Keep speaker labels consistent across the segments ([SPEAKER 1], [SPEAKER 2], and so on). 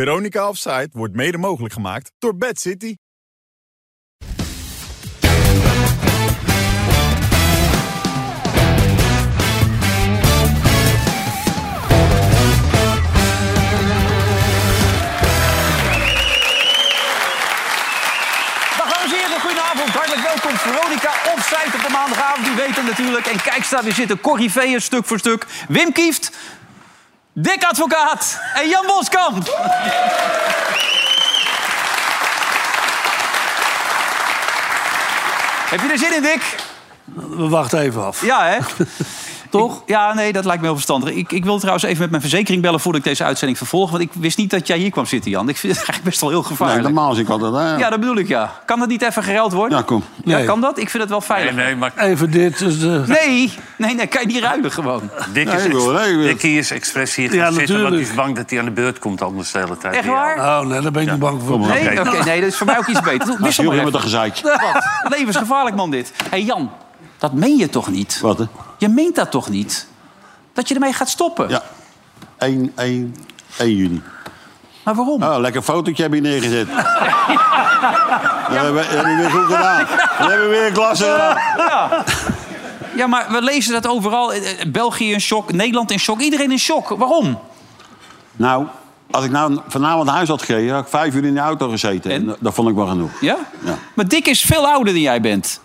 [SPEAKER 1] Veronica Offside wordt mede mogelijk gemaakt door Bad City.
[SPEAKER 2] Dag dames en heren, goedenavond. Hartelijk welkom. Veronica Offside op de maandagavond, u weet het natuurlijk. En kijk, staat weer zitten Corrie stuk voor stuk. Wim Kieft, Dick Advocaat en Jan Boskamp. Heb je er zin in, Dick?
[SPEAKER 3] We wachten even af.
[SPEAKER 2] Ja, hè? Toch? ja, nee, dat lijkt me heel verstandig. Ik, ik wil trouwens even met mijn verzekering bellen voordat ik deze uitzending vervolg. Want ik wist niet dat jij hier kwam zitten, Jan. Ik vind het eigenlijk best wel heel
[SPEAKER 4] Nee,
[SPEAKER 2] gevaarlijk.
[SPEAKER 4] normaal zie ik altijd. Hè?
[SPEAKER 2] Ja, dat bedoel ik, ja. Kan dat niet even gereld worden?
[SPEAKER 4] Ja, kom.
[SPEAKER 2] Ja,
[SPEAKER 3] Nee.
[SPEAKER 2] kan dat? Ik vind het wel veilig. Nee,
[SPEAKER 5] Nee, maar
[SPEAKER 3] Even dit. Dus de...
[SPEAKER 2] nee, nee, kan je niet ruilen gewoon.
[SPEAKER 5] Dick
[SPEAKER 4] Nee,
[SPEAKER 5] is,
[SPEAKER 4] ik wil- nee, ik wil-
[SPEAKER 5] Dick is expres hier gaan
[SPEAKER 3] Ja,
[SPEAKER 5] zitten... want hij is
[SPEAKER 3] natuurlijk.
[SPEAKER 5] bang dat hij aan de beurt komt anders de hele tijd.
[SPEAKER 2] Echt waar?
[SPEAKER 3] Oh, nee, daar ben ik niet bang voor.
[SPEAKER 4] maar.
[SPEAKER 2] Nee? Oké, Nou,
[SPEAKER 5] Oké.
[SPEAKER 2] nee, dat is voor mij ook iets beter. Wissel
[SPEAKER 4] Heel
[SPEAKER 2] maar
[SPEAKER 4] weer met
[SPEAKER 2] even.
[SPEAKER 4] een gezeik.
[SPEAKER 2] Wat? Levensgevaarlijk man dit. Hé hey, Jan, dat meen je toch niet?
[SPEAKER 4] Wat, hè?
[SPEAKER 2] Je meent dat toch niet? Dat je ermee gaat stoppen?
[SPEAKER 4] Ja. 1, 1, 1 juni.
[SPEAKER 2] Maar waarom?
[SPEAKER 4] Oh, lekker fotootje heb je neergezet. Dat hebben we- dat hebben we weer goed gedaan. Dat hebben we weer een klasse gedaan.
[SPEAKER 2] Ja, maar we lezen dat overal. Eh, eh, België in shock, Nederland in shock, iedereen in shock. Waarom?
[SPEAKER 4] Nou, als ik nou vanavond naar huis had gereden... had ik vijf uur in de auto gezeten.
[SPEAKER 2] En?
[SPEAKER 4] En? Dat, dat vond ik wel genoeg.
[SPEAKER 2] Ja?
[SPEAKER 4] Ja.
[SPEAKER 2] Maar Dick is veel ouder dan jij bent.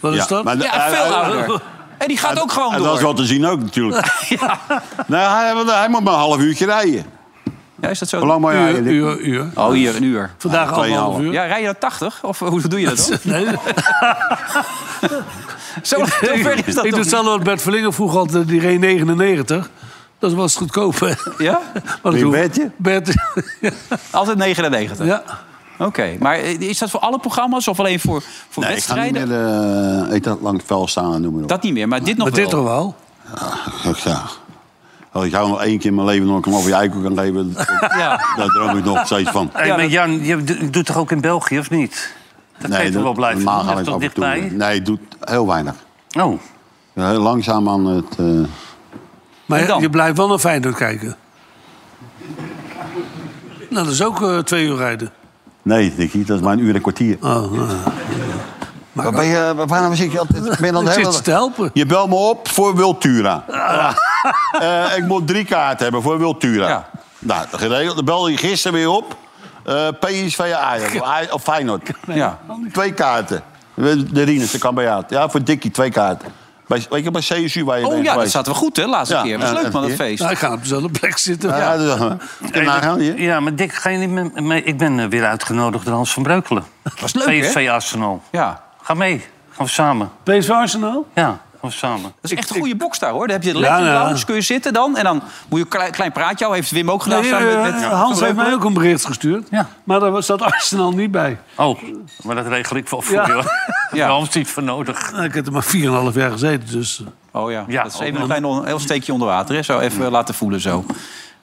[SPEAKER 3] Wat is
[SPEAKER 4] Ja,
[SPEAKER 3] dat?
[SPEAKER 4] maar de-
[SPEAKER 2] Ja,
[SPEAKER 4] hij-
[SPEAKER 2] veel
[SPEAKER 4] hij-
[SPEAKER 2] ouder. En die gaat ook gewoon
[SPEAKER 4] En
[SPEAKER 2] door.
[SPEAKER 4] dat is wel te zien ook natuurlijk. nou, hij, want hij moet maar een half uurtje rijden.
[SPEAKER 2] Ja, is dat zo?
[SPEAKER 4] Hoe lang moet je
[SPEAKER 3] Uur,
[SPEAKER 4] rijden?
[SPEAKER 3] uur, uur.
[SPEAKER 2] Oh, hier, een uur.
[SPEAKER 3] Vandaag
[SPEAKER 4] Tweeënhalf.
[SPEAKER 3] anderhalf uur.
[SPEAKER 2] Ja, rij je naar 80? Of eh, hoe doe je dat dan?
[SPEAKER 3] Nee,
[SPEAKER 2] Zo, zo ver is dat
[SPEAKER 3] ik doe
[SPEAKER 2] toch niet?
[SPEAKER 3] hetzelfde wat Bert Verlinger vroeg altijd, eh, die reed 99. Dat was goedkoop. hè.
[SPEAKER 2] Ja?
[SPEAKER 3] Maar dat
[SPEAKER 4] Wie,
[SPEAKER 3] hoeft-
[SPEAKER 4] Bertje?
[SPEAKER 3] Bert,
[SPEAKER 2] Altijd 99.
[SPEAKER 3] ja.
[SPEAKER 2] Oké, maar eh, is dat voor alle programma's of alleen voor, voor
[SPEAKER 4] Nee, ik ga niet
[SPEAKER 2] wedstrijden?
[SPEAKER 4] meer eh, ik dat lang het vel staan en noem maar op.
[SPEAKER 2] Dat niet meer, maar dit nog
[SPEAKER 3] Maar
[SPEAKER 2] wel.
[SPEAKER 3] dit toch wel?
[SPEAKER 4] Ach, ja. Als ik jou nog één keer in mijn leven nog een over je eikel kan geven... dat-
[SPEAKER 2] Ja.
[SPEAKER 4] daar droom ik nog steeds van.
[SPEAKER 5] Hey,
[SPEAKER 2] Ja,
[SPEAKER 5] maar
[SPEAKER 2] dat-
[SPEAKER 5] Jan, je d- doet toch ook in België, of niet? Dat kan je toch wel blijven
[SPEAKER 4] normaal
[SPEAKER 5] doen?
[SPEAKER 4] ga
[SPEAKER 5] Dat is
[SPEAKER 4] ik
[SPEAKER 5] toch
[SPEAKER 4] af en toe
[SPEAKER 5] dichtbij?
[SPEAKER 4] doen. Nee, het doet heel weinig.
[SPEAKER 5] Oh,
[SPEAKER 4] Ja, Heel langzaam aan het... eh,
[SPEAKER 2] En
[SPEAKER 3] Maar
[SPEAKER 2] dan?
[SPEAKER 3] je blijft wel naar Feyenoord kijken. Nou, dat is ook eh, twee uur rijden.
[SPEAKER 4] Nee, Dickie, dat is maar een uur en een kwartier.
[SPEAKER 3] Oh, nou.
[SPEAKER 4] Waar ben je, waar- waarom zit je altijd... Ben je dan de
[SPEAKER 3] Ik zit
[SPEAKER 4] hele dag-
[SPEAKER 3] ze te helpen.
[SPEAKER 4] Je belt me op voor Wiltura. Eh, ik moet drie kaarten hebben voor Wiltura.
[SPEAKER 2] Ja.
[SPEAKER 4] Nou, geregeld. Dan belde je gisteren weer op. Eh PSV Ajax of Aj- of Feyenoord.
[SPEAKER 2] Ja.
[SPEAKER 4] Twee kaarten. De Rienes, de kan bij jou. Ja, voor Dickie twee kaarten. Bij, weet je, bij CSU waar je
[SPEAKER 2] Oh
[SPEAKER 4] bent
[SPEAKER 2] ja, dat
[SPEAKER 4] geweest.
[SPEAKER 2] zaten we goed, hè, laatste
[SPEAKER 4] Ja,
[SPEAKER 2] keer. was
[SPEAKER 4] ja,
[SPEAKER 2] leuk, man, dat
[SPEAKER 4] ja.
[SPEAKER 2] feest.
[SPEAKER 3] Nou, ik ga op dezelfde plek zitten.
[SPEAKER 4] Ja, ja. dat is- Kun je nagaan, hier?
[SPEAKER 5] ja, maar Dick, ga je niet mee? mee? Ik ben eh, weer uitgenodigd door Hans van Breukelen.
[SPEAKER 2] was leuk, hè?
[SPEAKER 5] PSV Arsenal.
[SPEAKER 2] Ja.
[SPEAKER 5] Ga mee. Gaan we samen.
[SPEAKER 3] PSV Arsenal?
[SPEAKER 5] Ja, gaan we samen.
[SPEAKER 2] Dat is echt een goede box daar, hoor. Dan heb je de
[SPEAKER 3] Ja,
[SPEAKER 2] Legend
[SPEAKER 3] ja.
[SPEAKER 2] Lounge, kun je zitten dan. En dan moet je een klein, klein praatje houden. Heeft Wim ook gedaan
[SPEAKER 3] Nee,
[SPEAKER 2] samen
[SPEAKER 3] eh,
[SPEAKER 2] met... Oh, met
[SPEAKER 3] Hans heeft mij ook een bericht gestuurd.
[SPEAKER 5] Ja.
[SPEAKER 3] Maar daar zat Arsenal niet bij.
[SPEAKER 5] Oh, maar dat regel ik wel voor
[SPEAKER 3] Ja.
[SPEAKER 5] je. hoor.
[SPEAKER 2] Ja.
[SPEAKER 5] Daar is niet voor nodig.
[SPEAKER 3] Nou, Ik heb er maar 4,5 jaar gezeten, dus... eh,
[SPEAKER 2] Oh ja,
[SPEAKER 5] Ja,
[SPEAKER 2] dat is even
[SPEAKER 5] ook
[SPEAKER 2] een klein on- heel steekje onder water, hè. Zo even eh, laten voelen, zo.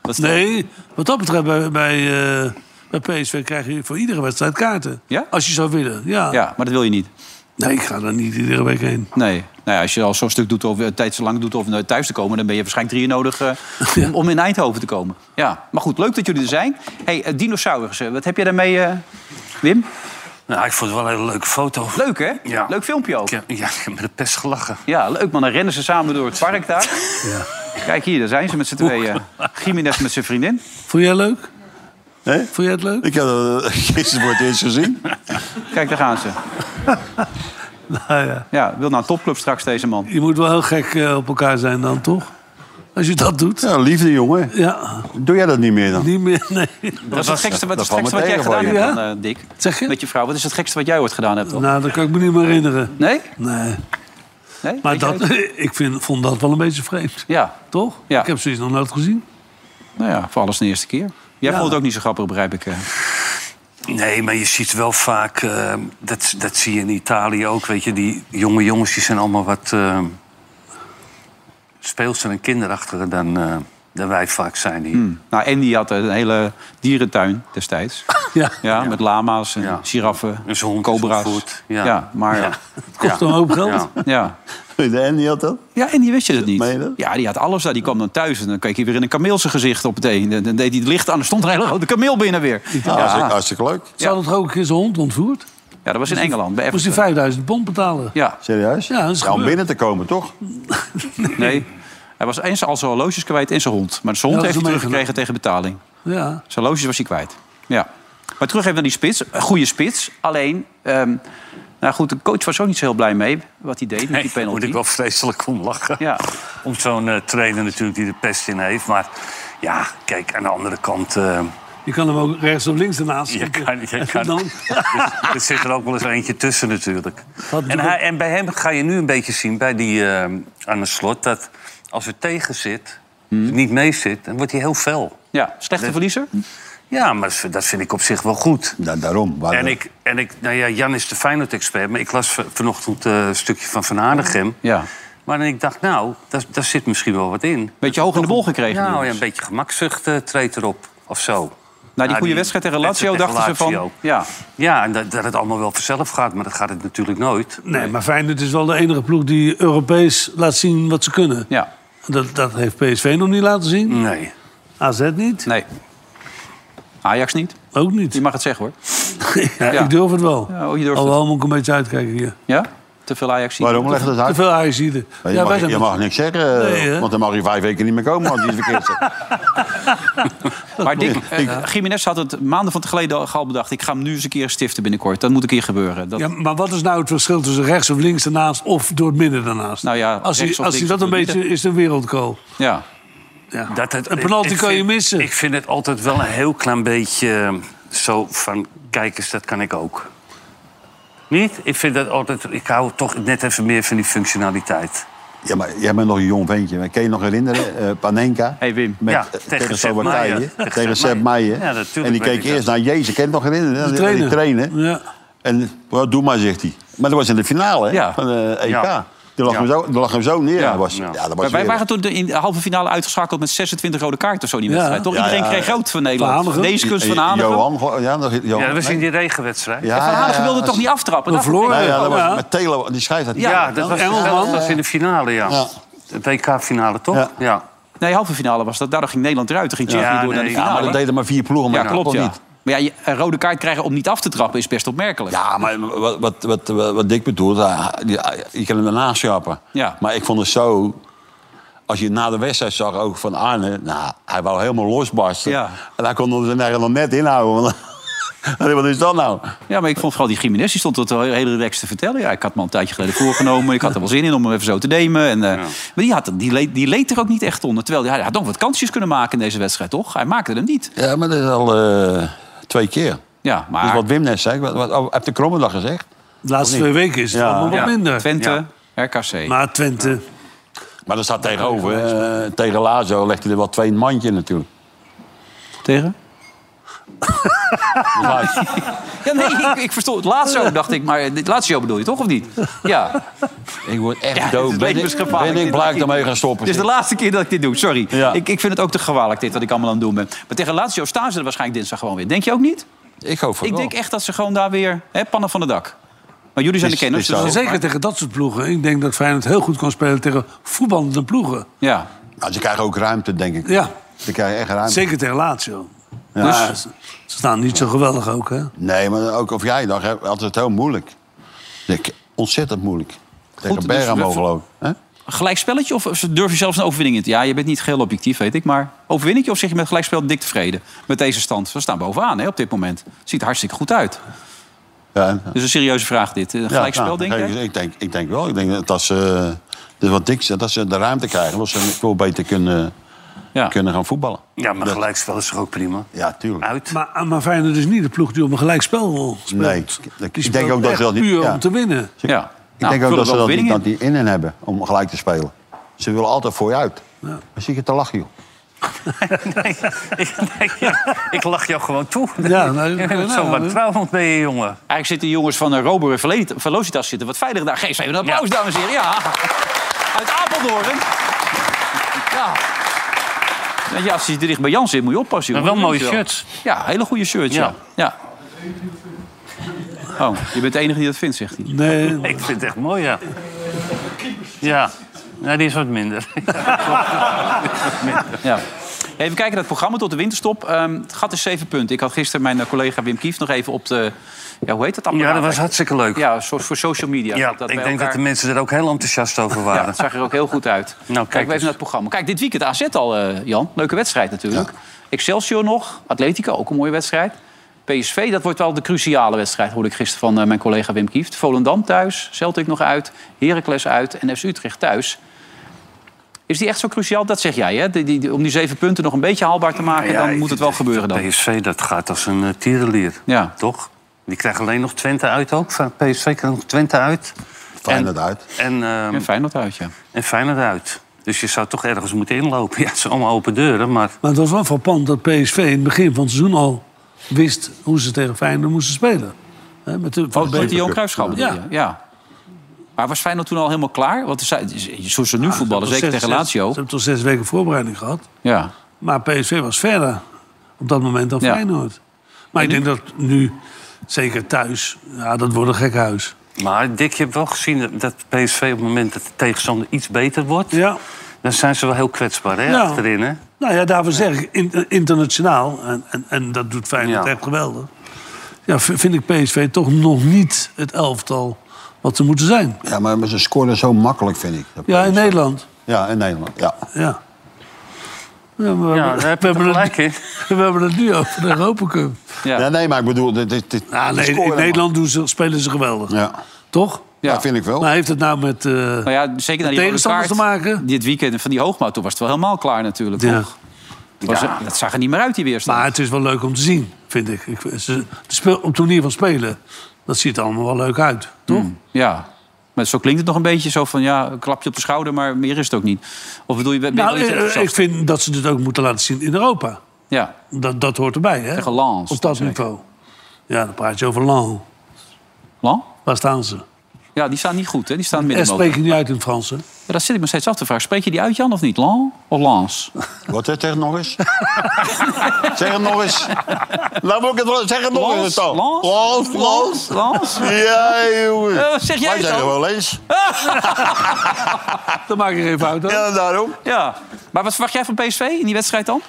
[SPEAKER 2] Dat is-
[SPEAKER 3] Nee, wat dat betreft, bij, bij, eh, bij PSV krijg je voor iedere wedstrijd kaarten.
[SPEAKER 2] Ja?
[SPEAKER 3] Als je zou willen, ja.
[SPEAKER 2] Ja, maar dat wil je niet.
[SPEAKER 3] Nee, ik ga daar niet iedere week heen.
[SPEAKER 2] Nee. Nou ja, als je al zo'n stuk doet of eh, tijd zo lang doet of naar thuis te komen, dan ben je waarschijnlijk drie uur nodig eh, om, om in Eindhoven te komen. Ja, maar goed, leuk dat jullie er zijn. hey, eh, dinosaurussen, wat heb jij daarmee, eh, Wim?
[SPEAKER 5] Nou, ik vond het wel een hele leuke foto.
[SPEAKER 2] Leuk hè?
[SPEAKER 5] Ja.
[SPEAKER 2] Leuk filmpje ook.
[SPEAKER 5] Ik heb- Ja, ik heb met de pest gelachen.
[SPEAKER 2] Ja, leuk man. Dan rennen ze samen door het park daar. Kijk hier, daar zijn ze met z'n tweeën. Jiménez met zijn vriendin.
[SPEAKER 3] Vond jij leuk?
[SPEAKER 4] Hè?
[SPEAKER 3] Vond jij het leuk?
[SPEAKER 4] Ik heb dat eh, gisteren voor het eerst gezien.
[SPEAKER 2] Kijk, daar gaan ze.
[SPEAKER 3] Nou ja.
[SPEAKER 2] Ja, wil naar een topclub straks deze man.
[SPEAKER 3] Je moet wel heel gek eh, op elkaar zijn dan, toch? Als je dat doet.
[SPEAKER 4] Ja, liefde, jongen.
[SPEAKER 3] Ja,
[SPEAKER 4] Doe jij dat niet meer dan?
[SPEAKER 3] niet meer, nee.
[SPEAKER 2] Wat is het gekste wat,
[SPEAKER 4] dat
[SPEAKER 2] is het gekste
[SPEAKER 4] valt
[SPEAKER 2] wat
[SPEAKER 4] me
[SPEAKER 2] jij gedaan hebt
[SPEAKER 4] tegen,
[SPEAKER 2] dan, eh, Dick?
[SPEAKER 3] Zeg je?
[SPEAKER 2] Met je vrouw, wat is het gekste wat jij ooit gedaan hebt? Dan?
[SPEAKER 3] Nou, dat kan ik me niet meer herinneren.
[SPEAKER 2] Nee?
[SPEAKER 3] Nee.
[SPEAKER 2] nee?
[SPEAKER 3] Maar
[SPEAKER 2] Weet je
[SPEAKER 3] dat,
[SPEAKER 2] het?
[SPEAKER 3] ik vind, vond dat wel een beetje vreemd.
[SPEAKER 2] Ja,
[SPEAKER 3] Toch?
[SPEAKER 2] Ja.
[SPEAKER 3] Ik heb zoiets nog nooit gezien.
[SPEAKER 2] nou ja, voor alles de eerste keer. Jij
[SPEAKER 3] Ja.
[SPEAKER 2] vond het ook niet zo grappig, begrijp ik. eh.
[SPEAKER 5] Nee, maar je ziet wel vaak, eh, dat, dat zie je in Italië ook, weet je, die jonge jongens die zijn allemaal wat eh speelser en kinderachtiger dan, eh, dan wij vaak zijn hier.
[SPEAKER 2] Nou, en die had een hele dierentuin destijds.
[SPEAKER 3] Ja.
[SPEAKER 2] Ja, met lama's en
[SPEAKER 5] Ja.
[SPEAKER 2] giraffen,
[SPEAKER 5] Dus hond is
[SPEAKER 2] cobra's.
[SPEAKER 5] opgevoed, ja.
[SPEAKER 2] maar ja.
[SPEAKER 3] Het kost een hoop geld.
[SPEAKER 5] Ja.
[SPEAKER 2] ja.
[SPEAKER 4] De Andy had dat?
[SPEAKER 2] en die wist je dat niet.
[SPEAKER 4] Meen je dat?
[SPEAKER 2] Ja, die had alles daar. Die kwam dan thuis en dan keek hij weer in een kameelse gezicht op het een. En Dan deed hij het licht aan en stond er een hele grote kameel binnen weer.
[SPEAKER 4] Nou, hartstikke, hartstikke leuk.
[SPEAKER 3] Ze hadden toch ook een keer zijn hond ontvoerd?
[SPEAKER 2] Ja, dat was in Engeland. Bij
[SPEAKER 3] Moest hij
[SPEAKER 2] Everton.
[SPEAKER 3] 5000 pond betalen?
[SPEAKER 2] Ja,
[SPEAKER 4] Serieus?
[SPEAKER 3] Ja, dat is
[SPEAKER 4] om
[SPEAKER 3] gebeurd.
[SPEAKER 4] binnen te komen, toch?
[SPEAKER 2] nee. Hij was eens al zijn horloges kwijt en zijn hond. Maar zijn hond
[SPEAKER 3] Ja, dat
[SPEAKER 2] heeft hij
[SPEAKER 3] is hem
[SPEAKER 2] teruggekregen tegen betaling.
[SPEAKER 3] Ja.
[SPEAKER 2] Zijn loges was hij kwijt. Ja. Maar terug even naar die spits. Een goede spits. Alleen, ehm, nou goed, de coach was ook niet zo heel blij mee wat hij deed met
[SPEAKER 5] Nee,
[SPEAKER 2] die
[SPEAKER 5] daar moet
[SPEAKER 2] penalty.
[SPEAKER 5] ik wel vreselijk om lachen.
[SPEAKER 2] Ja.
[SPEAKER 5] Om zo'n eh, trainer natuurlijk die de pest in heeft. Maar ja, kijk, aan de andere kant... eh,
[SPEAKER 3] Je kan hem ook rechts of links ernaast
[SPEAKER 5] Je
[SPEAKER 3] schieten.
[SPEAKER 5] kan, je kan,
[SPEAKER 3] Dan-
[SPEAKER 5] er, er zit er ook wel eens eentje tussen natuurlijk.
[SPEAKER 3] Dat
[SPEAKER 5] En,
[SPEAKER 3] doe
[SPEAKER 5] hij, en bij hem ga je nu een beetje zien, bij die eh, aan de slot... dat als het tegen zit, niet mee zit, dan wordt hij heel fel.
[SPEAKER 2] Ja, slechte verliezer.
[SPEAKER 5] Ja, maar dat vind- dat vind ik op zich wel goed.
[SPEAKER 4] Ja, daarom. Waar
[SPEAKER 5] En ik, en ik, nou ja, Jan is de Feyenoord-expert... maar ik las v- vanochtend eh, een stukje van Van Aardigem.
[SPEAKER 2] Ja.
[SPEAKER 5] Maar dan ik dacht, nou, daar, daar zit misschien wel wat in.
[SPEAKER 2] Beetje hoog in de bol gekregen.
[SPEAKER 5] Nou,
[SPEAKER 2] nu. dus.
[SPEAKER 5] ja, een beetje gemakzucht eh, treedt erop, of zo.
[SPEAKER 2] Na die
[SPEAKER 5] Na
[SPEAKER 2] goede
[SPEAKER 5] die
[SPEAKER 2] wedstrijd tegen Lazio
[SPEAKER 5] wedstrijd
[SPEAKER 2] dachten
[SPEAKER 5] tegen
[SPEAKER 2] ze van...
[SPEAKER 5] Lazio.
[SPEAKER 2] Ja,
[SPEAKER 5] Ja, en dat, dat het allemaal wel vanzelf gaat, maar dat gaat het natuurlijk nooit.
[SPEAKER 3] Nee, maar Feyenoord is wel de enige ploeg die Europees laat zien wat ze kunnen.
[SPEAKER 2] ja, Mm.
[SPEAKER 3] Dat, dat heeft PSV nog niet laten zien.
[SPEAKER 5] Nee.
[SPEAKER 3] AZ niet.
[SPEAKER 2] nee. Ajax niet.
[SPEAKER 3] Ook niet.
[SPEAKER 2] Je mag het zeggen hoor.
[SPEAKER 3] Ja,
[SPEAKER 2] Ja.
[SPEAKER 3] Ik durf het wel.
[SPEAKER 2] Ja, oh, je durft
[SPEAKER 3] Alhoewel moet ik een beetje uitkijken hier.
[SPEAKER 2] Ja? Te veel Ajax zien.
[SPEAKER 4] Waarom legt het
[SPEAKER 3] Te
[SPEAKER 4] uit?
[SPEAKER 3] veel Ajaxiden.
[SPEAKER 4] Je, mag, je mag niks zeggen, eh,
[SPEAKER 3] Nee, hè?
[SPEAKER 4] want dan mag je vijf weken niet meer komen als je het verkeerd zegt.
[SPEAKER 2] Maar Dick, eh, Jiménez had het maanden van geleden al- al bedacht. Ik ga hem nu eens een keer stiften binnenkort. Dat moet een keer gebeuren. Dat,
[SPEAKER 3] Ja, maar wat is nou het verschil tussen rechts of links daarnaast of door het midden daarnaast?
[SPEAKER 2] Nou ja,
[SPEAKER 3] als hij,
[SPEAKER 2] rechts of
[SPEAKER 3] als hij
[SPEAKER 2] links
[SPEAKER 3] dat een
[SPEAKER 2] of door het
[SPEAKER 3] beetje is, een wereldkool.
[SPEAKER 2] ja.
[SPEAKER 5] Dat het,
[SPEAKER 3] Ah, Een penalty
[SPEAKER 5] ik
[SPEAKER 3] kan je
[SPEAKER 5] vind-
[SPEAKER 3] missen.
[SPEAKER 5] Ik vind het altijd wel een heel klein beetje eh, zo van... Kijk eens, dat kan ik ook. Niet? Ik vind dat altijd... Ik hou toch net even meer van die functionaliteit.
[SPEAKER 4] Ja, maar jij bent nog een jong ventje. maar Kan je nog herinneren? eh, Panenka.
[SPEAKER 2] Hey, Wim.
[SPEAKER 4] Met,
[SPEAKER 5] Ja,
[SPEAKER 4] eh,
[SPEAKER 5] tegen
[SPEAKER 4] tegen
[SPEAKER 5] Sepp
[SPEAKER 4] Slowakije.
[SPEAKER 5] Maier. Tegen
[SPEAKER 4] Tegen
[SPEAKER 5] Sepp
[SPEAKER 4] Sepp Meijer.
[SPEAKER 5] Meijer. Ja, natuurlijk
[SPEAKER 4] en die
[SPEAKER 5] weet
[SPEAKER 4] keek
[SPEAKER 5] ik dat.
[SPEAKER 4] eerst naar Jezus. Kan je het nog herinneren?
[SPEAKER 3] De
[SPEAKER 4] Die
[SPEAKER 3] trainer.
[SPEAKER 4] trainer.
[SPEAKER 3] Ja.
[SPEAKER 4] En "Wel, doe maar, zegt hij. Maar dat was in de finale
[SPEAKER 2] Ja.
[SPEAKER 4] van de EK.
[SPEAKER 5] Ja.
[SPEAKER 4] Die lag,
[SPEAKER 5] Ja.
[SPEAKER 4] hem zo, die lag hem zo neer.
[SPEAKER 2] Ja.
[SPEAKER 4] Ja. Was,
[SPEAKER 5] Ja.
[SPEAKER 4] ja. dat was
[SPEAKER 2] Maar wij
[SPEAKER 4] weer-
[SPEAKER 2] waren toen de- in de halve finale uitgeschakeld met 26 rode kaarten of zo die
[SPEAKER 3] Ja.
[SPEAKER 2] wedstrijd. Toch?
[SPEAKER 4] Ja,
[SPEAKER 2] Iedereen
[SPEAKER 4] ja.
[SPEAKER 2] kreeg rood van Nederland.
[SPEAKER 3] Hanegem.
[SPEAKER 2] Deze kunst van
[SPEAKER 4] Jo-
[SPEAKER 2] Hanegem.
[SPEAKER 4] Johan. go- Ja, nog, Johan.
[SPEAKER 5] Ja, dat was in
[SPEAKER 4] nee.
[SPEAKER 5] die regenwedstrijd.
[SPEAKER 4] Ja,
[SPEAKER 2] En Van
[SPEAKER 4] ja,
[SPEAKER 2] Hanegem
[SPEAKER 4] ja,
[SPEAKER 2] wilde
[SPEAKER 4] ja.
[SPEAKER 2] toch niet aftrappen?
[SPEAKER 3] We
[SPEAKER 2] Dat-
[SPEAKER 3] verloren.
[SPEAKER 4] Nee, ja, dat was
[SPEAKER 3] Ja.
[SPEAKER 4] met Telo, die scheidsrechter.
[SPEAKER 5] Ja, dat was
[SPEAKER 3] Engelsman.
[SPEAKER 5] dat was in de finale, ja.
[SPEAKER 4] Ja.
[SPEAKER 5] De WK-finale, toch?
[SPEAKER 4] Ja.
[SPEAKER 5] Ja.
[SPEAKER 2] Nee, halve finale was dat. Daardoor ging Nederland eruit. Toen ging Tsjechië
[SPEAKER 5] Ja,
[SPEAKER 2] door naar de
[SPEAKER 5] nee.
[SPEAKER 4] Ja,
[SPEAKER 2] finale.
[SPEAKER 4] maar dat deden maar vier ploegen, maar
[SPEAKER 2] Ja, klopt,
[SPEAKER 4] toch
[SPEAKER 2] ja.
[SPEAKER 4] niet.
[SPEAKER 2] Maar ja, je- een rode kaart krijgen om niet af te trappen is best opmerkelijk.
[SPEAKER 4] Ja, maar wat, wat, wat, wat Dick bedoelt, ah, die- je kan hem daarna schappen.
[SPEAKER 2] Ja.
[SPEAKER 4] Maar ik vond het zo... Als je na de wedstrijd zag, ook van Arne... Nou, hij wou helemaal losbarsten.
[SPEAKER 2] Ja.
[SPEAKER 4] En hij kon hem er nog net inhouden. want- Allee, wat is dat nou?
[SPEAKER 2] Ja, maar ik vond vooral die Jiménez, die stond dat wel heel relaxed te vertellen. Ja, ik had me al een tijdje geleden voorgenomen. Ik had er wel zin in om hem even zo te nemen. En, eh, Maar die, had, die, leed, die leed er ook niet echt onder. Terwijl hij hij had nog wat kansjes kunnen maken in deze wedstrijd, toch? Hij maakte hem niet.
[SPEAKER 4] Ja, maar dat is al eh, twee keer.
[SPEAKER 2] Ja,
[SPEAKER 4] Dus
[SPEAKER 2] maar
[SPEAKER 4] wat Wim net zei, wat, wat, oh, heb de Kromme dat gezegd?
[SPEAKER 3] De laatste twee weken is het
[SPEAKER 4] Ja.
[SPEAKER 3] allemaal wat
[SPEAKER 5] Ja.
[SPEAKER 3] minder.
[SPEAKER 2] Twente, RKC.
[SPEAKER 3] Maar Twente,
[SPEAKER 4] Maar dat staat tegenover. eh, tegen Lazo legt hij er wel twee in het mandje natuurlijk.
[SPEAKER 2] Tegen? Ah. Ja, nee, ik, ik verstond. Lazio dacht ik, maar dit Lazio bedoel je toch, of niet? Ja,
[SPEAKER 4] Ik word echt
[SPEAKER 2] Ja, het
[SPEAKER 4] dood.
[SPEAKER 2] is
[SPEAKER 4] Ben ik,
[SPEAKER 2] levensgevaarlijk.
[SPEAKER 4] ben ik blij dat ik ermee ga
[SPEAKER 2] het
[SPEAKER 4] stoppen.
[SPEAKER 2] is de laatste keer dat ik dit doe, sorry.
[SPEAKER 4] Ja.
[SPEAKER 2] Ik, ik vind het ook te gevaarlijk, dit wat ik allemaal aan het doen ben. Maar tegen Lazio staan ze er waarschijnlijk dinsdag gewoon weer. Denk je ook niet?
[SPEAKER 4] ik hoop van
[SPEAKER 2] Ik
[SPEAKER 4] wel.
[SPEAKER 2] denk echt dat ze gewoon daar weer hè, pannen van het dak. Maar jullie zijn de
[SPEAKER 4] Is-
[SPEAKER 2] kenners.
[SPEAKER 4] is
[SPEAKER 2] dus
[SPEAKER 4] zo.
[SPEAKER 2] dat is-
[SPEAKER 3] zeker tegen dat soort ploegen. Ik denk dat Feyenoord heel goed kan spelen tegen voetballende ploegen.
[SPEAKER 2] Ja.
[SPEAKER 4] Nou, ze krijgen ook ruimte, denk ik.
[SPEAKER 3] Ja.
[SPEAKER 4] Ze krijgen echt ruimte.
[SPEAKER 3] Zeker tegen Lazio. Dus-
[SPEAKER 4] Ja.
[SPEAKER 3] Maar ze, ze staan niet zo geweldig ook, hè?
[SPEAKER 4] Nee, maar ook of jij dan, hè, altijd heel moeilijk. Ik- Ontzettend moeilijk. Tegen
[SPEAKER 2] dus
[SPEAKER 4] Bergamo
[SPEAKER 2] we-
[SPEAKER 4] geloof ik. hè?
[SPEAKER 2] Een gelijkspelletje of ze durven zelfs een overwinning in te... Ja, je bent niet geheel objectief, weet ik. Maar overwinning je of zeg je met gelijkspel dik tevreden? Met deze stand. Ze staan bovenaan hè, op dit moment. Ziet er hartstikke goed uit.
[SPEAKER 4] Ja,
[SPEAKER 2] Dus een serieuze vraag dit. Een
[SPEAKER 4] ja,
[SPEAKER 2] gelijkspel,
[SPEAKER 4] nou,
[SPEAKER 2] denk
[SPEAKER 4] ik,
[SPEAKER 2] jij?
[SPEAKER 4] ik denk Ik denk wel. Ik denk dat ze, eh, dus wat Dick zegt, dat ze de ruimte krijgen. Dat ze veel beter kunnen,
[SPEAKER 2] Ja.
[SPEAKER 4] kunnen gaan voetballen.
[SPEAKER 5] Ja, maar
[SPEAKER 4] Dat-
[SPEAKER 5] gelijkspel is toch ook prima?
[SPEAKER 4] Ja, tuurlijk.
[SPEAKER 5] Uit.
[SPEAKER 3] Maar, ah, maar Feyenoord is niet de ploeg die om een gelijkspel speelt.
[SPEAKER 4] Nee, ik- ik
[SPEAKER 3] Die
[SPEAKER 4] denk
[SPEAKER 3] speelt
[SPEAKER 4] ook dat ze
[SPEAKER 3] echt
[SPEAKER 4] dat niet-
[SPEAKER 3] puur
[SPEAKER 4] ja.
[SPEAKER 3] om te winnen.
[SPEAKER 2] ja.
[SPEAKER 4] Ik denk ook
[SPEAKER 2] nou, vullen
[SPEAKER 4] dat ze
[SPEAKER 2] er
[SPEAKER 4] dat niet,
[SPEAKER 2] overwinningen
[SPEAKER 4] dat niet in hen hebben om gelijk te spelen. Ze willen altijd voor je uit. Dan zie je te lachen, joh.
[SPEAKER 5] Nee, ik- nee, ja, ik lach jou gewoon toe.
[SPEAKER 3] Ja, nou,
[SPEAKER 5] je bent
[SPEAKER 3] nou,
[SPEAKER 5] zo wantrouwend mee, jongen.
[SPEAKER 2] Eigenlijk zitten de jongens van eh, Robber en Vele- Velocitas zitten wat veiliger daar. Geef ze even een applaus,
[SPEAKER 5] Ja.
[SPEAKER 2] dames en heren. Ja. Uit Apeldoorn. Ja. Weet je, als hij dicht bij Jan zit, moet je oppassen.
[SPEAKER 5] Maar
[SPEAKER 2] jongen.
[SPEAKER 5] wel mooie shirts.
[SPEAKER 2] Ja, hele goede shirts, ja. ja. Oh, je bent de enige die dat vindt, zegt hij.
[SPEAKER 3] Nee,
[SPEAKER 5] Ik vind het echt mooi, ja. Ja, nou, die is wat minder.
[SPEAKER 2] Ja. Even kijken naar het programma tot de winterstop. Ehm, het gat is zeven punten. Ik had gisteren mijn eh, collega Wim Kieft nog even op de... Ja, hoe heet dat apparaat?
[SPEAKER 5] Ja, dat was hartstikke leuk. Ja,
[SPEAKER 2] Ja, een soort voor social media.
[SPEAKER 5] ik
[SPEAKER 2] bij
[SPEAKER 5] denk dat de
[SPEAKER 2] elkaar-
[SPEAKER 5] mensen er ook heel enthousiast over
[SPEAKER 2] Ja,
[SPEAKER 5] waren.
[SPEAKER 2] dat zag er ook heel goed uit. Nou,
[SPEAKER 5] kijk
[SPEAKER 2] Kijken we even
[SPEAKER 5] eens.
[SPEAKER 2] naar het programma. Kijk, dit weekend AZ al, eh, Jan. Leuke wedstrijd natuurlijk. Excelsior nog. Atletico, ook een mooie wedstrijd. PSV, dat wordt wel de cruciale wedstrijd, hoorde ik gisteren van eh, mijn collega Wim Kieft. Volendam thuis, Celtic nog uit, Heracles uit en FC Utrecht thuis. Is die echt zo cruciaal? Dat zeg jij, hè? Die, die- die- om die zeven punten nog een beetje haalbaar te maken,
[SPEAKER 5] Ja,
[SPEAKER 2] dan
[SPEAKER 5] ik
[SPEAKER 2] moet het
[SPEAKER 5] vind
[SPEAKER 2] wel
[SPEAKER 5] echt
[SPEAKER 2] gebeuren
[SPEAKER 5] dat
[SPEAKER 2] dan.
[SPEAKER 5] PSV, dat gaat als een eh, tierenlier.
[SPEAKER 2] Ja.
[SPEAKER 5] Toch? Die krijgt alleen nog Twente uit ook. Van PSV krijgt nog Twente uit.
[SPEAKER 4] Feyenoord uit.
[SPEAKER 5] En, ehm
[SPEAKER 2] En Feyenoord uit, ja.
[SPEAKER 5] en Feyenoord uit. Dus je zou toch ergens moeten inlopen. Ja, het zijn allemaal open deuren, maar...
[SPEAKER 3] maar het was wel frappant dat PSV in het begin van het seizoen al wist hoe ze tegen Feyenoord moesten spelen. Hè, met de, van
[SPEAKER 2] Oh, met die Johan
[SPEAKER 4] Cup.
[SPEAKER 2] Cruijffschap bedoel
[SPEAKER 3] Ja.
[SPEAKER 2] je? ja. Maar was Feyenoord toen al helemaal klaar? Want ze- zoals ze nu voetballen,
[SPEAKER 3] Ze hebben
[SPEAKER 2] zeker tegen
[SPEAKER 3] toch zes- Ze
[SPEAKER 2] Lazio.
[SPEAKER 3] hebben toch zes weken voorbereiding gehad.
[SPEAKER 2] Ja.
[SPEAKER 3] Maar PSV was verder op dat moment dan
[SPEAKER 2] Ja.
[SPEAKER 3] Feyenoord. Maar ik denk dat nu, zeker thuis, ja, dat wordt een gek huis.
[SPEAKER 5] Maar Dick, je hebt wel gezien dat- dat PSV op het moment dat de tegenstander iets beter wordt...
[SPEAKER 3] Ja.
[SPEAKER 5] dan zijn ze wel heel kwetsbaar, hè,
[SPEAKER 3] Ja.
[SPEAKER 5] achterin, hè?
[SPEAKER 3] Nou ja, daarvoor zeg ik in- internationaal, en, en, en dat doet Feyenoord
[SPEAKER 5] Ja.
[SPEAKER 3] echt geweldig. Ja, v- vind ik PSV toch nog niet het elftal wat ze moeten zijn.
[SPEAKER 4] Ja, maar maar ze scoren zo makkelijk, vind ik. Dat
[SPEAKER 3] Ja, in
[SPEAKER 4] is-
[SPEAKER 3] Nederland.
[SPEAKER 4] Ja, in Nederland. Ja.
[SPEAKER 3] Ja. Ja, maar we,
[SPEAKER 5] Ja,
[SPEAKER 3] hebben-
[SPEAKER 5] daar heb
[SPEAKER 3] we
[SPEAKER 5] je
[SPEAKER 3] hebben
[SPEAKER 5] gelijk
[SPEAKER 3] het,
[SPEAKER 5] in.
[SPEAKER 3] we hebben het nu over de Europa Cup.
[SPEAKER 2] Ja.
[SPEAKER 4] Ja, nou, nee, maar ik bedoel... Dit, dit, dit-
[SPEAKER 3] Ja,
[SPEAKER 4] ze
[SPEAKER 3] Ah, nee,
[SPEAKER 4] scoren
[SPEAKER 3] in
[SPEAKER 4] maar.
[SPEAKER 3] Nederland doen ze, spelen ze geweldig.
[SPEAKER 4] Ja.
[SPEAKER 3] Toch?
[SPEAKER 4] ja, vind ik wel.
[SPEAKER 3] Maar heeft het nou met... eh,
[SPEAKER 2] Nou ja, zeker naar die rode
[SPEAKER 3] tegenstanders
[SPEAKER 2] kaart,
[SPEAKER 3] te maken?
[SPEAKER 2] Dit weekend van die hoogmaat, toen was het wel helemaal klaar natuurlijk.
[SPEAKER 3] Ja.
[SPEAKER 2] toch? Het was- Dat zag er niet meer uit, die weerstand.
[SPEAKER 3] Maar het is wel leuk om te zien, vind ik. ik ze, het speel, op het manier van spelen, dat ziet er allemaal wel leuk uit, toch?
[SPEAKER 2] Hmm. Ja. Maar zo klinkt het nog een beetje zo van, ja, een klapje op de schouder, maar meer is het ook niet. Of bedoel je, ben je
[SPEAKER 3] Nou,
[SPEAKER 2] wel iets
[SPEAKER 3] eh, eh, ik
[SPEAKER 2] enthousiast?
[SPEAKER 3] vind dat ze dit ook moeten laten zien in Europa.
[SPEAKER 2] Ja.
[SPEAKER 3] Dat, dat hoort erbij, hè?
[SPEAKER 2] Tegen Lens,
[SPEAKER 3] Op dat
[SPEAKER 2] zeker.
[SPEAKER 3] niveau. Ja, dan praat je over Lens.
[SPEAKER 2] Lan?
[SPEAKER 3] Waar staan ze?
[SPEAKER 2] Ja, die staan niet goed, hè? Die staan
[SPEAKER 3] En
[SPEAKER 2] middenmoot.
[SPEAKER 3] Eh, spreek je niet uit in het Frans, hè?
[SPEAKER 2] Ja, dat zit ik me steeds af te vragen. Spreek je die uit, Jan, of niet? Lan of Lans?
[SPEAKER 4] Wat hè, zeg het nog eens? zeg het nog eens. Laat me ook het woord- zeg het nog eens.
[SPEAKER 2] Lans?
[SPEAKER 4] het al. Lans, Lans.
[SPEAKER 2] Lans?
[SPEAKER 4] Ja, jongen.
[SPEAKER 2] Eh, wat zeg jij
[SPEAKER 4] Wij
[SPEAKER 2] dan?
[SPEAKER 4] zijn er wel eens.
[SPEAKER 3] Dan maak je geen fout, hoor.
[SPEAKER 4] Ja, daarom.
[SPEAKER 2] Ja. Maar wat verwacht jij van PSV in die wedstrijd dan?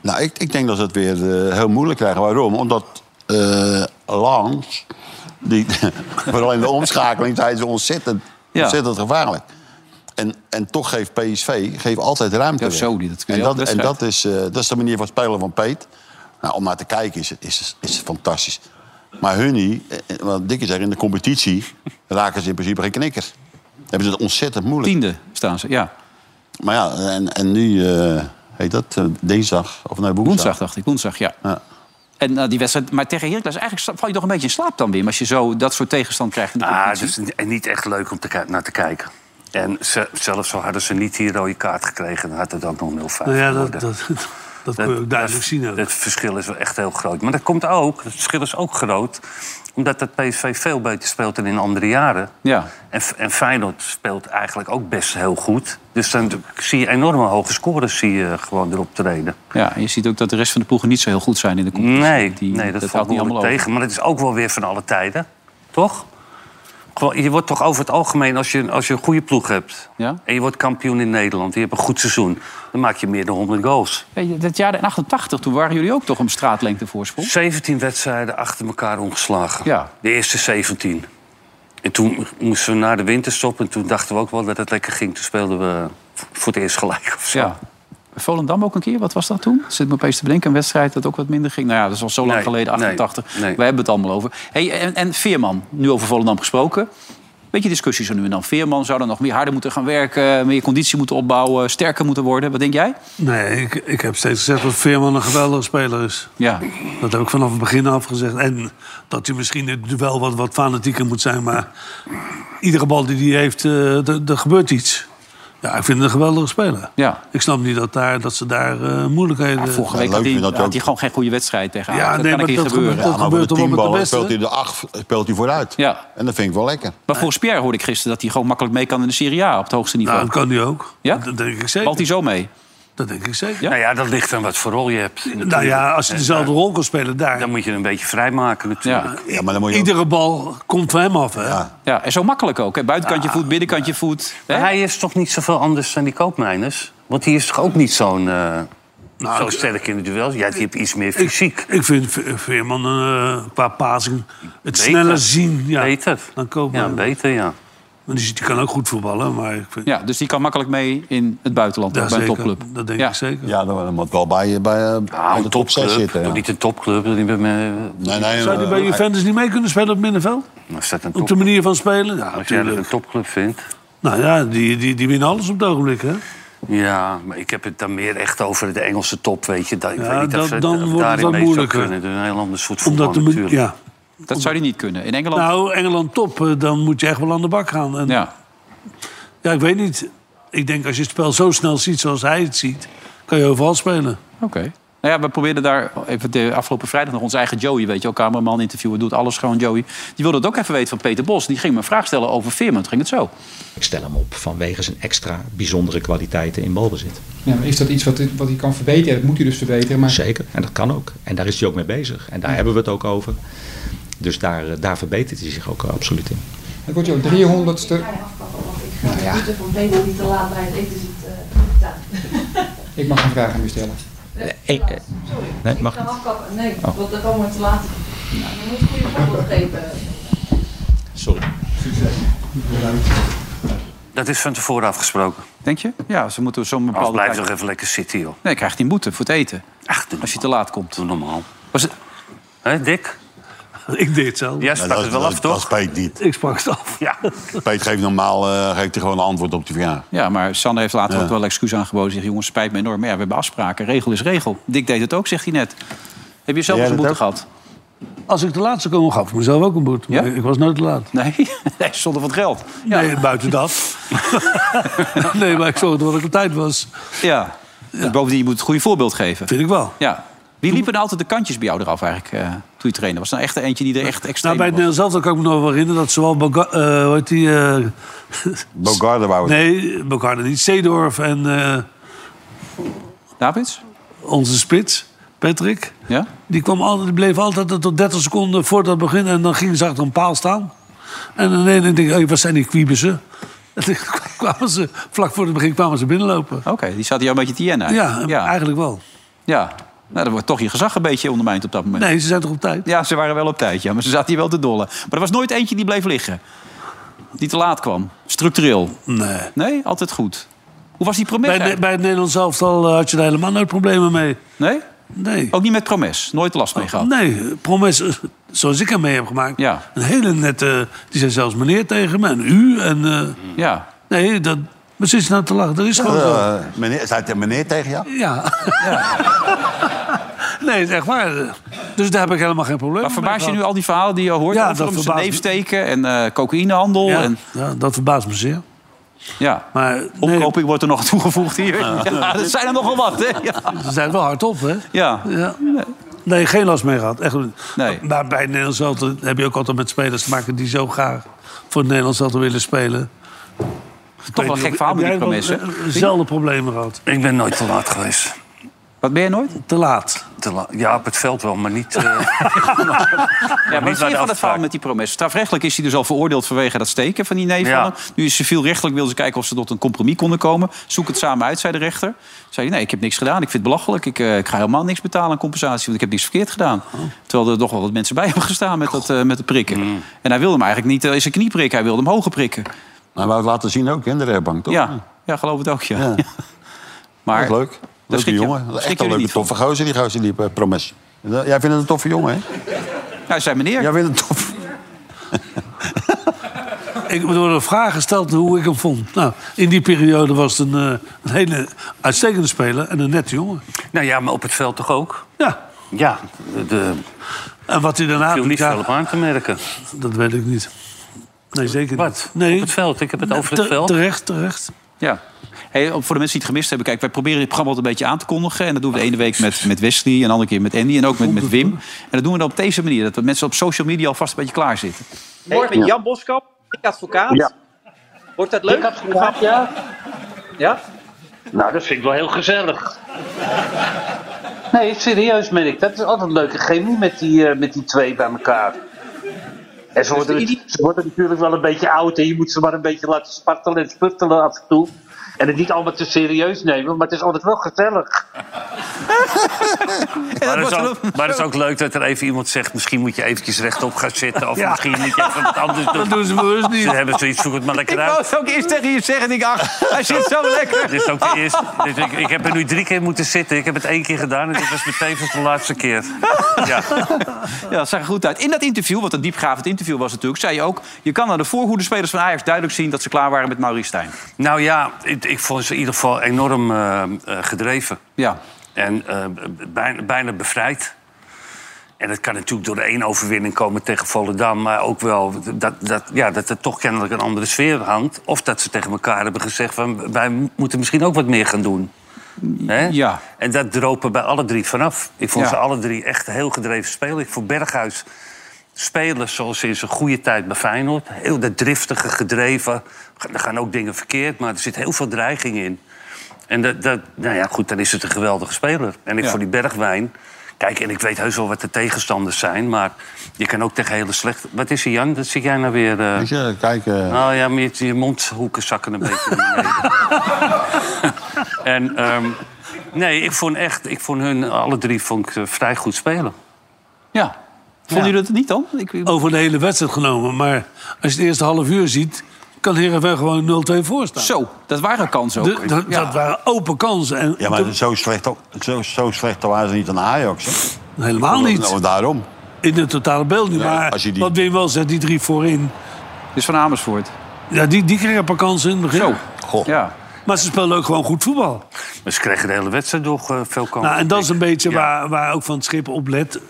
[SPEAKER 4] Nou, ik, ik denk dat ze het weer eh, heel moeilijk krijgen. Waarom? Omdat eh Lans, die, vooral in de omschakeling, zijn ze ontzettend,
[SPEAKER 2] Ja.
[SPEAKER 4] ontzettend gevaarlijk. En, en toch geeft PSV geeft altijd ruimte.
[SPEAKER 2] Ja,
[SPEAKER 4] weg.
[SPEAKER 2] zo niet. Dat kun je
[SPEAKER 4] en
[SPEAKER 2] elke
[SPEAKER 4] dat, en
[SPEAKER 2] wedstrijd.
[SPEAKER 4] dat, is, eh, dat is de manier van spelen van Peet. Nou, om naar te kijken is, is, is het fantastisch. Maar Hunny, eh, eh, wat Dikke zegt, in de competitie raken ze in principe geen knikker. Hebben ze het ontzettend moeilijk.
[SPEAKER 2] Tiende staan ze, ja.
[SPEAKER 4] Maar ja, en, en nu eh, heet dat eh, dinsdag of nee,
[SPEAKER 2] Woensdag, dacht ik. Woensdag, ja.
[SPEAKER 4] Ja.
[SPEAKER 2] En nou, die wedstrijd, maar tegen Heracles, eigenlijk sta- val je toch een beetje in slaap dan, Wim... als je zo dat soort tegenstand krijgt in de
[SPEAKER 5] Ah, het
[SPEAKER 2] competitie.
[SPEAKER 5] is n- niet echt leuk om te ki- naar te kijken. En ze- zelfs al hadden ze niet die rode kaart gekregen... dan had het ook nog 0-5
[SPEAKER 3] Nou ja, dat, dat,
[SPEAKER 5] geworden.
[SPEAKER 3] dat, kun je ook duidelijk zien. ook.
[SPEAKER 5] Het verschil is wel echt heel groot. Maar dat komt ook, het verschil is ook groot... omdat dat PSV veel beter speelt dan in andere jaren.
[SPEAKER 2] Ja.
[SPEAKER 5] En, F- en Feyenoord speelt eigenlijk ook best heel goed. Dus dan zie je enorme hoge scores zie je gewoon erop treden.
[SPEAKER 2] ja, en je ziet ook dat de rest van de ploegen niet zo heel goed zijn in de competitie.
[SPEAKER 5] Nee,
[SPEAKER 2] Die-
[SPEAKER 5] nee dat,
[SPEAKER 2] houdt
[SPEAKER 5] valt niet allemaal tegen. Maar het is ook wel weer van alle tijden. Toch? Gewoon, Je wordt toch over het algemeen, als je, als je een goede ploeg hebt...
[SPEAKER 2] Ja.
[SPEAKER 5] en je wordt kampioen in Nederland, je hebt een goed seizoen... dan maak je meer dan 100 goals.
[SPEAKER 2] Weet je, dat jaar in 88, toen waren jullie ook toch om straatlengte voorsprong?
[SPEAKER 5] 17 wedstrijden achter elkaar ongeslagen.
[SPEAKER 2] Ja.
[SPEAKER 5] De eerste 17. En toen moesten we naar de winter stoppen. En toen dachten we ook wel dat het lekker ging. Toen speelden we voor het eerst gelijk of zo.
[SPEAKER 2] Ja. Volendam ook een keer, wat was dat toen? Zit me opeens te bedenken, een wedstrijd dat ook wat minder ging. Nou ja, dat is al zo lang
[SPEAKER 5] Nee,
[SPEAKER 2] geleden,
[SPEAKER 5] nee,
[SPEAKER 2] 88.
[SPEAKER 5] nee.
[SPEAKER 2] Wij hebben het allemaal over. Hey, en, en Veerman, nu over Volendam gesproken. Beetje discussie zo nu en dan. Veerman zou dan nog meer harder moeten gaan werken... meer conditie moeten opbouwen, sterker moeten worden. Wat denk jij?
[SPEAKER 3] Nee, ik, ik heb steeds gezegd dat Veerman een geweldige speler is.
[SPEAKER 2] Ja,
[SPEAKER 3] Dat heb ik vanaf het begin af gezegd. En dat hij misschien in het duel wat, wat fanatieker moet zijn. Maar iedere bal die hij heeft, eh, er er gebeurt iets. Ja, ik vind het een geweldige speler.
[SPEAKER 2] ja.
[SPEAKER 3] Ik snap niet dat, daar, dat ze daar eh, moeilijkheden...
[SPEAKER 2] Vorige
[SPEAKER 4] Ja,
[SPEAKER 2] week had hij,
[SPEAKER 4] leuk vind dat
[SPEAKER 2] had
[SPEAKER 4] ook.
[SPEAKER 2] hij gewoon geen goede wedstrijd tegen
[SPEAKER 3] Ja,
[SPEAKER 2] Ajax. dat
[SPEAKER 3] nee,
[SPEAKER 2] kan een keer
[SPEAKER 3] maar dat
[SPEAKER 2] gebeuren.
[SPEAKER 3] gebeurt-
[SPEAKER 4] Ja, maar
[SPEAKER 3] gebeurt
[SPEAKER 4] voor de
[SPEAKER 3] toch wel met de
[SPEAKER 4] tienballen
[SPEAKER 3] beste?
[SPEAKER 4] speelt hij de acht speelt hij vooruit.
[SPEAKER 2] Ja.
[SPEAKER 4] En dat vind ik wel lekker.
[SPEAKER 2] Maar volgens Pierre hoorde ik gisteren dat hij gewoon makkelijk mee kan in de Serie A... op het hoogste
[SPEAKER 3] Nou,
[SPEAKER 2] niveau.
[SPEAKER 3] dat kan hij ook.
[SPEAKER 2] Ja?
[SPEAKER 3] Dat denk ik zeker.
[SPEAKER 2] Valt hij zo mee?
[SPEAKER 3] Dat denk ik zeker.
[SPEAKER 2] Ja?
[SPEAKER 5] Nou ja, dat ligt aan wat voor rol je hebt.
[SPEAKER 3] Nou ja, als je dezelfde rol kan spelen daar.
[SPEAKER 5] Dan moet je het een beetje vrijmaken natuurlijk.
[SPEAKER 2] Ja.
[SPEAKER 4] Ja, maar dan moet je
[SPEAKER 3] Iedere bal komt van hem af. Hè?
[SPEAKER 4] Ja.
[SPEAKER 2] ja, en zo makkelijk ook. Hè? Buitenkantje voet, binnenkantje voet. Hè?
[SPEAKER 5] Maar hij is toch niet zoveel anders dan die koopmijners? Want die is toch ook niet zo'n eh, zo
[SPEAKER 3] Nou, ik-
[SPEAKER 5] sterk in de duels? Ja, die heeft iets meer fysiek.
[SPEAKER 3] Ik vind Ve- Veerman eh qua passing het sneller
[SPEAKER 5] Beter.
[SPEAKER 3] zien. Ja,
[SPEAKER 5] beter.
[SPEAKER 3] Dan kopen
[SPEAKER 5] ja,
[SPEAKER 3] ja,
[SPEAKER 5] beter, ja.
[SPEAKER 3] Dus die kan ook goed voetballen. Maar ik vind,
[SPEAKER 2] Ja, dus die kan makkelijk mee in het buitenland,
[SPEAKER 3] Ja,
[SPEAKER 2] ook bij een
[SPEAKER 3] zeker.
[SPEAKER 2] topclub.
[SPEAKER 3] Dat denk
[SPEAKER 2] Ja.
[SPEAKER 3] ik zeker.
[SPEAKER 4] Ja, dan moet wel bij, bij, eh, bij
[SPEAKER 5] Nou,
[SPEAKER 4] de
[SPEAKER 5] een
[SPEAKER 4] top 6
[SPEAKER 5] topclub.
[SPEAKER 4] zitten. ja.
[SPEAKER 5] Toch Niet een topclub. Die bij mij,
[SPEAKER 4] Nee, nee,
[SPEAKER 3] Zou die
[SPEAKER 4] eh,
[SPEAKER 3] bij Juventus niet mee kunnen spelen op het middenveld?
[SPEAKER 5] als dat een
[SPEAKER 3] Op de
[SPEAKER 5] top,
[SPEAKER 3] manier van spelen? Ja,
[SPEAKER 5] als jij dat een
[SPEAKER 3] natuurlijk.
[SPEAKER 5] topclub vindt.
[SPEAKER 3] Nou ja, die, die, die winnen alles op het ogenblik. Hè?
[SPEAKER 5] Ja, maar ik heb het dan meer echt over de Engelse top, weet je. Da- Ik
[SPEAKER 3] Ja,
[SPEAKER 5] weet niet of
[SPEAKER 3] dat-
[SPEAKER 5] ze
[SPEAKER 3] dan
[SPEAKER 5] of
[SPEAKER 3] wordt het
[SPEAKER 5] daarin
[SPEAKER 3] wat
[SPEAKER 5] mee zou
[SPEAKER 3] moeilijker.
[SPEAKER 5] kunnen. Een heel ander soort voetbal
[SPEAKER 3] Omdat de,
[SPEAKER 5] natuurlijk.
[SPEAKER 3] mu- ja.
[SPEAKER 2] Dat zou hij niet kunnen. In Engeland,
[SPEAKER 3] Nou, Engeland top, eh, dan moet je echt wel aan de bak gaan. En, ja.
[SPEAKER 2] ja.
[SPEAKER 3] ik weet niet. Ik denk als je het spel zo snel ziet zoals hij het ziet, kan je overal spelen.
[SPEAKER 2] Oké. Nou ja, we probeerden daar even de afgelopen vrijdag nog onze eigen Joey, weet je, ook cameraman interviewen, doet alles gewoon Joey. Die wilde het ook even weten van Peter Bos. Die ging me een vraag stellen over Veerman. Het ging het zo.
[SPEAKER 6] Ik stel hem op vanwege zijn extra bijzondere kwaliteiten in balbezit.
[SPEAKER 7] Ja, maar is dat iets wat, wat hij kan verbeteren? Dat moet hij dus verbeteren. Maar
[SPEAKER 6] Zeker, en dat kan ook. En daar is hij ook mee bezig. En daar hebben we het ook over. Dus daar, eh, daar verbetert hij zich ook eh, absoluut in.
[SPEAKER 7] het wordt jouw 300ste.
[SPEAKER 8] afkappen, want ik ga
[SPEAKER 7] Nou ja.
[SPEAKER 8] de voeten van Peter niet te laat bij het eten zitten. eh, daar.
[SPEAKER 7] Ik mag een vraag aan u stellen.
[SPEAKER 6] eh, eh,
[SPEAKER 8] Sorry,
[SPEAKER 6] nee,
[SPEAKER 8] ik
[SPEAKER 6] mag
[SPEAKER 8] ga
[SPEAKER 6] niet.
[SPEAKER 8] afkappen. Nee,
[SPEAKER 6] Oh.
[SPEAKER 8] want dan komen we te laat. Nou, je moet een goede voorbeeld geven.
[SPEAKER 6] Sorry.
[SPEAKER 5] Dat is van tevoren afgesproken.
[SPEAKER 2] Denk je? Ja, ze moeten zo'n
[SPEAKER 5] Als
[SPEAKER 2] bepaalde.
[SPEAKER 5] blijf
[SPEAKER 2] tijd-
[SPEAKER 5] toch even lekker zitten, joh.
[SPEAKER 2] Nee, krijgt hij boete voor het eten.
[SPEAKER 5] Ach, doe
[SPEAKER 2] Als je te
[SPEAKER 5] normaal.
[SPEAKER 2] laat komt.
[SPEAKER 5] Doe normaal.
[SPEAKER 2] Was het...
[SPEAKER 5] Hé, Dick?
[SPEAKER 3] Ik deed het zelf.
[SPEAKER 5] Jij
[SPEAKER 4] nou,
[SPEAKER 5] sprak
[SPEAKER 4] dat-
[SPEAKER 5] het wel
[SPEAKER 4] dat-
[SPEAKER 5] af,
[SPEAKER 4] Dat
[SPEAKER 5] toch?
[SPEAKER 4] spreekt niet.
[SPEAKER 3] Ik sprak het af.
[SPEAKER 5] Ja.
[SPEAKER 4] Peet geeft normaal eh, geeft hij gewoon een antwoord op die vraag.
[SPEAKER 2] Ja, maar Sanne heeft later
[SPEAKER 4] Ja.
[SPEAKER 2] ook wel excuus aangeboden. Zegt, jongens, spijt me enorm. Maar ja, we hebben afspraken. Regel is regel. Dick deed het ook, zegt hij net. Heb je zelf
[SPEAKER 4] Jij
[SPEAKER 2] eens een
[SPEAKER 4] dat
[SPEAKER 2] boete
[SPEAKER 4] ook?
[SPEAKER 2] gehad?
[SPEAKER 3] Als ik de laatste kon, gaf ik mezelf ook een boete.
[SPEAKER 2] Ja?
[SPEAKER 3] Maar Ik was nooit te laat.
[SPEAKER 2] Nee? nee, zonder wat geld. Ja.
[SPEAKER 3] Nee, buiten dat. nee, maar ik zorgde dat ik op tijd was.
[SPEAKER 2] ja. Bovendien, je moet het goede voorbeeld geven.
[SPEAKER 3] Vind ik wel.
[SPEAKER 2] Ja. Wie liepen er altijd de kantjes bij jou eraf eigenlijk eh, toen je trainde? Was er nou echt er eentje die er echt extreem
[SPEAKER 3] Nou, bij het
[SPEAKER 2] was?
[SPEAKER 3] Nederlands zelf kan ik me nog wel herinneren dat zowel Boga- eh, hoe heet die, eh,
[SPEAKER 4] Bogarde wou het.
[SPEAKER 3] nee, Bogarde niet, Seedorf en eh,
[SPEAKER 2] Davids?
[SPEAKER 3] onze spits, Patrick.
[SPEAKER 2] Ja?
[SPEAKER 3] Die, kwam altijd, die bleef altijd tot 30 seconden voordat het begin. En dan ging ze achter een paal staan. En dan denk ik, hey, wat zijn die kwiebussen? En dan kwamen ze, vlak voor het begin kwamen ze binnenlopen.
[SPEAKER 2] Oké, die zat jou een beetje te jennen.
[SPEAKER 3] Ja, eh,
[SPEAKER 2] ja.
[SPEAKER 3] eigenlijk wel.
[SPEAKER 2] ja. Nou, dan wordt toch je gezag een beetje ondermijnd op dat moment.
[SPEAKER 3] Nee, ze zijn toch op tijd?
[SPEAKER 2] Ja, ze waren wel op tijd, ja, maar ze zaten hier wel te dollen. Maar er was nooit eentje die bleef liggen. Die te laat kwam. Structureel.
[SPEAKER 3] Nee.
[SPEAKER 2] Nee, altijd goed. Hoe was die
[SPEAKER 3] Bij,
[SPEAKER 2] promes?
[SPEAKER 3] het-
[SPEAKER 2] eigenlijk?
[SPEAKER 3] bij het Nederlands elftal eh, had je daar helemaal nooit problemen mee.
[SPEAKER 2] Nee?
[SPEAKER 3] Nee.
[SPEAKER 2] Ook niet met promes. Nooit last
[SPEAKER 3] Oh,
[SPEAKER 2] mee gehad.
[SPEAKER 3] Nee, Promes, eh, zoals ik hem mee heb gemaakt.
[SPEAKER 2] Ja.
[SPEAKER 3] Een hele nette... Die zei zelfs meneer tegen me en u. En, eh,
[SPEAKER 2] Ja. Nee,
[SPEAKER 3] nee, dat, maar ze is nou te lachen. Dat is gewoon zo.
[SPEAKER 4] Eh, meneer, zei het een meneer tegen jou?
[SPEAKER 3] Ja. nee, het is echt waar. Dus daar heb ik helemaal geen probleem
[SPEAKER 2] Maar
[SPEAKER 3] mee
[SPEAKER 2] verbaas je
[SPEAKER 3] gehad.
[SPEAKER 2] nu al die verhalen die je hoort?
[SPEAKER 3] Ja,
[SPEAKER 2] over
[SPEAKER 3] dat
[SPEAKER 2] hem, zijn
[SPEAKER 3] verbaast me.
[SPEAKER 2] neefsteken en eh, cocaïnehandel.
[SPEAKER 3] Ja,
[SPEAKER 2] En,
[SPEAKER 3] ja, dat verbaast me zeer.
[SPEAKER 2] ja.
[SPEAKER 3] Maar nee,
[SPEAKER 2] Opkoping wordt er nog toegevoegd hier. Ja. dat zijn er nogal wat, hè? Ja.
[SPEAKER 3] ze zijn wel hard op, hè?
[SPEAKER 2] ja.
[SPEAKER 3] Ja. Nee, geen last mee gehad. Echt. niet.
[SPEAKER 2] Nee.
[SPEAKER 3] Maar bij het Nederlands elftal heb je ook altijd met spelers te maken... die zo graag voor het Nederlands elftal willen spelen.
[SPEAKER 2] Toch wel een gek verhaal met die promes, hè?
[SPEAKER 3] eh, Zelfde problemen gehad.
[SPEAKER 5] Ik ben nooit te laat geweest.
[SPEAKER 2] Wat ben je nooit?
[SPEAKER 3] Te laat.
[SPEAKER 5] Te la- ja, op het veld wel, maar niet... eh,
[SPEAKER 2] Ja, maar wat vind
[SPEAKER 5] niet bij
[SPEAKER 2] je van
[SPEAKER 5] de
[SPEAKER 2] het verhaal
[SPEAKER 5] afspraak.
[SPEAKER 2] met die promes? Strafrechtelijk is hij dus al veroordeeld vanwege dat steken van die neef
[SPEAKER 5] Ja.
[SPEAKER 2] van hem. Nu is civielrechtelijk wilden ze kijken of ze tot een compromis konden komen. Zoek het samen uit, zei de rechter. Zei hij, nee, ik heb niks gedaan. Ik vind het belachelijk. Ik, eh, ik ga helemaal niks betalen aan compensatie, want ik heb niks verkeerd gedaan. Terwijl er nog wel wat mensen bij hebben gestaan met, dat, eh, met het prikken. En hij wilde hem eigenlijk niet eh, in zijn knie prikken. Hij wilde hem hoger prikken.
[SPEAKER 4] Maar hij wou het laten zien ook hè, in de rechtbank, toch?
[SPEAKER 2] Ja, ja, geloof het ook, ja.
[SPEAKER 4] Ja.
[SPEAKER 2] Maar,
[SPEAKER 4] Dat is leuk.
[SPEAKER 2] Daar schrik
[SPEAKER 4] Leuke
[SPEAKER 2] je-
[SPEAKER 4] jongen.
[SPEAKER 2] schrik
[SPEAKER 4] Echt
[SPEAKER 2] jullie
[SPEAKER 4] een leuke
[SPEAKER 2] niet van.
[SPEAKER 4] toffe gozer, die gozer die eh, promes. Jij vindt het een toffe jongen, hè?
[SPEAKER 2] Nou, zei meneer,
[SPEAKER 4] Jij vindt het tof.
[SPEAKER 3] Ik er worden vragen gesteld hoe ik hem vond. Nou, in die periode was het een, eh, een hele uitstekende speler en een nette jongen.
[SPEAKER 5] nou ja, maar op het veld toch ook?
[SPEAKER 3] Ja.
[SPEAKER 5] Ja, de- de,
[SPEAKER 3] En wat hij daarna
[SPEAKER 5] viel
[SPEAKER 3] doet,
[SPEAKER 5] niet
[SPEAKER 3] ja,
[SPEAKER 5] veel op aan te merken.
[SPEAKER 3] dat weet ik niet. Nee, zeker
[SPEAKER 5] Wat?
[SPEAKER 3] niet. Nee,
[SPEAKER 5] Op het veld? Ik heb het over het
[SPEAKER 3] te-
[SPEAKER 5] veld.
[SPEAKER 3] Terecht, terecht.
[SPEAKER 2] Ja. Hey, voor de mensen die het gemist hebben, kijk, wij proberen dit programma altijd een beetje aan te kondigen. En dat doen we de ene week met, met Wesley, en de andere keer met Andy en ook met, met Wim. En dat doen we dan op deze manier, dat de mensen op social media alvast een beetje klaar zitten.
[SPEAKER 9] Morgen Jan Boskap, ik advocaat. Wordt dat leuk? ja. Ja? Nou, dat vind ik wel heel gezellig. Nee, serieus meen ik. Dat is altijd een leuke chemie met die, eh, met die twee bij elkaar. En ze worden, dus- ze worden natuurlijk wel een beetje oud en je moet ze maar een beetje laten spartelen en sputtelen af en toe. En het niet allemaal te serieus nemen, maar het is altijd wel gezellig.
[SPEAKER 5] Maar het, is
[SPEAKER 2] wordt
[SPEAKER 5] ook, maar het is ook leuk dat er even iemand zegt... misschien moet je eventjes rechtop gaan zitten... of misschien moet je even wat anders doen.
[SPEAKER 3] Dat doen ze bewust niet.
[SPEAKER 5] Ze hebben zoiets, zoek het maar
[SPEAKER 2] Ik
[SPEAKER 5] lekker
[SPEAKER 2] wou
[SPEAKER 5] uit.
[SPEAKER 2] het ook eerst tegen je zeggen. Ik ach, hij zit zo lekker.
[SPEAKER 5] Dit is ook de eerste. dit- ik, ik heb er nu drie keer moeten zitten. Ik heb het één keer gedaan en dit was meteen voor de laatste keer. Ja.
[SPEAKER 2] Ja, dat zag er goed uit. In dat interview, wat een diepgravend interview was natuurlijk... zei je ook, je kan aan de voorhoede spelers van Ajax duidelijk zien... dat ze klaar waren met Maurice Stijn.
[SPEAKER 5] Nou ja, ik, ik vond ze in ieder geval enorm eh, eh, gedreven.
[SPEAKER 2] Ja.
[SPEAKER 5] En eh, bijna, bijna bevrijd. En dat kan natuurlijk door één overwinning komen tegen Volendam. Maar ook wel dat, dat, ja, dat er toch kennelijk een andere sfeer hangt. Of dat ze tegen elkaar hebben gezegd... Van, wij moeten misschien ook wat meer gaan doen. Hè?
[SPEAKER 2] Ja.
[SPEAKER 5] En dat dropen bij alle drie vanaf. Ik vond
[SPEAKER 2] Ja.
[SPEAKER 5] ze alle drie echt heel gedreven spelen. Ik vond Berghuis spelen zoals in zijn goede tijd bij Feyenoord. Heel dat driftige, gedreven. Er gaan ook dingen verkeerd, maar er zit heel veel dreiging in. En dat, dat, nou ja, goed, dan is het een geweldige speler. En ik
[SPEAKER 2] Ja.
[SPEAKER 5] voor die Bergwijn... Kijk, en ik weet heus wel wat de tegenstanders zijn... maar je kan ook tegen hele slechte... Wat is er, Jan? Dat zit jij nou weer... eh,
[SPEAKER 4] Weet je, kijk, eh,
[SPEAKER 5] nou ja, maar je, je mondhoeken zakken een beetje naar beneden. en ehm, nee, ik vond echt, ik vond hun alle drie vond ik, eh, vrij goed spelen.
[SPEAKER 2] Ja. Vonden jullie dat niet dan? Ik, ik-
[SPEAKER 3] Over de hele wedstrijd genomen. Maar als je het eerste half uur ziet, kan Heerenveen gewoon 0-2 voorstaan.
[SPEAKER 2] Zo, dat waren kansen ook.
[SPEAKER 3] De- dat,
[SPEAKER 2] ja.
[SPEAKER 3] dat waren open kansen. En
[SPEAKER 4] ja, maar dus- zo slecht, ook- zo, zo slecht waren ze niet aan Ajax. Hè?
[SPEAKER 3] helemaal niet.
[SPEAKER 4] Nou, daarom.
[SPEAKER 3] In het totale beeld niet.
[SPEAKER 4] Nee,
[SPEAKER 3] maar
[SPEAKER 4] als je die-
[SPEAKER 3] wat Wim wel zegt, die drie voorin.
[SPEAKER 2] Dus van Amersfoort.
[SPEAKER 3] Ja, die, die kregen een paar kansen in het begin.
[SPEAKER 2] Zo.
[SPEAKER 4] Goh.
[SPEAKER 2] Ja.
[SPEAKER 3] Maar ze spelen ook gewoon goed voetbal.
[SPEAKER 5] Maar Dus ze kregen de hele wedstrijd door eh, veel kansen.
[SPEAKER 3] Nou, en dat is een beetje
[SPEAKER 5] Ja.
[SPEAKER 3] waar, waar ook Van het Schip op let.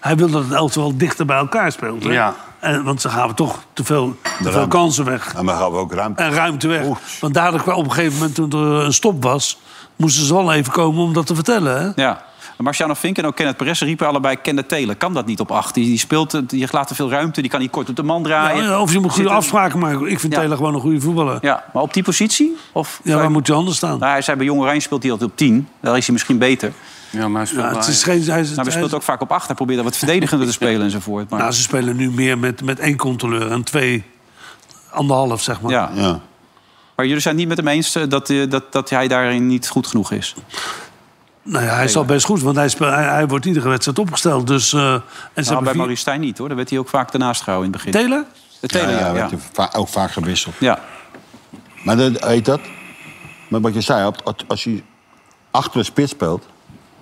[SPEAKER 3] Hij wil dat het elftal dichter bij elkaar speelt. Hè?
[SPEAKER 5] Ja.
[SPEAKER 3] En, want ze gaven toch te veel, te veel
[SPEAKER 4] Ruimte.
[SPEAKER 3] kansen weg.
[SPEAKER 4] En dan gaan we ook ruimte.
[SPEAKER 3] En ruimte weg. Want daardoor kwam op een gegeven moment, toen er een stop was... moesten ze wel even komen om dat te vertellen. Hè?
[SPEAKER 2] Ja. Marciano Fink en ook Kenneth Perez riepen allebei... Kenneth Telen kan dat niet op acht. Die, die speelt, eh, die laat te veel ruimte, die kan niet kort op de man draaien.
[SPEAKER 3] Ja, of je moet
[SPEAKER 2] Zit
[SPEAKER 3] goede
[SPEAKER 2] er-
[SPEAKER 3] afspraken maken. Ik vind
[SPEAKER 2] Ja.
[SPEAKER 3] Taylor gewoon een goede voetballer. Ja,
[SPEAKER 2] Ja, maar op die positie? Of
[SPEAKER 3] waar moet je anders staan?
[SPEAKER 2] nou, hij zei bij Jong Oranje speelt hij altijd op 10. Daar is hij misschien beter.
[SPEAKER 5] Ja, maar hij speelde
[SPEAKER 3] Ja, het is
[SPEAKER 5] Ajax.
[SPEAKER 3] geen, hij, is-
[SPEAKER 2] Nou, hij
[SPEAKER 3] hij-
[SPEAKER 2] speelt ook vaak op 8. Hij probeert dan wat verdedigender te spelen enzovoort. Maar,
[SPEAKER 3] nou, ze spelen nu meer met, met één controleur en twee, anderhalf zeg maar.
[SPEAKER 2] ja.
[SPEAKER 4] Ja.
[SPEAKER 2] maar jullie zijn niet met hem eens eh, dat, eh, dat, dat hij daarin niet goed genoeg is.
[SPEAKER 3] Nou ja, hij is al best goed, want hij, speelt, hij, hij wordt iedere wedstrijd opgesteld. Dus, eh, en ze
[SPEAKER 2] Nou, bij
[SPEAKER 3] hebben vier...
[SPEAKER 2] Maurice Stijn niet hoor. Daar werd hij ook vaak daarnaast gehouden in het begin.
[SPEAKER 3] Taylor?
[SPEAKER 2] De Telen, ja. Ja,
[SPEAKER 4] werd va- ook vaak gewisseld.
[SPEAKER 2] Ja.
[SPEAKER 4] Maar dat, weet dat? Maar wat je zei, op- als- als hij achter de spits speelt,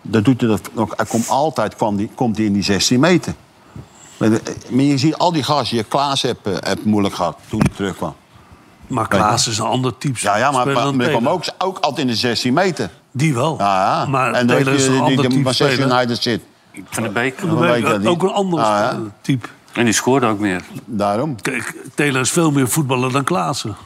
[SPEAKER 4] dan doet hij dat nog. Hij komt altijd kwam die, komt hij in die 16 meter. Maar, de- maar je ziet al die gasten, je Klaas hebt, eh, hebt moeilijk gehad toen hij terugkwam.
[SPEAKER 3] Maar Klaas is een ander type.
[SPEAKER 4] Ja, ja maar,
[SPEAKER 3] speler
[SPEAKER 4] maar,
[SPEAKER 3] dan
[SPEAKER 4] maar hij kwam
[SPEAKER 3] Taylor.
[SPEAKER 4] ook, ook altijd in de 16 meter.
[SPEAKER 3] Die wel.
[SPEAKER 4] Ja, ja.
[SPEAKER 3] Maar
[SPEAKER 4] en dat
[SPEAKER 3] Taylor is
[SPEAKER 4] je
[SPEAKER 3] een
[SPEAKER 4] die-
[SPEAKER 3] ander
[SPEAKER 4] die
[SPEAKER 3] type
[SPEAKER 4] Manchester
[SPEAKER 3] speler.
[SPEAKER 4] United zit.
[SPEAKER 5] Van de Beek.
[SPEAKER 4] Dan weet je dat niet.
[SPEAKER 3] Ook een ander
[SPEAKER 4] Ah, ja.
[SPEAKER 3] speler- type.
[SPEAKER 5] En die scoorde ook meer.
[SPEAKER 4] Daarom.
[SPEAKER 3] Kijk, Taylor is veel meer voetballer dan Klaassen.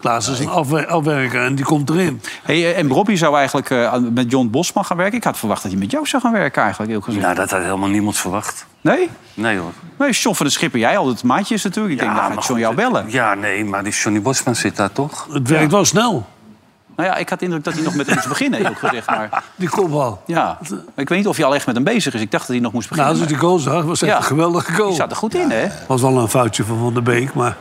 [SPEAKER 3] Klaassen is een afwe- afwerker en die komt erin.
[SPEAKER 2] Hey, eh, en Robbie zou eigenlijk eh, aan- met John Bosman gaan werken. Ik had verwacht dat hij met jou zou gaan werken eigenlijk. Heel gezegd.
[SPEAKER 5] Nou, dat had helemaal niemand verwacht.
[SPEAKER 2] Nee?
[SPEAKER 5] Nee hoor.
[SPEAKER 2] Nee, John van de Schipper, jij altijd maatjes natuurlijk. Ik denk, dan gaat
[SPEAKER 5] maar
[SPEAKER 2] Ah, John jou
[SPEAKER 5] goed,
[SPEAKER 2] bellen.
[SPEAKER 5] Ja, nee, maar die Johnny Bosman zit daar toch?
[SPEAKER 3] Het werkt wel snel,
[SPEAKER 2] Nou ja, ik had de indruk dat hij nog met hem moest beginnen, heel gezegd. Maar
[SPEAKER 3] die kopbal.
[SPEAKER 2] ja, ik weet niet of hij al echt met hem bezig is. Ik dacht dat hij nog moest
[SPEAKER 3] Nou,
[SPEAKER 2] beginnen.
[SPEAKER 3] als ik die
[SPEAKER 2] maar
[SPEAKER 3] goal zag, was echt
[SPEAKER 2] Ja.
[SPEAKER 3] een geweldige
[SPEAKER 2] die
[SPEAKER 3] goal.
[SPEAKER 2] zat er goed in, hè,
[SPEAKER 3] was wel een foutje van Van der Beek, maar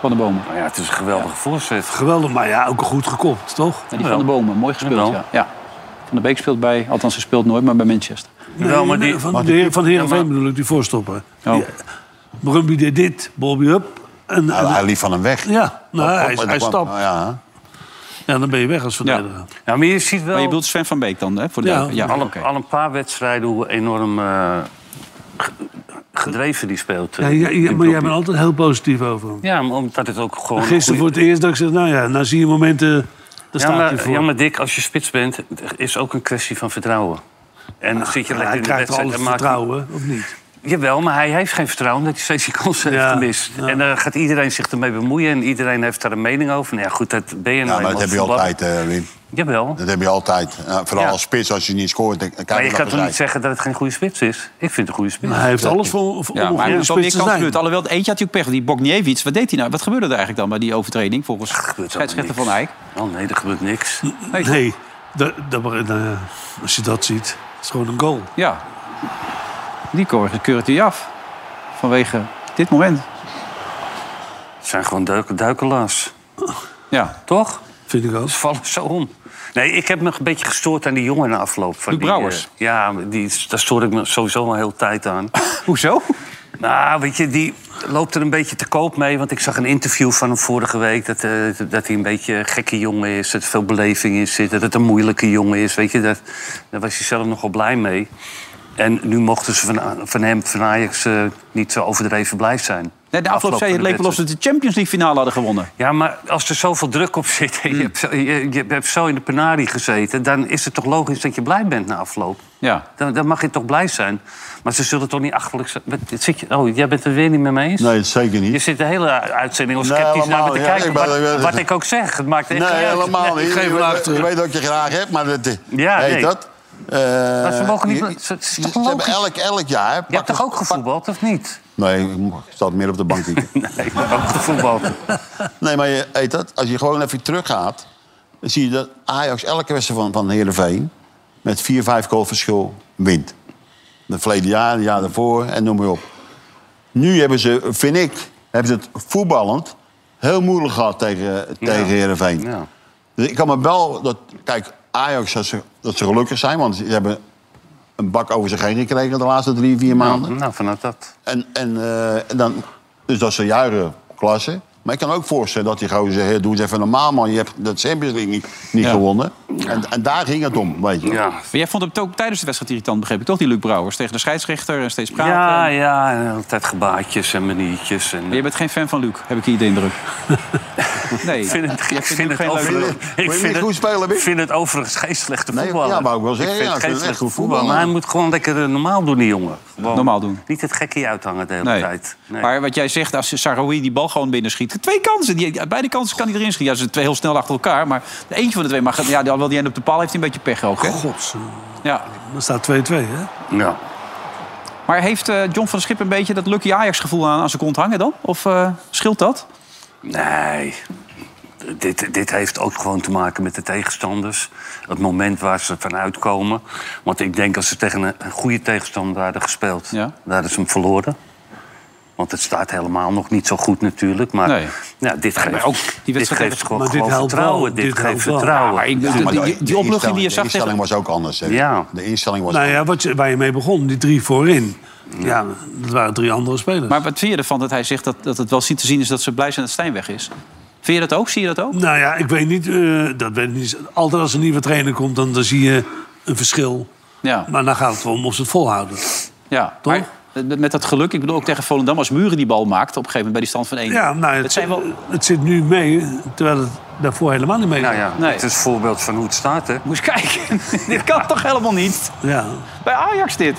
[SPEAKER 2] Van de Bomen.
[SPEAKER 5] Nou ja, het is een geweldige voorzet.
[SPEAKER 3] geweldig. Maar ja, ook goed gekopt, toch?
[SPEAKER 2] Ja, die Van de Bomen, mooi gespeeld,
[SPEAKER 5] Jawel.
[SPEAKER 2] ja. ja. Van de Beek speelt bij, althans ze speelt nooit, maar bij Manchester.
[SPEAKER 5] Wel, maar
[SPEAKER 3] Nee,
[SPEAKER 5] die-
[SPEAKER 3] van, de heer, van Heerenveen bedoel ik, die voorstopper.
[SPEAKER 2] Oh.
[SPEAKER 3] Die- Brumby deed dit, Bobby up. En,
[SPEAKER 4] Hij,
[SPEAKER 3] en-
[SPEAKER 4] Nou, hij liep van hem weg.
[SPEAKER 3] ja, nou,
[SPEAKER 4] Op- op-
[SPEAKER 3] hij,
[SPEAKER 4] en
[SPEAKER 3] hij
[SPEAKER 4] kwam-
[SPEAKER 3] stapt.
[SPEAKER 4] nou ja.
[SPEAKER 3] Ja, dan ben je weg als verdediger.
[SPEAKER 5] Nou, maar je ziet wel...
[SPEAKER 2] Maar je bedoelt Sven van Beek dan, hè? Voor de
[SPEAKER 3] Ja.
[SPEAKER 2] duidelijk- ja,
[SPEAKER 5] al,
[SPEAKER 2] oké.
[SPEAKER 5] al een paar wedstrijden hoe enorm eh, ge- gedreven die speelt.
[SPEAKER 3] Ja,
[SPEAKER 5] eh,
[SPEAKER 3] ja, ja,
[SPEAKER 5] die
[SPEAKER 3] maar jij
[SPEAKER 5] Brobbey.
[SPEAKER 3] bent altijd heel positief over hem.
[SPEAKER 5] Ja, maar omdat het ook gewoon...
[SPEAKER 3] Gisteren voor het eerst dat ik zeg, nou ja, nou zie je momenten, daar
[SPEAKER 5] ja,
[SPEAKER 3] staat hij
[SPEAKER 5] maar,
[SPEAKER 3] voor.
[SPEAKER 5] ja, maar Dick, als je spits bent, is ook een kwestie van vertrouwen. En dan zit je
[SPEAKER 3] Ah, Ja,
[SPEAKER 5] lekker
[SPEAKER 3] hij
[SPEAKER 5] in de
[SPEAKER 3] krijgt
[SPEAKER 5] wedstrijd
[SPEAKER 3] al het
[SPEAKER 5] en maakt...
[SPEAKER 3] vertrouwen, of niet?
[SPEAKER 5] Jawel, maar hij heeft geen vertrouwen dat hij steeds die kansen
[SPEAKER 3] Ja,
[SPEAKER 5] heeft gemist.
[SPEAKER 3] ja.
[SPEAKER 5] En daar gaat iedereen zich ermee bemoeien en iedereen heeft daar een mening over. Nou ja, goed, dat ben je nou
[SPEAKER 4] Ja, maar
[SPEAKER 5] eenmaal
[SPEAKER 4] dat heb je
[SPEAKER 5] voetballer.
[SPEAKER 4] altijd, eh, Wim.
[SPEAKER 5] Jawel,
[SPEAKER 4] Dat heb je altijd. Eh, vooral
[SPEAKER 5] Ja.
[SPEAKER 4] als spits, als je niet scoort. Dan, dan kan
[SPEAKER 5] maar je
[SPEAKER 4] dat
[SPEAKER 5] kan
[SPEAKER 4] wel
[SPEAKER 5] toch niet
[SPEAKER 4] zijn.
[SPEAKER 5] zeggen dat het geen goede spits is? Ik vind het een goede spits.
[SPEAKER 3] Maar hij heeft alles voor, voor
[SPEAKER 2] Ja,
[SPEAKER 3] om een
[SPEAKER 2] maar hij
[SPEAKER 3] goede
[SPEAKER 2] heeft wel meer
[SPEAKER 3] spits te zijn.
[SPEAKER 2] kansminuten. Alhoewel, eentje had natuurlijk pech. Die Bogniewicz, wat deed hij nou? Wat gebeurde er eigenlijk dan bij die overtreding volgens
[SPEAKER 5] Er gebeurt allemaal
[SPEAKER 2] scheidsrechter
[SPEAKER 5] niks.
[SPEAKER 2] van Eyck?
[SPEAKER 5] Oh nee, er gebeurt niks.
[SPEAKER 2] Nee,
[SPEAKER 3] Nee, dat, dat, nou ja, als je dat ziet, het is gewoon een goal.
[SPEAKER 2] Ja. Die keur- keurt hij af. Vanwege dit moment.
[SPEAKER 5] Het zijn gewoon duik duikelaars,
[SPEAKER 2] Ja.
[SPEAKER 5] toch?
[SPEAKER 3] Vind ik ook.
[SPEAKER 5] Ze vallen zo om. Nee, ik heb me een beetje gestoord aan die jongen in de afloop. Van
[SPEAKER 2] Luc
[SPEAKER 5] die,
[SPEAKER 2] Brouwers?
[SPEAKER 5] eh, ja, die, daar stoor ik me sowieso al heel tijd aan.
[SPEAKER 2] Hoezo?
[SPEAKER 5] Nou, weet je, die loopt er een beetje te koop mee. Want ik zag een interview van hem vorige week. Dat, eh, dat hij een beetje een gekke jongen is. Dat er veel beleving in zit. Dat het een moeilijke jongen is. Weet je, dat, daar was hij zelf nogal blij mee. En nu mochten ze van, van hem, van Ajax, eh, niet zo overdreven blij zijn.
[SPEAKER 2] Nee, de afloop zei je, het leek wel
[SPEAKER 5] wedstrijd.
[SPEAKER 2] alsof ze de Champions League finale hadden gewonnen.
[SPEAKER 5] Ja, maar als er zoveel druk op zit en je, hebt, zo- je, je hebt zo in de penarie gezeten... dan is het toch logisch dat je blij bent na afloop?
[SPEAKER 2] Ja.
[SPEAKER 5] Dan, dan mag je toch blij zijn? Maar ze zullen toch niet achterlijk zijn? Wat- dit Zit je, oh, jij bent het weer niet mee me eens?
[SPEAKER 4] Nee, zeker
[SPEAKER 5] Je
[SPEAKER 4] niet.
[SPEAKER 5] zit de hele uitzending al
[SPEAKER 4] Nee,
[SPEAKER 5] sceptisch naar me
[SPEAKER 4] helemaal
[SPEAKER 5] te
[SPEAKER 4] niet.
[SPEAKER 5] kijken.
[SPEAKER 4] Ik ben-
[SPEAKER 5] wat,
[SPEAKER 4] ik ben-
[SPEAKER 5] wat ik ook zeg, het maakt echt
[SPEAKER 4] Nee,
[SPEAKER 5] niet uit.
[SPEAKER 4] helemaal
[SPEAKER 5] Nee,
[SPEAKER 4] niet.
[SPEAKER 5] ik geef
[SPEAKER 4] Ik
[SPEAKER 5] hem
[SPEAKER 4] weet-
[SPEAKER 5] achter.
[SPEAKER 4] Ik weet dat ik je graag hebt, maar dat...
[SPEAKER 5] Ja,
[SPEAKER 4] heet
[SPEAKER 5] nee.
[SPEAKER 4] dat? Eh,
[SPEAKER 5] Maar ze mogen niet-
[SPEAKER 4] je-
[SPEAKER 5] ze- het is
[SPEAKER 4] ze-
[SPEAKER 5] toch
[SPEAKER 4] ze hebben
[SPEAKER 5] logisch?
[SPEAKER 4] elk, elk jaar...
[SPEAKER 5] Je hebt
[SPEAKER 4] pakken
[SPEAKER 5] toch
[SPEAKER 4] ze-
[SPEAKER 5] ook gevoetbald, of niet?
[SPEAKER 4] Nee, ik zat meer op de bank. hier.
[SPEAKER 5] Nee, ik heb ook gevoetbald.
[SPEAKER 4] Nou, nee, maar je, heet dat? Als je gewoon even teruggaat... dan zie je dat Ajax elke wedstrijd van, van Heerenveen... met 4-5 goal verschil wint. De verleden jaar, het jaar daarvoor en noem maar op. Nu hebben ze, vind ik, hebben ze het voetballend... heel moeilijk gehad tegen, tegen Heerenveen.
[SPEAKER 5] Ja.
[SPEAKER 4] Dus ik kan me wel... Dat, kijk, Ajax, dat ze, dat ze gelukkig zijn... want ze hebben een bak over zich heen gekregen de laatste drie, vier maanden.
[SPEAKER 5] Nou, vanuit dat.
[SPEAKER 4] En, en, eh, en dan, dus dat is een jaren klasse. Maar ik kan ook voorstellen dat die gozer zegt... doe eens even normaal, man. Je hebt de Champions League niet, niet
[SPEAKER 2] Ja.
[SPEAKER 4] gewonnen. En, en daar ging het om, weet je.
[SPEAKER 5] Ja,
[SPEAKER 2] Maar jij vond hem ook tijdens de wedstrijd irritant, begreep ik toch, die Luc Brouwers? Tegen de scheidsrechter en steeds praten.
[SPEAKER 5] ja, ja en altijd gebaatjes en maniertjes. En,
[SPEAKER 2] Je bent geen fan van Luc, heb ik hier de indruk. Nee.
[SPEAKER 5] Ik vind het,
[SPEAKER 2] Jij
[SPEAKER 5] ik
[SPEAKER 2] vindt Luc geen
[SPEAKER 5] vind het,
[SPEAKER 2] leuke
[SPEAKER 5] overigens-
[SPEAKER 4] jongen. Wil je
[SPEAKER 5] ik
[SPEAKER 4] niet
[SPEAKER 5] vind,
[SPEAKER 4] goed spelen, Mick?
[SPEAKER 5] ik vind het overigens geen slechte
[SPEAKER 4] Nee,
[SPEAKER 5] voetballer.
[SPEAKER 4] ja, wou ik wel zeggen,
[SPEAKER 5] vind
[SPEAKER 4] ja,
[SPEAKER 5] het
[SPEAKER 4] ik
[SPEAKER 5] geen
[SPEAKER 4] vind het echt
[SPEAKER 5] slechte
[SPEAKER 4] goed
[SPEAKER 5] voetballer. Maar
[SPEAKER 4] voetballer.
[SPEAKER 5] hij moet gewoon lekker eh, normaal doen, die jongen. Gewoon
[SPEAKER 2] Normaal doen.
[SPEAKER 5] Niet het gekkie uithangen de hele
[SPEAKER 2] Nee.
[SPEAKER 5] tijd. Nee.
[SPEAKER 2] Maar wat jij zegt, als Sarawi die bal gewoon binnen schiet. Twee kansen. Die, uit beide kansen kan hij erin schieten. Ja, ze zijn twee heel snel achter elkaar. Maar de eentje van de twee mag. Ja, alhoewel die ene op de paal heeft hij een beetje pech ook. Hè?
[SPEAKER 3] Gods,
[SPEAKER 2] Ja.
[SPEAKER 3] dan staat 2-2, hè?
[SPEAKER 5] ja.
[SPEAKER 2] Maar heeft eh, John van der Schip een beetje dat Lucky Ajax gevoel aan, aan zijn kont hangen dan? Of eh, scheelt dat?
[SPEAKER 5] Nee. Dit, dit heeft ook gewoon te maken met de tegenstanders. Het moment waar ze van uitkomen. Want ik denk als ze tegen een, een goede tegenstander hadden gespeeld...
[SPEAKER 2] Ja.
[SPEAKER 5] daar is hem verloren. Want het staat helemaal nog niet zo goed natuurlijk. Maar
[SPEAKER 2] Nee.
[SPEAKER 5] nou, dit geeft,
[SPEAKER 2] ook die
[SPEAKER 5] dit
[SPEAKER 2] wedstrijd-
[SPEAKER 5] geeft gewoon,
[SPEAKER 3] Maar dit
[SPEAKER 5] gewoon
[SPEAKER 3] helpt wel.
[SPEAKER 5] vertrouwen. Dit,
[SPEAKER 3] Dit
[SPEAKER 5] geeft
[SPEAKER 3] helpt wel.
[SPEAKER 5] vertrouwen.
[SPEAKER 2] Ja, maar ik-
[SPEAKER 4] Ja, maar
[SPEAKER 2] Die-
[SPEAKER 4] de-
[SPEAKER 2] die- die
[SPEAKER 4] de
[SPEAKER 2] opluchting die je
[SPEAKER 4] instelling-
[SPEAKER 2] zag
[SPEAKER 4] De instelling was ook anders. hè.
[SPEAKER 5] Ja.
[SPEAKER 4] De instelling was
[SPEAKER 3] Nou ja, wat je, waar je mee begon, die drie voorin. Ja, dat waren drie andere spelers.
[SPEAKER 2] Maar wat vind je ervan dat hij zegt dat, dat het wel ziet te zien is dat ze blij zijn dat Stijn weg is? Vind je dat ook? Zie je dat ook?
[SPEAKER 3] Nou ja, ik weet niet, eh, dat weet ik niet. Altijd als er een nieuwe trainer komt, dan, dan zie je een verschil.
[SPEAKER 2] Ja.
[SPEAKER 3] Maar dan gaat het erom of ze het volhouden.
[SPEAKER 2] Ja,
[SPEAKER 3] Toch?
[SPEAKER 2] maar eh, met met dat geluk, ik bedoel ook tegen Volendam, als Muren die bal maakt op een gegeven moment bij die stand van 1.
[SPEAKER 3] Ja, nou,
[SPEAKER 2] het
[SPEAKER 3] het,
[SPEAKER 2] zijn wel.
[SPEAKER 3] het zit nu mee, terwijl het daarvoor helemaal niet mee
[SPEAKER 5] Nou ja,
[SPEAKER 2] Nee.
[SPEAKER 5] het is een voorbeeld van hoe het staat, hè?
[SPEAKER 2] Moest kijken, dit kan toch helemaal niet?
[SPEAKER 3] Ja.
[SPEAKER 2] Bij Ajax dit.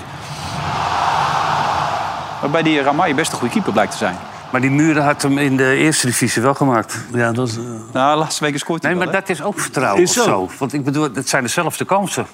[SPEAKER 2] Waarbij die Ramai best een goede keeper blijkt te zijn.
[SPEAKER 5] Maar die muren had hem in de eerste divisie wel gemaakt.
[SPEAKER 3] ja, dat is... eh,
[SPEAKER 2] Nou, laatste week scoort hij
[SPEAKER 5] Nee, maar
[SPEAKER 2] wel, hè?
[SPEAKER 5] dat is ook vertrouwen
[SPEAKER 3] Is zo.
[SPEAKER 5] of zo. Want ik bedoel, het zijn dezelfde kansen.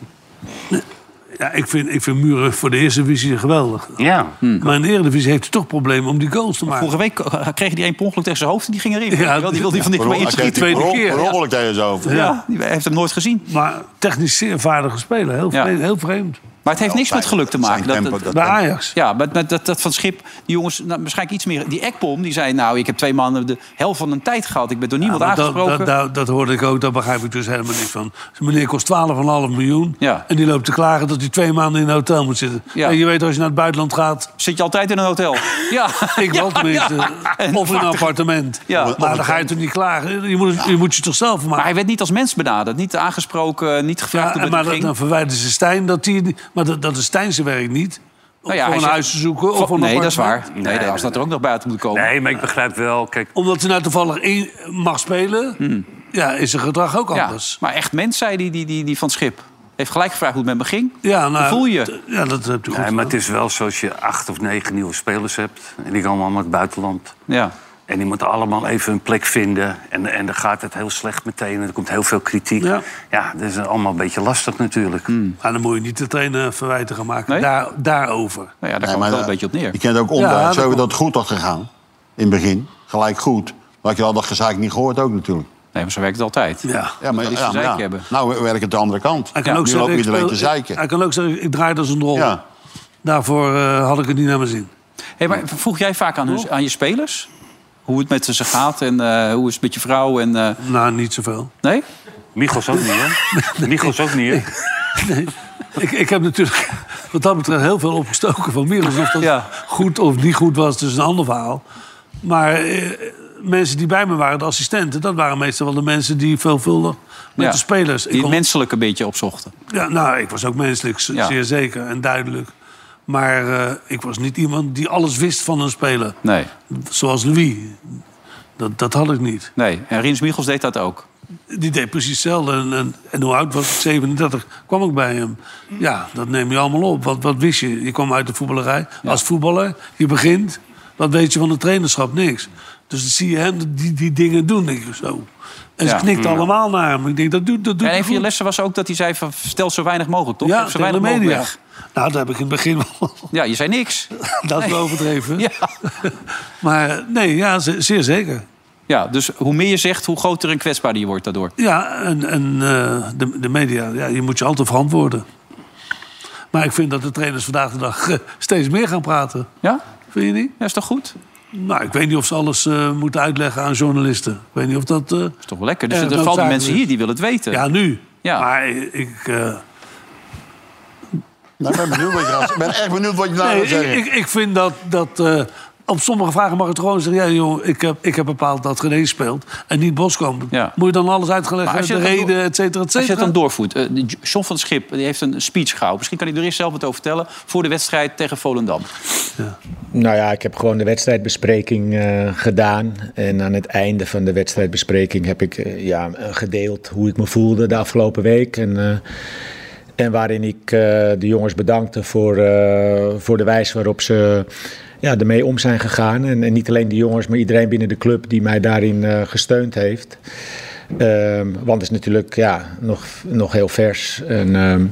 [SPEAKER 3] ja, ik vind, ik vind Muren voor de eerste divisie geweldig.
[SPEAKER 5] Ja.
[SPEAKER 2] Hmm.
[SPEAKER 3] Maar in de Eredivisie heeft hij toch problemen om die goals te maken.
[SPEAKER 2] Vorige week eh, kreeg hij één per ongeluk tegen zijn hoofd en die ging erin.
[SPEAKER 3] Ja,
[SPEAKER 2] Wel, die wilde hij van dit
[SPEAKER 4] Per
[SPEAKER 2] maar
[SPEAKER 4] ongeluk
[SPEAKER 2] inschieten.
[SPEAKER 4] heeft
[SPEAKER 3] tweede
[SPEAKER 4] hij per on-
[SPEAKER 3] keer,
[SPEAKER 4] per
[SPEAKER 3] ja.
[SPEAKER 4] ongeluk tegen zijn hoofd.
[SPEAKER 2] Ja, die heeft hem nooit gezien.
[SPEAKER 3] Maar technisch zeer vaardige speler, heel
[SPEAKER 2] Ja.
[SPEAKER 3] vreemd. Heel vreemd.
[SPEAKER 2] Maar het heeft niks
[SPEAKER 4] Zijn-
[SPEAKER 2] met geluk te maken.
[SPEAKER 4] zijn
[SPEAKER 2] Dat,
[SPEAKER 4] tempo-
[SPEAKER 2] dat-
[SPEAKER 3] Bij Ajax.
[SPEAKER 2] Ja, maar met dat, dat van Schip, die jongens, nou, waarschijnlijk iets meer. Die Ekpom, die zei, nou, ik heb twee mannen de helft van een tijd gehad. Ik ben door niemand
[SPEAKER 3] Ja, maar dat,
[SPEAKER 2] aangesproken.
[SPEAKER 3] dat, dat, dat hoorde ik ook, daar begrijp ik dus helemaal niks van. Zo'n meneer kost 12,5 miljoen
[SPEAKER 2] Ja.
[SPEAKER 3] en die loopt te klagen dat hij twee maanden in een hotel moet zitten.
[SPEAKER 2] Ja.
[SPEAKER 3] En je weet, als je naar het buitenland gaat,
[SPEAKER 2] Zit je altijd in een hotel? Ja.
[SPEAKER 3] ik wel
[SPEAKER 2] Ja,
[SPEAKER 3] tenminste,
[SPEAKER 2] ja. En
[SPEAKER 3] of in een
[SPEAKER 2] vaak-
[SPEAKER 3] appartement.
[SPEAKER 2] Ja. Of-
[SPEAKER 3] Maar dan ga je toch niet klagen, je moet, het- je, moet je toch zelf
[SPEAKER 2] Maar
[SPEAKER 3] maken.
[SPEAKER 2] hij werd niet als mens benaderd. Niet aangesproken, niet
[SPEAKER 3] Ja,
[SPEAKER 2] gevraagd
[SPEAKER 3] en
[SPEAKER 2] hoe het met
[SPEAKER 3] maar
[SPEAKER 2] hem
[SPEAKER 3] dat,
[SPEAKER 2] ging.
[SPEAKER 3] dan verwijden ze Stijn, dat die, maar dat, dat is Stijn zijn werk niet. Om
[SPEAKER 2] Nou ja,
[SPEAKER 3] voor
[SPEAKER 2] hij
[SPEAKER 3] een
[SPEAKER 2] zegt-
[SPEAKER 3] huis te zoeken of
[SPEAKER 2] Vo-
[SPEAKER 3] voor een
[SPEAKER 2] Nee, dat is
[SPEAKER 3] appartement.
[SPEAKER 2] waar. Nee, als dat er ook nog buiten moet komen.
[SPEAKER 5] Nee, maar ik begrijp wel. Kijk,
[SPEAKER 3] Omdat hij nou toevallig één mag spelen, ja, is zijn gedrag ook
[SPEAKER 2] Hmm. ja.
[SPEAKER 3] anders.
[SPEAKER 2] Maar echt mens, zei die, die, die, die van het schip. Heeft gelijk gevraagd hoe het met me ging.
[SPEAKER 3] Ja, nou,
[SPEAKER 2] Hoe voel je?
[SPEAKER 3] t- Ja, dat heb je goed.
[SPEAKER 5] Nee, maar het
[SPEAKER 3] gedaan.
[SPEAKER 5] is wel zo als je acht of negen nieuwe spelers hebt. En die komen allemaal uit het buitenland.
[SPEAKER 2] Ja.
[SPEAKER 5] En die moeten allemaal even hun plek vinden. En, en dan gaat het heel slecht meteen. En er komt heel veel kritiek.
[SPEAKER 3] Ja. Hmm.
[SPEAKER 5] Ja, dat is allemaal een beetje lastig natuurlijk.
[SPEAKER 3] Maar dan moet je niet de trainer verwijten gaan maken
[SPEAKER 2] Nee?
[SPEAKER 3] daar, daarover.
[SPEAKER 2] Nou ja, daar
[SPEAKER 4] Nee,
[SPEAKER 2] kwam het wel
[SPEAKER 4] maar
[SPEAKER 2] een
[SPEAKER 4] dat-
[SPEAKER 2] beetje op neer.
[SPEAKER 4] Je kent ook
[SPEAKER 3] Ja,
[SPEAKER 4] onderuit.
[SPEAKER 3] dat
[SPEAKER 4] Zo hebben
[SPEAKER 3] klopt.
[SPEAKER 4] dat goed had gegaan. In het begin. Gelijk goed. Maar had je al dat gezeik niet gehoord ook natuurlijk.
[SPEAKER 2] Nee, maar zo werkt het altijd.
[SPEAKER 3] Ja.
[SPEAKER 4] Ja, maar,
[SPEAKER 2] Dat is
[SPEAKER 4] ja,
[SPEAKER 2] gezeik
[SPEAKER 4] maar ja.
[SPEAKER 2] hebben.
[SPEAKER 4] Nou werkt het de andere kant.
[SPEAKER 3] Hij kan
[SPEAKER 4] nu
[SPEAKER 3] ook
[SPEAKER 4] loopt
[SPEAKER 3] zeggen, ik
[SPEAKER 4] iedereen
[SPEAKER 3] speel-
[SPEAKER 4] te zeiken.
[SPEAKER 3] Hij kan ook zeggen, ik draai dat als een rol.
[SPEAKER 4] Ja.
[SPEAKER 3] Daarvoor eh, had ik het niet naar mijn zin.
[SPEAKER 2] Hey, maar vroeg jij vaak aan, hun, aan je spelers? Hoe het met ze gaat en eh, hoe is het met je vrouw? En, eh,
[SPEAKER 3] Nou, niet zoveel.
[SPEAKER 2] nee?
[SPEAKER 5] Michels ook niet, hè? Michels ook niet, hè?
[SPEAKER 3] Ik, ik heb natuurlijk wat dat betreft heel veel opgestoken van Miros. Of dat
[SPEAKER 2] Ja.
[SPEAKER 3] goed of niet goed was, dus een ander verhaal. Maar eh, mensen die bij me waren, de assistenten... dat waren meestal wel de mensen die veelvuldig met
[SPEAKER 2] Ja.
[SPEAKER 3] de spelers... Ik
[SPEAKER 2] Die
[SPEAKER 3] kon-
[SPEAKER 2] het menselijk een beetje opzochten.
[SPEAKER 3] ja, nou, ik was ook menselijk, z-
[SPEAKER 2] Ja.
[SPEAKER 3] zeer zeker en duidelijk. Maar eh, ik was niet iemand die alles wist van een speler.
[SPEAKER 2] Nee,
[SPEAKER 3] Zoals Louis. Dat, dat had ik niet.
[SPEAKER 2] nee. En Rins Michels deed dat ook.
[SPEAKER 3] Die deed precies hetzelfde. En, en, en hoe oud was ik? 37. Kwam ik bij hem. Ja, dat neem je allemaal op. Wat, wat wist je? Je kwam uit de voetballerij. Als voetballer, je begint. Wat weet je van het trainerschap? Niks. Dus dan zie je hem die, die dingen doen. Denk ik zo. En ze
[SPEAKER 2] Ja.
[SPEAKER 3] knikt allemaal naar hem. Ik denk, dat doet dat
[SPEAKER 2] en
[SPEAKER 3] doet hij
[SPEAKER 2] een van je
[SPEAKER 3] goed.
[SPEAKER 2] lessen was ook dat hij zei: van, stel zo weinig mogelijk, toch?
[SPEAKER 3] Ja,
[SPEAKER 2] Geef zo
[SPEAKER 3] tegen de
[SPEAKER 2] weinig mogelijk
[SPEAKER 3] media.
[SPEAKER 2] weg.
[SPEAKER 3] Nou, dat heb ik in het begin wel.
[SPEAKER 2] Ja, je zei niks.
[SPEAKER 3] Dat is wel overdreven.
[SPEAKER 2] Ja.
[SPEAKER 3] Maar nee, ja, ze- zeer zeker.
[SPEAKER 2] ja, dus hoe meer je zegt, hoe groter en kwetsbaarder je wordt daardoor.
[SPEAKER 3] Ja, en, en eh, de, de media, ja, je moet je altijd verantwoorden. Maar ik vind dat de trainers vandaag de dag eh, steeds meer gaan praten.
[SPEAKER 2] Ja?
[SPEAKER 3] Vind je niet?
[SPEAKER 2] Ja, is toch goed?
[SPEAKER 3] Nou, ik weet niet of ze alles eh, moeten uitleggen aan journalisten. Ik weet niet of dat... eh,
[SPEAKER 2] Is toch wel lekker. Dus
[SPEAKER 3] Ja,
[SPEAKER 2] er
[SPEAKER 3] noodzakelijk.
[SPEAKER 2] vallen mensen hier die willen het weten.
[SPEAKER 3] ja, nu.
[SPEAKER 2] Ja.
[SPEAKER 3] Maar ik, eh,
[SPEAKER 4] Nou, ik, ben benieuwd wat je gaat- ik ben echt benieuwd wat je nou
[SPEAKER 3] nee,
[SPEAKER 4] gaat zeggen.
[SPEAKER 3] ik, ik, ik vind dat... dat eh, op sommige vragen mag het gewoon zeggen... Ja, joh, ik heb, ik heb bepaald dat René speelt en niet Boskamp.
[SPEAKER 2] Ja.
[SPEAKER 3] Moet je dan alles uitgelegd
[SPEAKER 2] Maar als je
[SPEAKER 3] hebben, de
[SPEAKER 2] dat dan
[SPEAKER 3] reden, et cetera, et
[SPEAKER 2] Als je het
[SPEAKER 3] cetera?
[SPEAKER 2] dan doorvoert. eh, die John van het Schip die heeft een speech gehouden. Misschien kan hij er eerst zelf wat over vertellen. Voor de wedstrijd tegen Volendam.
[SPEAKER 10] Nou ja, ik heb gewoon de wedstrijdbespreking eh, gedaan. En aan het einde van de wedstrijdbespreking heb ik eh, ja, eh, gedeeld hoe ik me voelde de afgelopen week. En, eh, en waarin ik eh, de jongens bedankte voor, eh, voor de wijze waarop ze ja, ermee om zijn gegaan. En, en niet alleen de jongens, maar iedereen binnen de club die mij daarin eh, gesteund heeft. Ehm, want het is natuurlijk ja, nog, nog heel vers. En, ehm,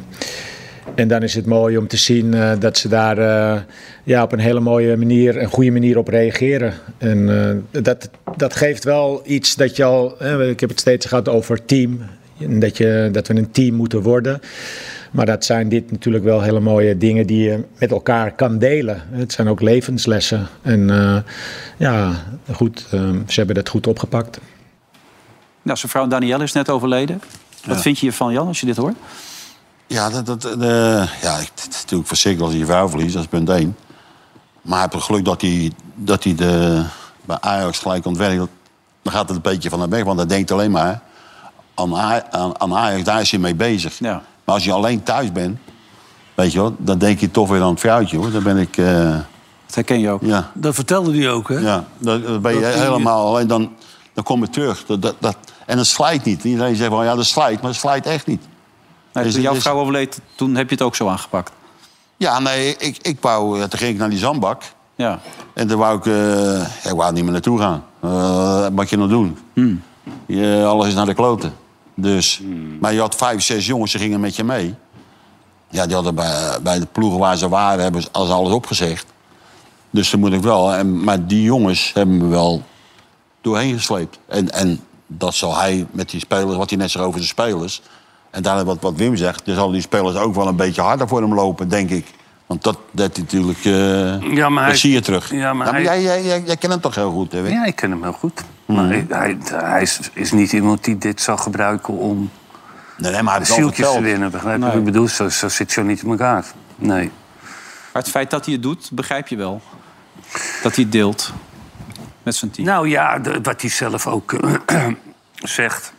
[SPEAKER 10] en dan is het mooi om te zien eh, dat ze daar eh, ja, op een hele mooie manier, een goede manier op reageren. En eh, dat, dat geeft wel iets dat je al, hè, ik heb het steeds gehad over team. En Dat, je, dat we een team moeten worden. Maar dat zijn dit natuurlijk wel hele mooie dingen die je met elkaar kan delen. Het zijn ook levenslessen. En eh, ja, goed, eh, ze hebben dat goed opgepakt.
[SPEAKER 2] Nou, zijn vrouw Danielle is net overleden. Wat vind je hiervan, Jan, als je dit hoort?
[SPEAKER 4] Ja, dat, dat, eh, ja, het is natuurlijk verschrikkelijk als je vrouw verliest, dat is punt één. Maar hij heeft het geluk dat hij, dat hij de, bij Ajax gelijk ontwerkt. Dan gaat het een beetje van hem weg, want hij denkt alleen maar aan, Aj- aan, aan Ajax, daar is hij mee bezig.
[SPEAKER 2] Ja.
[SPEAKER 4] Maar als je alleen thuis bent, weet je wel, dan denk je toch weer aan het vrouwtje hoor. Dan ben ik, eh,
[SPEAKER 2] Dat herken je ook.
[SPEAKER 4] ja,
[SPEAKER 3] Dat vertelde hij ook, hè?
[SPEAKER 4] ja, dan, dan ben je
[SPEAKER 3] Dat die-
[SPEAKER 4] helemaal alleen, dan, dan kom je terug. Dat, dat, dat, en het slijt niet. Iedereen zegt wel, ja, dat slijt, maar het slijt echt niet.
[SPEAKER 2] Nou,
[SPEAKER 4] Is
[SPEAKER 2] toen
[SPEAKER 4] het-
[SPEAKER 2] jouw
[SPEAKER 4] is-
[SPEAKER 2] vrouw overleed, toen heb je het ook zo aangepakt.
[SPEAKER 4] Ja, nee, ik, ik wou, ja, toen ging ik naar die zandbak.
[SPEAKER 2] Ja.
[SPEAKER 4] En toen wou ik, eh, ja, ik wou niet meer naartoe gaan. Eh, wat moet je nog doen?
[SPEAKER 5] Hmm.
[SPEAKER 4] Je, alles is naar de kloten. Dus, Maar je had vijf, zes jongens, die gingen met je mee. Ja, die hadden bij, bij de ploegen waar ze waren, hebben ze als alles opgezegd. Dus toen moet ik wel. En, maar die jongens hebben me wel doorheen gesleept. En, en dat zal hij met die spelers, wat hij net zei over de spelers. En daarna wat, wat Wim zegt, dan zal die spelers ook wel een beetje harder voor hem lopen, denk ik. Want dat, dat natuurlijk. eh,
[SPEAKER 5] Ja, maar
[SPEAKER 4] dat
[SPEAKER 5] hij-
[SPEAKER 4] zie je terug.
[SPEAKER 5] Ja, maar hij-
[SPEAKER 4] jij, jij, jij, jij kent hem toch heel goed, hè? Wim?
[SPEAKER 5] Ja, ik ken hem heel goed.
[SPEAKER 3] Hmm.
[SPEAKER 5] Maar hij, hij, hij is, is niet iemand die dit zou gebruiken om
[SPEAKER 4] Nee, nee, maar hij heeft wel
[SPEAKER 5] zieltjes te
[SPEAKER 4] verteld.
[SPEAKER 5] winnen. Begrijp je wat ik bedoel? Zo, zo zit zo niet in elkaar. Nee.
[SPEAKER 2] Maar het feit dat hij het doet, begrijp je wel. Dat hij het deelt met zijn team.
[SPEAKER 5] Nou ja, de- wat hij zelf ook eh, zegt.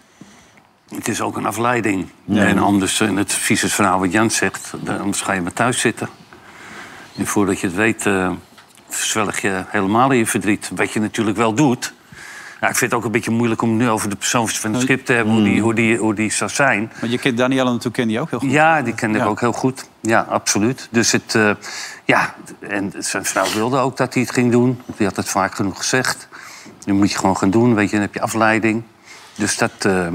[SPEAKER 5] Het is ook een afleiding. En anders, eh, in het viezesverhaal wat Jan zegt, dan anders ga je maar thuis zitten. En voordat je het weet, eh verzwelg je helemaal in je verdriet. Wat je natuurlijk wel doet, Nou, ik vind het ook een beetje moeilijk om het nu over de persoon van het schip te hebben, hoe, die, hoe, die, hoe die zou zijn.
[SPEAKER 2] Maar je kent Danielle natuurlijk ken die ook heel goed.
[SPEAKER 5] Ja, die kende
[SPEAKER 2] Ja.
[SPEAKER 5] ik ook heel goed. Ja, absoluut. Dus het, eh, ja, en zijn vrouw wilde ook dat hij het ging doen. Die had het vaak genoeg gezegd. Nu moet je gewoon gaan doen, weet je, dan heb je afleiding. Dus dat, eh,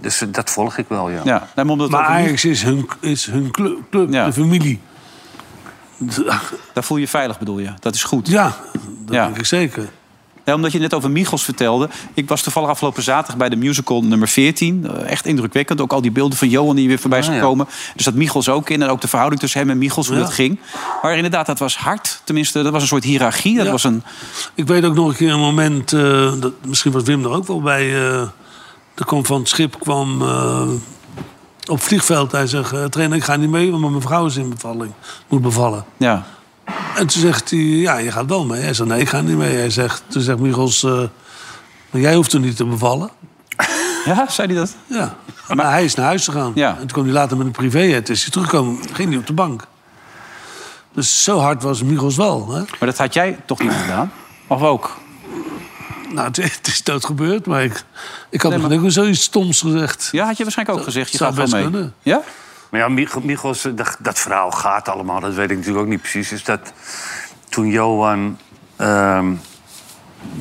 [SPEAKER 5] dus dat volg ik wel, ja.
[SPEAKER 2] Ja, nee, maar omdat het
[SPEAKER 3] Maar
[SPEAKER 2] over nu-
[SPEAKER 3] Ajax is hun, is hun club, club,
[SPEAKER 2] Ja.
[SPEAKER 3] de familie.
[SPEAKER 2] Daar voel je je veilig, bedoel je. Dat is goed.
[SPEAKER 3] Ja, dat
[SPEAKER 2] Ja.
[SPEAKER 3] denk ik zeker.
[SPEAKER 2] Ja, omdat je net over Michels vertelde. Ik was toevallig afgelopen zaterdag bij de musical nummer 14. Eh, Echt indrukwekkend. Ook al die beelden van Johan die weer voorbij is
[SPEAKER 5] Ah, ja.
[SPEAKER 2] gekomen. Dus dat Michels ook in. En ook de verhouding tussen hem en Michels, hoe
[SPEAKER 3] Ja.
[SPEAKER 2] dat ging. Maar inderdaad, dat was hard. Tenminste, dat was een soort hiërarchie. Dat
[SPEAKER 3] Ja.
[SPEAKER 2] was een...
[SPEAKER 3] Ik weet ook nog een keer een moment, eh, dat, misschien was Wim er ook wel bij. eh, er kwam van het schip, kwam eh, op het vliegveld. Hij zegt, eh, trainer, ik ga niet mee, want mijn vrouw is in bevalling. Moet bevallen.
[SPEAKER 2] Ja.
[SPEAKER 3] En toen zegt hij, ja, je gaat wel mee. Hij zegt, nee, ik ga niet mee. Hij zegt, toen zegt Michels, eh, maar jij hoeft er niet te bevallen.
[SPEAKER 2] ja, zei hij dat?
[SPEAKER 3] Ja. Maar hij is naar huis gegaan.
[SPEAKER 2] Ja.
[SPEAKER 3] En toen kwam hij later met een privé. Het is hij teruggekomen, ging hij op de bank. Dus zo hard was Michels wel. Hè?
[SPEAKER 2] Maar dat had jij toch niet gedaan? Of ook?
[SPEAKER 3] Nou, het, het is dood gebeurd, maar ik, ik had
[SPEAKER 2] Nee,
[SPEAKER 3] nog
[SPEAKER 2] maar-
[SPEAKER 3] ook zoiets stoms gezegd.
[SPEAKER 2] Ja, had je waarschijnlijk ook gezegd. Je
[SPEAKER 3] zou
[SPEAKER 2] gaat wel
[SPEAKER 3] best
[SPEAKER 2] mee.
[SPEAKER 3] kunnen.
[SPEAKER 2] Ja?
[SPEAKER 5] Maar ja, Mich- Michels, eh, dat, dat verhaal gaat allemaal, dat weet ik natuurlijk ook niet precies. Is dat toen Johan. ehm,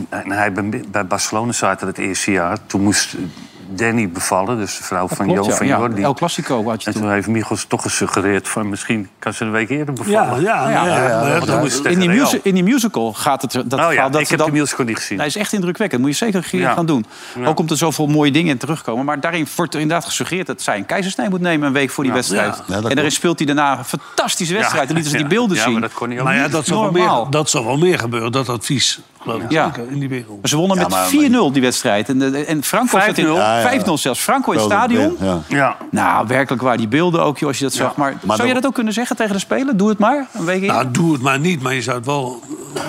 [SPEAKER 5] en hij bij, bij Barcelona zaten het eerste jaar. Toen moest Danny bevallen, dus de vrouw van
[SPEAKER 2] Klopt,
[SPEAKER 5] Johan van
[SPEAKER 2] ja.
[SPEAKER 5] Jordi.
[SPEAKER 2] Ja, El Clasico had je
[SPEAKER 5] en
[SPEAKER 2] toen.
[SPEAKER 5] toen heeft Michels toch gesuggereerd van misschien kan ze een week eerder
[SPEAKER 3] Ja,
[SPEAKER 5] bevallen.
[SPEAKER 3] Nou ja,
[SPEAKER 2] Ja,
[SPEAKER 3] ja.
[SPEAKER 2] ja,
[SPEAKER 3] maar
[SPEAKER 5] want dan moest ze
[SPEAKER 2] In
[SPEAKER 5] tegen
[SPEAKER 2] die,
[SPEAKER 5] Real.
[SPEAKER 2] musi- in die musical gaat het er- dat
[SPEAKER 5] Oh ja,
[SPEAKER 2] verhaal dat
[SPEAKER 5] ik
[SPEAKER 2] ze
[SPEAKER 5] heb
[SPEAKER 2] dan...
[SPEAKER 5] de musical niet gezien.
[SPEAKER 2] Hij is echt indrukwekkend. Moet je zeker een keer
[SPEAKER 5] Ja.
[SPEAKER 2] gaan doen.
[SPEAKER 5] Ja.
[SPEAKER 2] Ook omdat er zoveel mooie dingen in terugkomen. Maar daarin wordt er inderdaad gesuggereerd dat zij een keizersnee moet nemen een week voor die wedstrijd.
[SPEAKER 4] Ja, dat
[SPEAKER 2] en daarin
[SPEAKER 4] klopt.
[SPEAKER 2] speelt hij daarna een fantastische wedstrijd. Dan lieten ze
[SPEAKER 5] Ja,
[SPEAKER 2] die beelden
[SPEAKER 5] ja,
[SPEAKER 2] zien.
[SPEAKER 5] maar dat kon hij ook
[SPEAKER 3] Maar ja,
[SPEAKER 5] niet.
[SPEAKER 3] dat zal, wel
[SPEAKER 2] Normaal.
[SPEAKER 3] meer, dat zal wel meer gebeuren, dat advies. Geloof ik
[SPEAKER 2] Ja.
[SPEAKER 3] zeker, in die wereld.
[SPEAKER 2] Maar ze wonnen
[SPEAKER 4] Ja, maar-
[SPEAKER 2] met 4-0 die wedstrijd. En, de- en Franco zat in
[SPEAKER 5] 5-0.
[SPEAKER 4] Ja, ja.
[SPEAKER 2] 5-0 zelfs. Franco in het
[SPEAKER 4] Wel, dat
[SPEAKER 2] stadion.
[SPEAKER 4] ben- ja.
[SPEAKER 5] Ja.
[SPEAKER 2] Nou, werkelijk waar. Die beelden ook, joh, als je dat zag. Maar,
[SPEAKER 4] Maar
[SPEAKER 2] zou je
[SPEAKER 4] dan-
[SPEAKER 2] dat ook kunnen zeggen tegen de speler? Doe het maar, een week in.
[SPEAKER 3] Nou, doe het maar niet, maar je zou het wel eh,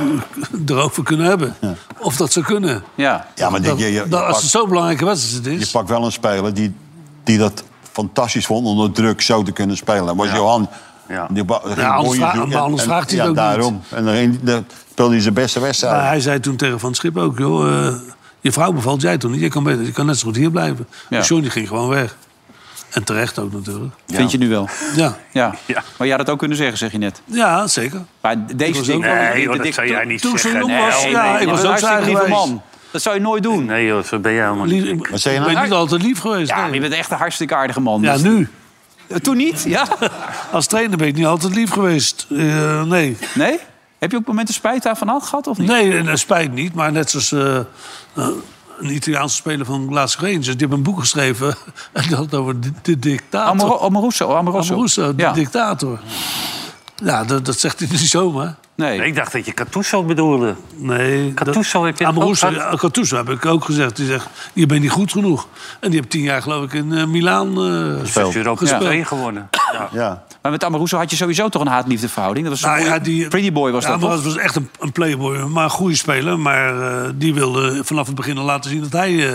[SPEAKER 3] erover kunnen hebben. Of dat zou kunnen.
[SPEAKER 2] ja.
[SPEAKER 4] Ja, maar
[SPEAKER 3] Dat-
[SPEAKER 4] je, je, je,
[SPEAKER 3] dat- als
[SPEAKER 4] pakt,
[SPEAKER 3] het zo'n belangrijke wedstrijd
[SPEAKER 4] je
[SPEAKER 3] is.
[SPEAKER 4] pakt wel een speler die, die dat fantastisch vond onder druk zo te kunnen spelen. Was Johan.
[SPEAKER 5] Ja.
[SPEAKER 4] Die ba- ging
[SPEAKER 3] anders
[SPEAKER 4] mooie
[SPEAKER 3] vra-
[SPEAKER 4] doen
[SPEAKER 3] maar anders vraagt hij
[SPEAKER 4] ja,
[SPEAKER 3] het ook
[SPEAKER 4] daarom. En dan ging- dan speelde hij zijn beste wedstrijd.
[SPEAKER 3] Maar hij zei toen tegen Van het Schip ook, joh, eh, je vrouw bevalt jij toen niet. Je kan, beter, je kan net zo goed hier blijven.
[SPEAKER 2] Ja.
[SPEAKER 3] Dus Johnny ging gewoon weg. En terecht ook natuurlijk.
[SPEAKER 2] Vind je nu wel.
[SPEAKER 3] Ja,
[SPEAKER 2] Ja.
[SPEAKER 5] Ja.
[SPEAKER 2] Maar jij had dat ook kunnen zeggen, zeg je net.
[SPEAKER 3] ja zeker.
[SPEAKER 2] Maar deze
[SPEAKER 3] was
[SPEAKER 2] ding...
[SPEAKER 3] ook
[SPEAKER 2] de-
[SPEAKER 5] Nee,
[SPEAKER 2] de-
[SPEAKER 5] joh,
[SPEAKER 2] de-
[SPEAKER 5] dat zou jij niet
[SPEAKER 3] toen ze
[SPEAKER 5] zeggen.
[SPEAKER 3] jong was, ja,
[SPEAKER 2] dat
[SPEAKER 3] ik was
[SPEAKER 2] is een
[SPEAKER 3] ook
[SPEAKER 2] hartstikke
[SPEAKER 3] saai
[SPEAKER 2] lieve
[SPEAKER 3] geweest.
[SPEAKER 2] man. Dat zou je nooit doen.
[SPEAKER 5] Nee joh, zo ben jij helemaal niet.
[SPEAKER 3] Lief-
[SPEAKER 4] Wat zei je
[SPEAKER 3] ik
[SPEAKER 4] nou?
[SPEAKER 3] ben niet altijd lief geweest.
[SPEAKER 2] Ja,
[SPEAKER 3] nee.
[SPEAKER 2] maar je bent echt een hartstikke aardige man.
[SPEAKER 3] ja,
[SPEAKER 2] Dus-
[SPEAKER 3] nu.
[SPEAKER 2] Eh, Toen niet? Ja?
[SPEAKER 3] Als trainer ben ik niet altijd lief geweest. Eh, nee.
[SPEAKER 2] Nee? Heb je ook momenten spijt daarvan had gehad of niet?
[SPEAKER 3] Nee, en dat spijt niet. Maar net zoals eh, eh, een Italiaanse speler van Glasgow Rangers... die heeft een boek geschreven en dat had over de, de dictator.
[SPEAKER 2] Amaro- Amoroso. Amoroso.
[SPEAKER 3] Amoruso, de
[SPEAKER 2] Ja.
[SPEAKER 3] dictator. Ja, dat, dat zegt hij niet zomaar.
[SPEAKER 5] Nee,
[SPEAKER 2] Nee.
[SPEAKER 5] Ik dacht dat je Catuso bedoelde.
[SPEAKER 3] Nee.
[SPEAKER 5] Gattuso
[SPEAKER 3] dat-
[SPEAKER 5] heb je
[SPEAKER 3] Amoruso,
[SPEAKER 5] ook gehad?
[SPEAKER 3] ja, Gattuso heb ik ook gezegd. Die zegt, je bent niet goed genoeg. En die heeft tien jaar geloof ik in Milan Milaan eh,
[SPEAKER 5] Dus Europa
[SPEAKER 3] gespeeld.
[SPEAKER 5] 2 gewonnen. Ja.
[SPEAKER 4] Ja.
[SPEAKER 2] Maar met Amoroso had je sowieso toch een haat-liefdeverhouding? Dat was zo'n
[SPEAKER 3] Nou ja,
[SPEAKER 2] mooie-
[SPEAKER 3] die,
[SPEAKER 2] Pretty Boy was
[SPEAKER 3] ja,
[SPEAKER 2] dat
[SPEAKER 3] maar
[SPEAKER 2] toch?
[SPEAKER 3] het was echt een, een playboy, maar een goede speler. Maar eh, die wilde vanaf het begin al laten zien dat hij eh,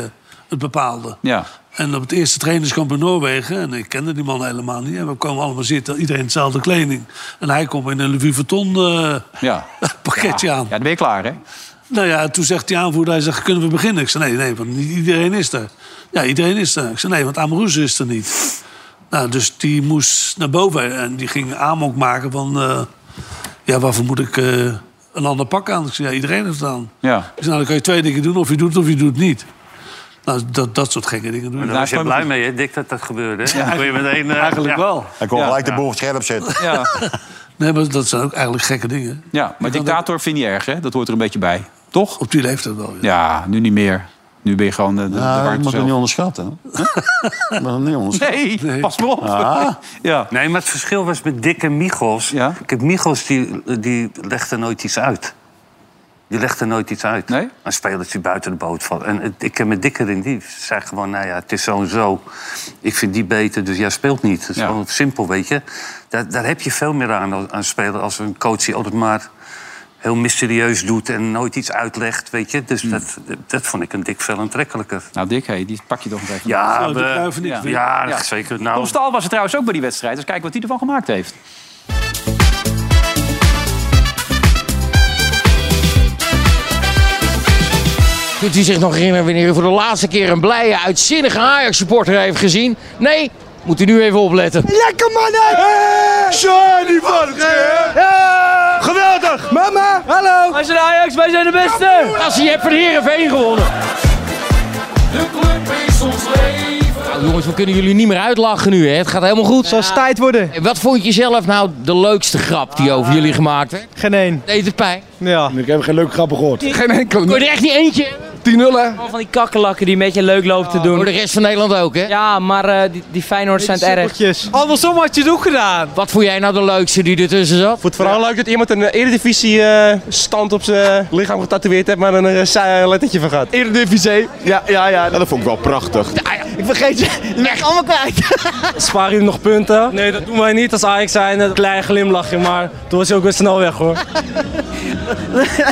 [SPEAKER 3] het bepaalde.
[SPEAKER 2] Ja.
[SPEAKER 3] En op het eerste trainingskamp in Noorwegen, en ik kende die man helemaal niet. En we kwamen allemaal zitten, iedereen in dezelfde kleding. En hij komt in een Louis Vuitton eh,
[SPEAKER 2] Ja.
[SPEAKER 3] pakketje
[SPEAKER 2] Ja,
[SPEAKER 3] aan.
[SPEAKER 2] dan ben je klaar, hè?
[SPEAKER 3] Nou ja, toen zegt die aanvoerder, hij zegt, kunnen we beginnen? Ik zei, nee, nee, want niet iedereen is er. Ja, iedereen is er. Ik zei, nee, want Amoruso is er niet. Nou, dus die moest naar boven en die ging aanmok maken van... eh, ja, waarvoor moet ik eh, een ander pak aan? Ik zei, ja, iedereen heeft het aan.
[SPEAKER 2] Ja.
[SPEAKER 3] Ik zei, nou, dan kan je twee dingen doen, of je doet het of je doet het niet. Nou, dat, dat soort gekke dingen doen.
[SPEAKER 5] Daar
[SPEAKER 2] Nou,
[SPEAKER 5] was je
[SPEAKER 2] ik
[SPEAKER 5] blij
[SPEAKER 2] ben-
[SPEAKER 5] mee, hè, Dick, dat dat gebeurde. hè? Dan kon je meteen, eh, ja.
[SPEAKER 4] Hij kon
[SPEAKER 2] Ja.
[SPEAKER 4] gelijk de boel op scherp zetten.
[SPEAKER 2] Ja,
[SPEAKER 3] Nee, maar dat zijn ook eigenlijk gekke dingen.
[SPEAKER 2] ja maar dictator vind je erg, hè? Dat hoort er een beetje bij. Toch?
[SPEAKER 3] Op die leeftijd wel, ja.
[SPEAKER 2] Ja, nu niet meer. Nu ben je gewoon eh, de, de, de
[SPEAKER 4] Ja, Nou, je
[SPEAKER 2] warmte
[SPEAKER 4] moet het
[SPEAKER 2] zelf.
[SPEAKER 4] niet onderschatten. hè? Je moet het niet onderschatten.
[SPEAKER 2] Nee, pas maar op.
[SPEAKER 4] Ah.
[SPEAKER 2] Ja.
[SPEAKER 5] Nee, maar het verschil was met Dick en Michels.
[SPEAKER 2] Ja.
[SPEAKER 5] Kijk, Michels die, die legde nooit iets uit. Die legde nooit iets uit.
[SPEAKER 2] Nee?
[SPEAKER 5] Een speler die buiten de boot valt. En het- ik ken met Dick erin, die zei gewoon... nou ja, het is zo en zo. Ik vind die beter, dus jij speelt niet. Het is
[SPEAKER 2] Ja.
[SPEAKER 5] gewoon simpel, weet je. Daar, daar heb je veel meer aan als aan speler... als een coach die altijd maar heel mysterieus doet... en nooit iets uitlegt, weet je.
[SPEAKER 3] Hmm.
[SPEAKER 5] Dus dat, dat vond ik een Dick veel aantrekkelijker.
[SPEAKER 2] Nou, Dick, hey, die pak je toch nog even.
[SPEAKER 5] Ja,
[SPEAKER 3] Nou, de Cruijff en ik
[SPEAKER 5] ja.
[SPEAKER 3] vind-
[SPEAKER 5] ja,
[SPEAKER 2] Ja.
[SPEAKER 5] zeker. Nou,
[SPEAKER 2] Tom Staal was er trouwens ook bij die wedstrijd. Dus kijken wat hij ervan gemaakt heeft.
[SPEAKER 11] De kunt u zich nog herinneren wanneer u voor de laatste keer een blije, uitzinnige Ajax-supporter heeft gezien? Nee, moet u nu even opletten.
[SPEAKER 12] Lekker mannen! Johnny van Geweldig! Mama, hallo! Wij zijn Ajax, wij zijn de beste!
[SPEAKER 11] Als je hebt van Heerenveen gewonnen.
[SPEAKER 12] De club is ons leven.
[SPEAKER 11] Nou, jongens, we kunnen jullie niet meer uitlachen nu, hè? Het gaat helemaal goed. Zal tijd worden. Wat vond je zelf nou de leukste grap die over jullie gemaakt werd? Geen één. Deed het pijn?
[SPEAKER 13] Ja. Ik heb geen leuke grappen gehoord.
[SPEAKER 11] Geen enkele. Kon je er echt niet eentje?
[SPEAKER 13] 10-0 hè?
[SPEAKER 14] Van die kakkelakken die een beetje leuk lopen te doen. Voor
[SPEAKER 11] de rest van Nederland ook, hè?
[SPEAKER 14] Ja, maar eh, die, die Feyenoord zijn het erg.
[SPEAKER 11] Andersom had je het ook gedaan. Wat vond jij nou de leukste die ertussen zat?
[SPEAKER 13] Vond het vooral leuk dat iemand een eh, eredivisie eh stand op zijn eh, lichaam getatoeëerd heeft, maar een eh, saai lettertje van gaat. Eredivisie, ja, ja, ja. Dat vond ik wel prachtig.
[SPEAKER 12] Ik vergeet je, je bent allemaal kwijt.
[SPEAKER 14] Spaar je nog punten? Nee, dat doen wij niet als Ajax zijn. Een klein glimlachje, maar toen was je ook weer snel weg hoor.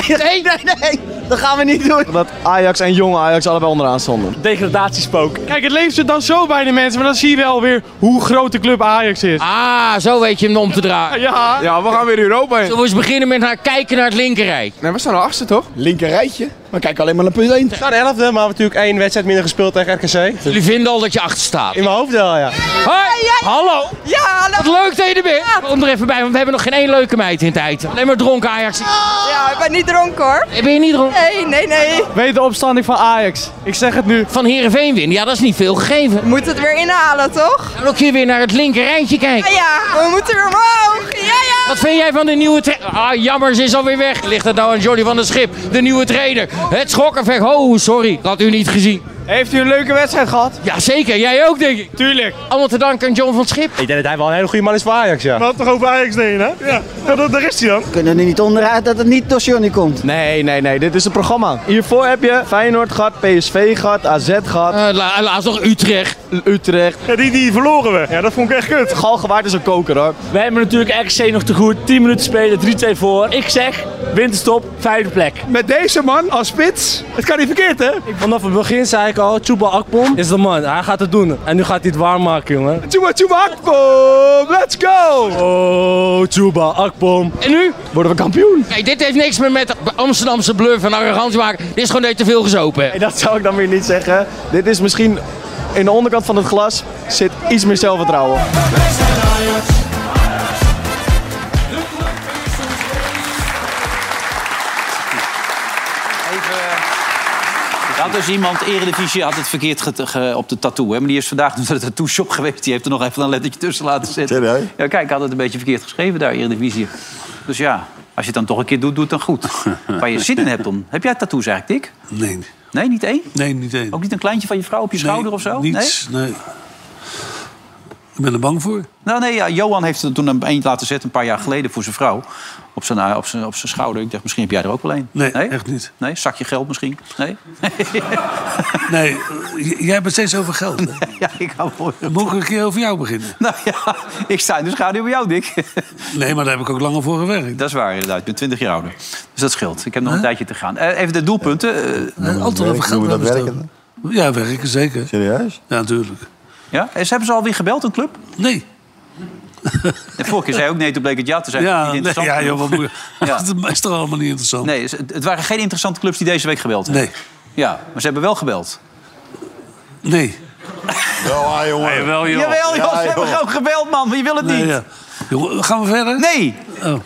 [SPEAKER 12] Nee, nee, nee. Dat gaan we niet doen.
[SPEAKER 13] Dat Ajax en jonge Ajax allebei onderaan stonden.
[SPEAKER 15] Degradatiespook. Kijk, het leeft zit dan zo bij de mensen, maar dan zie je wel weer hoe groot de club Ajax is.
[SPEAKER 11] Ah, zo weet je hem om te draaien.
[SPEAKER 15] Ja.
[SPEAKER 13] Ja, we gaan weer Europa in.
[SPEAKER 11] Zullen we eens beginnen met naar kijken naar het linkerrij?
[SPEAKER 13] Nee, we staan al achtste toch? Linker rijtje. Maar kijk alleen maar naar punt 1. We staan elfde, maar we hebben natuurlijk één wedstrijd minder gespeeld tegen RKC.
[SPEAKER 11] Jullie vinden al dat je achter staat?
[SPEAKER 13] In mijn hoofd wel, ja.
[SPEAKER 11] Hoi, hallo. Ja, hallo. Wat leuk dat je er bent. Kom er even bij, want we hebben nog geen één leuke meid in tijd. Alleen maar dronken Ajax. Eh,
[SPEAKER 16] Ja, ik ben niet dronken hoor.
[SPEAKER 11] Ben je niet dronken?
[SPEAKER 16] Nee, nee, nee.
[SPEAKER 11] Weet de opstanding van Ajax. Ik zeg het nu. Van Heerenveen winnen, ja dat is niet veel gegeven.
[SPEAKER 16] Moet het weer inhalen, toch?
[SPEAKER 11] Dan ook hier weer naar het linkerrijtje kijken.
[SPEAKER 16] Ja, ja, we moeten weer omhoog. Ja, ja.
[SPEAKER 11] Wat vind jij van de nieuwe trainer? Ah, jammer, ze is alweer weg. Ligt het nou aan Jordi van der Schip, de nieuwe trainer? Het schokkenvecht. Oh, sorry, ik had u niet gezien.
[SPEAKER 15] Heeft u een leuke wedstrijd gehad?
[SPEAKER 11] Jazeker, jij ook denk ik.
[SPEAKER 15] Tuurlijk.
[SPEAKER 11] Allemaal te danken aan John van Schip.
[SPEAKER 13] Ik denk dat hij wel een hele goede man is voor Ajax, ja.
[SPEAKER 15] had toch over Ajax heen, hè? Ja. daar is hij dan.
[SPEAKER 12] We kunnen er niet onderuit dat het niet door Johnny komt.
[SPEAKER 13] Nee, nee, nee, dit is een programma. Hiervoor heb je Feyenoord gehad, PSV gehad, AZ gehad.
[SPEAKER 11] laatst nog Utrecht.
[SPEAKER 13] Utrecht.
[SPEAKER 15] Ja, die, die verloren we. Ja, dat vond ik echt kut.
[SPEAKER 13] Galgenwaard is een koker hoor.
[SPEAKER 14] Wij hebben natuurlijk RC nog te goed. 10 minuten spelen, 3-2 voor. Ik zeg, winterstop, vijfde plek.
[SPEAKER 13] Met deze man als spits, het kan niet verkeerd hè?
[SPEAKER 14] Vanaf het begin zei ik al, Chuba Akpom is de man. Hij gaat het doen. En nu gaat hij het waarmaken, jongen.
[SPEAKER 13] Chuba Chuba Akpom, let's go!
[SPEAKER 14] Oh, Chuba Akpom.
[SPEAKER 11] En nu?
[SPEAKER 13] Worden we kampioen?
[SPEAKER 11] Kijk, dit heeft niks meer met Amsterdamse bluff en arrogantie maken. Dit is gewoon dat je te veel gezopen hebt.
[SPEAKER 13] Nee, dat zou ik dan weer niet zeggen. Dit is misschien in de onderkant van het glas zit iets meer zelfvertrouwen.
[SPEAKER 2] Ja, dus iemand, Eredivisie, had het verkeerd get- ge- op de tattoo. Hè? Maar die is vandaag naar de tattoo shop geweest. Die heeft er nog even een lettertje tussen laten zitten.
[SPEAKER 4] Serieus?
[SPEAKER 2] Ja, kijk, had het een beetje verkeerd geschreven daar, Eredivisie. Dus ja, als je het dan toch een keer doet, doe het dan goed. Waar je zin in hebt om. Heb jij tattoos eigenlijk, Dick?
[SPEAKER 3] Nee,
[SPEAKER 2] Nee, niet één?
[SPEAKER 3] nee, niet
[SPEAKER 5] Oh,
[SPEAKER 3] één.
[SPEAKER 2] Ook niet een kleintje van je vrouw op je schouder
[SPEAKER 3] Nee,
[SPEAKER 2] of zo?
[SPEAKER 3] Niets, nee? Ik ben er bang voor.
[SPEAKER 2] Nou nee, ja, Johan heeft er toen een eentje laten zetten een paar jaar geleden voor zijn vrouw. Op zijn, eh, op zijn, op zijn schouder. Ik dacht, misschien heb jij er ook wel een.
[SPEAKER 3] Nee, echt niet.
[SPEAKER 2] Nee, zakje geld misschien? Nee?
[SPEAKER 3] Nee, eh, j- jij hebt het steeds over geld. hè?
[SPEAKER 2] ja, ik hou mooi.
[SPEAKER 3] Mogen we een keer over jou beginnen?
[SPEAKER 2] Nou ja, ik sta in de schaduw bij jou, Dick.
[SPEAKER 3] Nee, maar daar heb ik ook langer voor gewerkt. Eh,
[SPEAKER 2] dat is waar, inderdaad. Ik ben 20 jaar ouder. Dus dat scheelt. Ik heb nog een tijdje te gaan. Eh, even de doelpunten. Eh,
[SPEAKER 3] Nee, altijd over
[SPEAKER 4] Werk-
[SPEAKER 3] geld
[SPEAKER 4] Noemen we dat
[SPEAKER 3] hebben we
[SPEAKER 4] werken?
[SPEAKER 3] het over. Ja, werken, zeker.
[SPEAKER 4] Serieus?
[SPEAKER 3] Ja, natuurlijk.
[SPEAKER 2] ja? En ze hebben ze alweer gebeld, een club?
[SPEAKER 3] Nee.
[SPEAKER 2] De vorige keer zei ook nee, toen bleek het ja te zijn.
[SPEAKER 3] Ja,
[SPEAKER 2] Niet
[SPEAKER 3] nee,
[SPEAKER 2] interessant
[SPEAKER 3] ja joh,
[SPEAKER 2] genoeg.
[SPEAKER 3] wat moet je-
[SPEAKER 2] Ja.
[SPEAKER 3] Dat is toch allemaal niet interessant?
[SPEAKER 2] Nee, het- het waren geen interessante clubs die deze week gebeld hebben.
[SPEAKER 3] Nee,
[SPEAKER 2] Ja, maar ze hebben wel gebeld.
[SPEAKER 3] nee.
[SPEAKER 4] Ja, ah, jongen.
[SPEAKER 5] Jawel, joh.
[SPEAKER 2] Jawel, joh,
[SPEAKER 4] Ja,
[SPEAKER 2] ze hebben
[SPEAKER 4] joh.
[SPEAKER 2] gewoon gebeld, man. Je wil het
[SPEAKER 3] nee
[SPEAKER 2] niet.
[SPEAKER 3] ja. Jongen, gaan we verder?
[SPEAKER 2] Nee.
[SPEAKER 3] Oh,